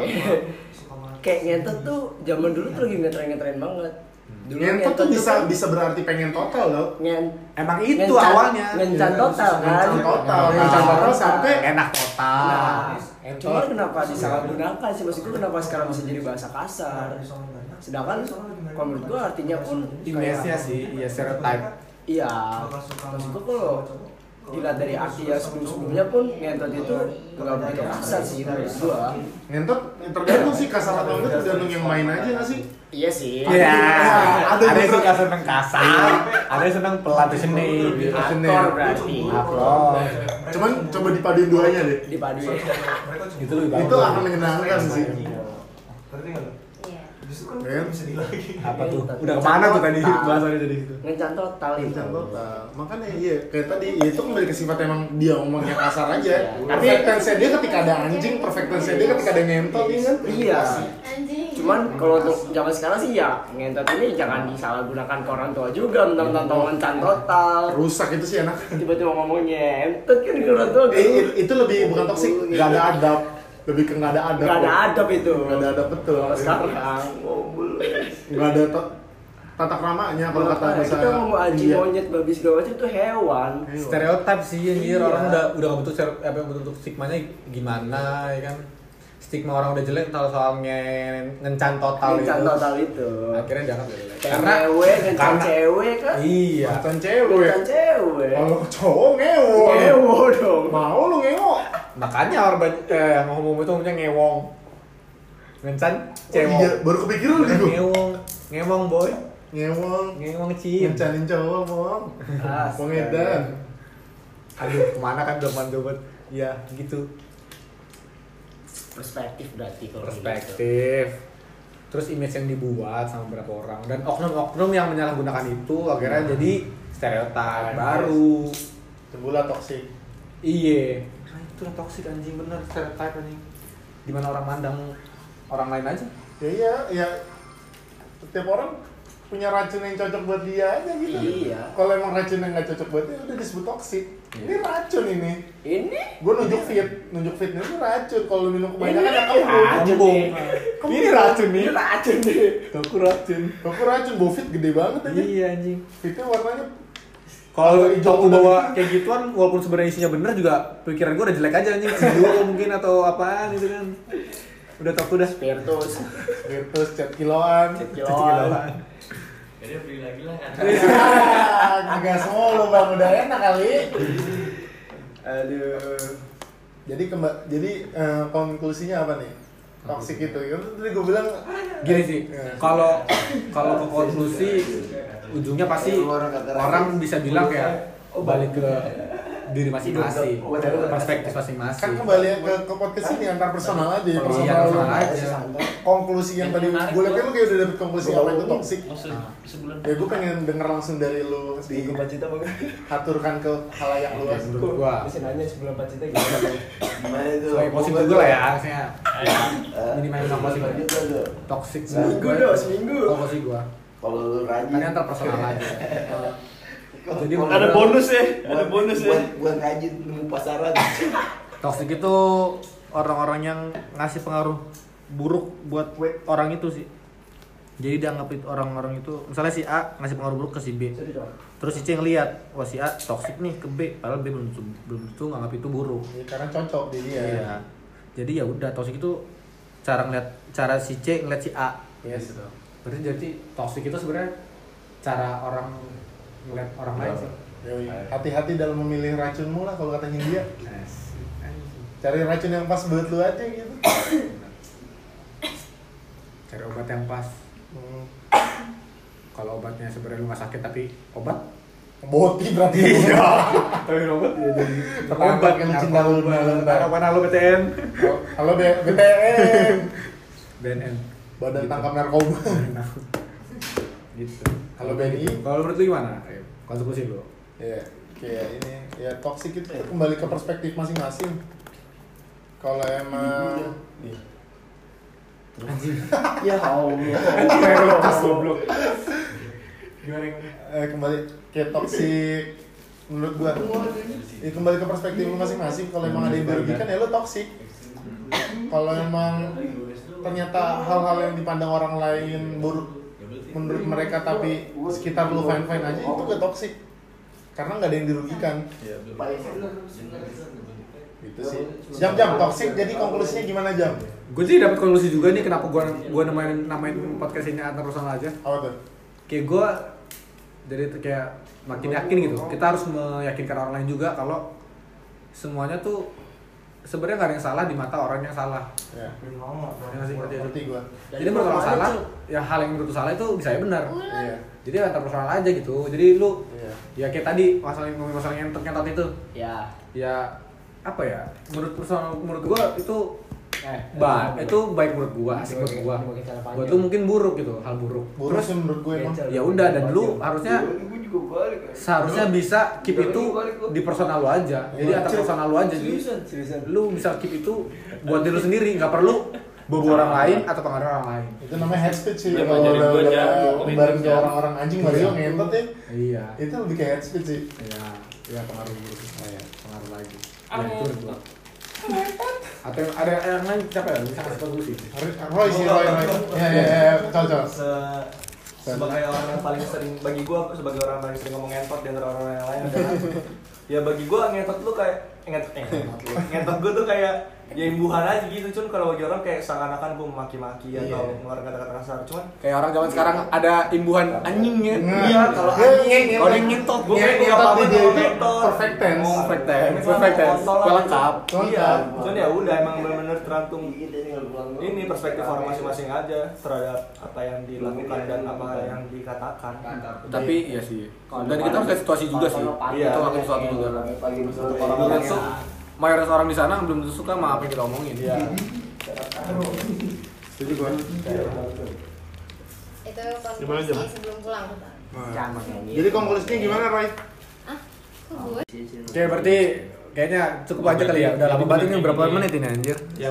Speaker 12: kayak ngentot tuh zaman dulu tuh lagi ngetren-ngetren banget. Dulu
Speaker 2: Ngentot tuh bisa
Speaker 12: kan-
Speaker 2: bisa berarti pengen total loh.
Speaker 12: Ngen-
Speaker 1: Emang
Speaker 12: itu Ngencan- awalnya.
Speaker 1: Iya.
Speaker 12: ngencan total, kan?
Speaker 2: Ngencan total.
Speaker 12: Ngencan
Speaker 2: Ngencan
Speaker 12: total.
Speaker 2: total sampai
Speaker 1: enak total.
Speaker 12: Nah,
Speaker 1: Entot.
Speaker 12: cuma kenapa disalahgunakan sih? Maksud gue kenapa sekarang bisa jadi bahasa kasar? Sedangkan kalau menurut gue artinya pun
Speaker 1: Image-nya
Speaker 12: kayak-
Speaker 1: sih, iya stereotype.
Speaker 12: Iya. Maksud gue kalau dilihat dari arti yang sebelum-sebelumnya pun ngentot itu nggak begitu kasar sih menurut gue.
Speaker 2: Ngentot tergantung sih kasar atau enggak tergantung yang main aja nggak sih?
Speaker 12: Iya sih.
Speaker 1: Iya. Ada
Speaker 2: Ada Iya.
Speaker 1: yang
Speaker 2: juga.
Speaker 1: suka seneng kasar, ada yang seneng pelatih seni, gitu.
Speaker 4: Iya.
Speaker 12: Aktor berarti.
Speaker 1: Aktor.
Speaker 2: Cuman coba dipaduin duanya deh.
Speaker 12: Dipaduin.
Speaker 1: Itu lebih
Speaker 2: Itu
Speaker 1: bagus.
Speaker 2: akan menyenangkan sih.
Speaker 9: Ngerti nggak lu?
Speaker 3: Iya.
Speaker 9: Justru kan
Speaker 2: Iya.
Speaker 9: bisa dilagi.
Speaker 1: Apa tuh?
Speaker 12: Ngencan
Speaker 1: Udah kemana tuh tadi
Speaker 12: total.
Speaker 1: bahasannya gitu. tadi itu?
Speaker 12: Ngencan total itu.
Speaker 2: Ngencan total. Makanya iya kayak tadi ya itu kembali ke sifat emang dia ngomongnya kasar aja.
Speaker 12: Iya.
Speaker 2: Tapi tense dia ketika ada anjing, perfect tense dia ketika ada ngentot, iya kan?
Speaker 12: Iya.
Speaker 3: Anjing.
Speaker 12: Cuman kalau untuk zaman sekarang sih ya ngentot ini jangan disalahgunakan ke orang tua juga tentang
Speaker 2: Iya.
Speaker 12: tontonan cantotan.
Speaker 2: Rusak itu sih enak.
Speaker 12: Tiba-tiba ngomong ngentot kan ke orang tua.
Speaker 2: Eh, it- itu lebih bukan toksik, nggak ada adab. Lebih ke nggak ada adab.
Speaker 12: Iya. Nggak ada adab itu.
Speaker 2: Nggak ada adab betul.
Speaker 12: Kalau sekarang ngobrol.
Speaker 2: Nggak ada to- tata keramanya kalau kata
Speaker 12: Makanya
Speaker 2: bahasa.
Speaker 12: kita ngomong anjing
Speaker 2: Iya.
Speaker 12: monyet babi segala macam itu hewan.
Speaker 1: stereotip sih anjir
Speaker 12: Iya.
Speaker 1: orang udah udah nggak betul ser- apa bentuk stigmanya gimana ya kan stigma orang udah jelek kalau soal ngen ngencan total
Speaker 12: Ngencan
Speaker 1: itu
Speaker 12: total itu.
Speaker 1: akhirnya dianggap udah jelek
Speaker 12: Karena cewek kencan
Speaker 1: karena-
Speaker 12: cewek kan.
Speaker 1: iya
Speaker 2: Kencan cewek.
Speaker 12: Kencan cewek.
Speaker 2: ya? Kalau cowok ngewo.
Speaker 12: Ngewo dong.
Speaker 2: Mau lu ngewo.
Speaker 1: makanya orang banyak eh, yang ngomong itu ngomongnya ngewong ngencan cewong
Speaker 2: iya, baru kepikiran
Speaker 1: Bukan
Speaker 2: gitu.
Speaker 1: ngewong ngewong boy
Speaker 2: Ngewong.
Speaker 1: ngewong cin
Speaker 2: Ngencanin cowok, Bang. Wong edan.
Speaker 1: aduh kemana kan doman doman ya gitu
Speaker 12: Perspektif berarti kalau gitu.
Speaker 1: perspektif terus image yang dibuat sama beberapa orang dan oknum-oknum yang menyalahgunakan itu akhirnya
Speaker 12: Hmm.
Speaker 1: jadi stereotip baru
Speaker 2: Cembula toksik.
Speaker 1: iya nah, itu yang toksik anjing bener stereotip anjing gimana orang mandang orang lain aja
Speaker 2: Ya iya, ya setiap orang punya racun yang cocok buat dia aja gitu.
Speaker 12: Iya.
Speaker 2: Kalau emang racun yang nggak cocok buat dia udah disebut toksik. Ini racun ini.
Speaker 12: Ini
Speaker 2: Gue nunjuk fit, nunjuk fit ini racun. Kalau lu minum kebanyakan ya kamu
Speaker 12: Eh, racun nih.
Speaker 2: Ini racun nih.
Speaker 12: Ini racun nih.
Speaker 1: aku racun
Speaker 2: Aku racun, bau fit gede banget aja.
Speaker 1: iya anjing
Speaker 2: Fitnya warnanya
Speaker 1: kalau
Speaker 2: Kalau hijau
Speaker 1: aku
Speaker 2: udah
Speaker 1: bawa kayak gituan walaupun sebenarnya isinya bener juga pikiran gue udah jelek aja anjing Sido mungkin atau apaan itu kan udah top udah
Speaker 12: Spiritus.
Speaker 2: Virtus cat kiloan.
Speaker 12: Cat
Speaker 1: Cuci kiloan.
Speaker 7: Jadi beli lagi lah kan.
Speaker 2: Agak semua lu bang udah enak kali.
Speaker 12: Aduh.
Speaker 2: Jadi kemba- jadi eh, konklusinya apa nih? Toksik itu. Kan tadi gue bilang
Speaker 1: gini sih
Speaker 2: Iya.
Speaker 1: kalau kalau ke konklusi ujungnya pasti orang bisa bilang ya balik ke diri masing-masing perspektif
Speaker 2: kan
Speaker 1: masing-masing
Speaker 2: kembali ke ke podcast ini antar personal aja ya, personal
Speaker 1: iya
Speaker 2: lu.
Speaker 1: personal aja
Speaker 2: konklusi yang tadi
Speaker 7: Menarik,
Speaker 2: gue liat kan
Speaker 7: gua.
Speaker 2: lu kayak udah dapet konklusi apa itu toksik
Speaker 7: Maksud sebulan.
Speaker 2: ya gue pengen denger langsung dari lu
Speaker 12: Empat juta bang.
Speaker 2: dihaturkan ke halayak luas
Speaker 1: menurut gua
Speaker 12: Bisa nanya sebelum empat juta gitu.
Speaker 22: Gimana itu? Eh,
Speaker 1: sebagai positif dulu lah ya harusnya
Speaker 7: Ayo.
Speaker 1: minimal yang positif
Speaker 22: Lanjut lah, tuh.
Speaker 1: toxic
Speaker 12: Seminggu dong, seminggu.
Speaker 1: kalau sih gua
Speaker 22: Kalau lu rajin.
Speaker 1: karena antar personal aja jadi
Speaker 22: Kalau-
Speaker 1: ada
Speaker 9: bonus ya ada
Speaker 22: Buat-
Speaker 9: bonus ya
Speaker 22: buat- Buat rajin nemu pasaran.
Speaker 1: toxic itu orang-orang yang ngasih pengaruh buruk buat orang itu sih jadi dianggap itu orang-orang itu misalnya si A ngasih pengaruh buruk ke si B terus si C ngeliat wah si A toxic nih ke B padahal B belum tentu- belum tentu nganggap itu buruk
Speaker 2: Ya, karena cocok di dia
Speaker 1: Iya. jadi ya udah toxic itu cara ngeliat cara si C ngeliat si A
Speaker 2: Yes.
Speaker 1: Iya berarti jadi toxic itu sebenarnya cara orang ngeliat orang lain sih
Speaker 2: Yoi. hati-hati dalam memilih racunmu lah kalau kata Hindia cari racun yang pas buat lu aja gitu
Speaker 1: cari obat yang pas
Speaker 2: Hmm.
Speaker 1: kalau obatnya sebenarnya lu nggak sakit tapi obat
Speaker 2: boti berarti iya
Speaker 1: tapi obat ya jadi
Speaker 2: Terlambat kan cinta lu melambat.
Speaker 1: mana lu BTN
Speaker 2: halo B- BTN
Speaker 1: BNN
Speaker 2: badan
Speaker 1: Gitu.
Speaker 2: tangkap narkoba
Speaker 1: gitu
Speaker 2: Kalau BNI?
Speaker 1: kalau menurut lu gimana Ayo, konklusi lu
Speaker 2: ya kayak ini ya toksik itu kembali ke perspektif masing-masing kalau emang Iya.
Speaker 12: Ya Allah.
Speaker 2: eh, kembali kayak toksik menurut gua ya, kembali ke perspektif lu masing-masing kalau emang ada yang dirugikan ya lo toksik kalau emang ternyata hal-hal yang dipandang orang lain buruk menurut mereka tapi sekitar lu fine fine aja itu gak toksik karena nggak ada yang dirugikan
Speaker 1: Iya,
Speaker 2: gitu sih jam jam toksik jadi konklusinya gimana jam
Speaker 1: gue sih dapat konklusi juga nih kenapa gue gue namain namain podcast ini antar personal aja
Speaker 2: apa tuh
Speaker 1: kayak gue jadi tuh kayak makin yakin gitu kita harus meyakinkan orang lain juga kalau semuanya tuh sebenarnya nggak ada yang salah di mata orang yang salah
Speaker 2: ya
Speaker 1: Ya nggak sih? Ngerti ya?
Speaker 2: ngerti gua
Speaker 1: jadi menurut orang salah ya hal yang menurut lu salah itu bisa aja benar
Speaker 2: iya
Speaker 1: jadi antar personal aja gitu jadi lu
Speaker 2: iya
Speaker 1: ya kayak tadi masalah yang masalah yang terkentot itu
Speaker 12: Ya.
Speaker 1: ya apa ya menurut personal menurut gua itu
Speaker 12: Eh,
Speaker 1: ba itu baik menurut gua asik menurut gua gua tuh mungkin buruk gitu hal buruk
Speaker 2: buruk sih menurut gue emang
Speaker 1: ya udah dan lu harusnya
Speaker 9: gue juga balik
Speaker 12: eh.
Speaker 1: seharusnya bisa keep
Speaker 9: Jangan
Speaker 1: itu
Speaker 9: dibalik, lu.
Speaker 1: di personal lu aja jadi
Speaker 2: Iya.
Speaker 1: antar personal lu aja jadi
Speaker 9: seriusan
Speaker 1: lu bisa keep itu buat diri lu sendiri nggak perlu bobo orang lain atau pengaruh orang lain
Speaker 2: itu namanya head speech sih
Speaker 1: Iya,
Speaker 2: kalau
Speaker 1: jadi
Speaker 2: udah
Speaker 1: gua
Speaker 2: udah
Speaker 1: jago,
Speaker 2: bareng ke
Speaker 1: jago.
Speaker 2: orang-orang anjing Mario
Speaker 1: Iya.
Speaker 2: ngentot ya
Speaker 1: Iya.
Speaker 2: itu lebih kayak head speech sih
Speaker 1: iya iya pengaruh buruk oh, iya. pengaruh lagi ya,
Speaker 2: Ah,
Speaker 1: itu berdua atau yang- ada yang lain siapa ya bisa kasih tau dulu sih
Speaker 2: Roy sih
Speaker 1: Oh,
Speaker 2: Roy Roy ya ya ya cowok cowok
Speaker 9: Se- sebagai orang yang paling sering bagi gua sebagai orang yang paling sering ngomong ngentot di antara orang yang lain adalah ya bagi gua ngentot lu kayak ngentot eh, ngentot lu ngentot gua tuh kayak ya imbuhan aja gitu cuman kalau bagi orang kayak seakan-akan gua memaki-maki
Speaker 1: Iya.
Speaker 9: atau ngeluarin kata-kata kasar cuman
Speaker 1: kayak orang zaman sekarang ada imbuhan anjingnya
Speaker 9: Iya, kalau anjing,
Speaker 1: kalau yang ngintot
Speaker 9: Gua kayak nggak apa-apa, gua ngentot.
Speaker 1: iya, perfect tense
Speaker 9: Oh,
Speaker 1: perfect tense
Speaker 9: Emang
Speaker 1: perfect
Speaker 9: kontol
Speaker 1: tense
Speaker 9: lah.
Speaker 1: Gua lengkap
Speaker 9: Iya, cuman ya udah emang benar-benar tergantung ini perspektif orang masing-masing aja terhadap apa yang dilakukan dan apa yang dikatakan.
Speaker 1: tapi iya sih dan kita harus lihat situasi juga sih
Speaker 9: Iya.
Speaker 1: itu ngakuin sesuatu juga
Speaker 9: orang-orang
Speaker 1: Termasuk mayoritas orang di sana belum tentu suka sama apa yang kita omongin iya
Speaker 2: setuju gua
Speaker 3: Itu
Speaker 2: Gimana,
Speaker 3: konklusi
Speaker 2: Jam?
Speaker 3: sebelum pulang.
Speaker 2: Nah. jadi konklusinya gimana Roy
Speaker 3: Kok gue?
Speaker 1: oke berarti kayaknya cukup aja kali ya udah lama banget ini berapa menit ini anjir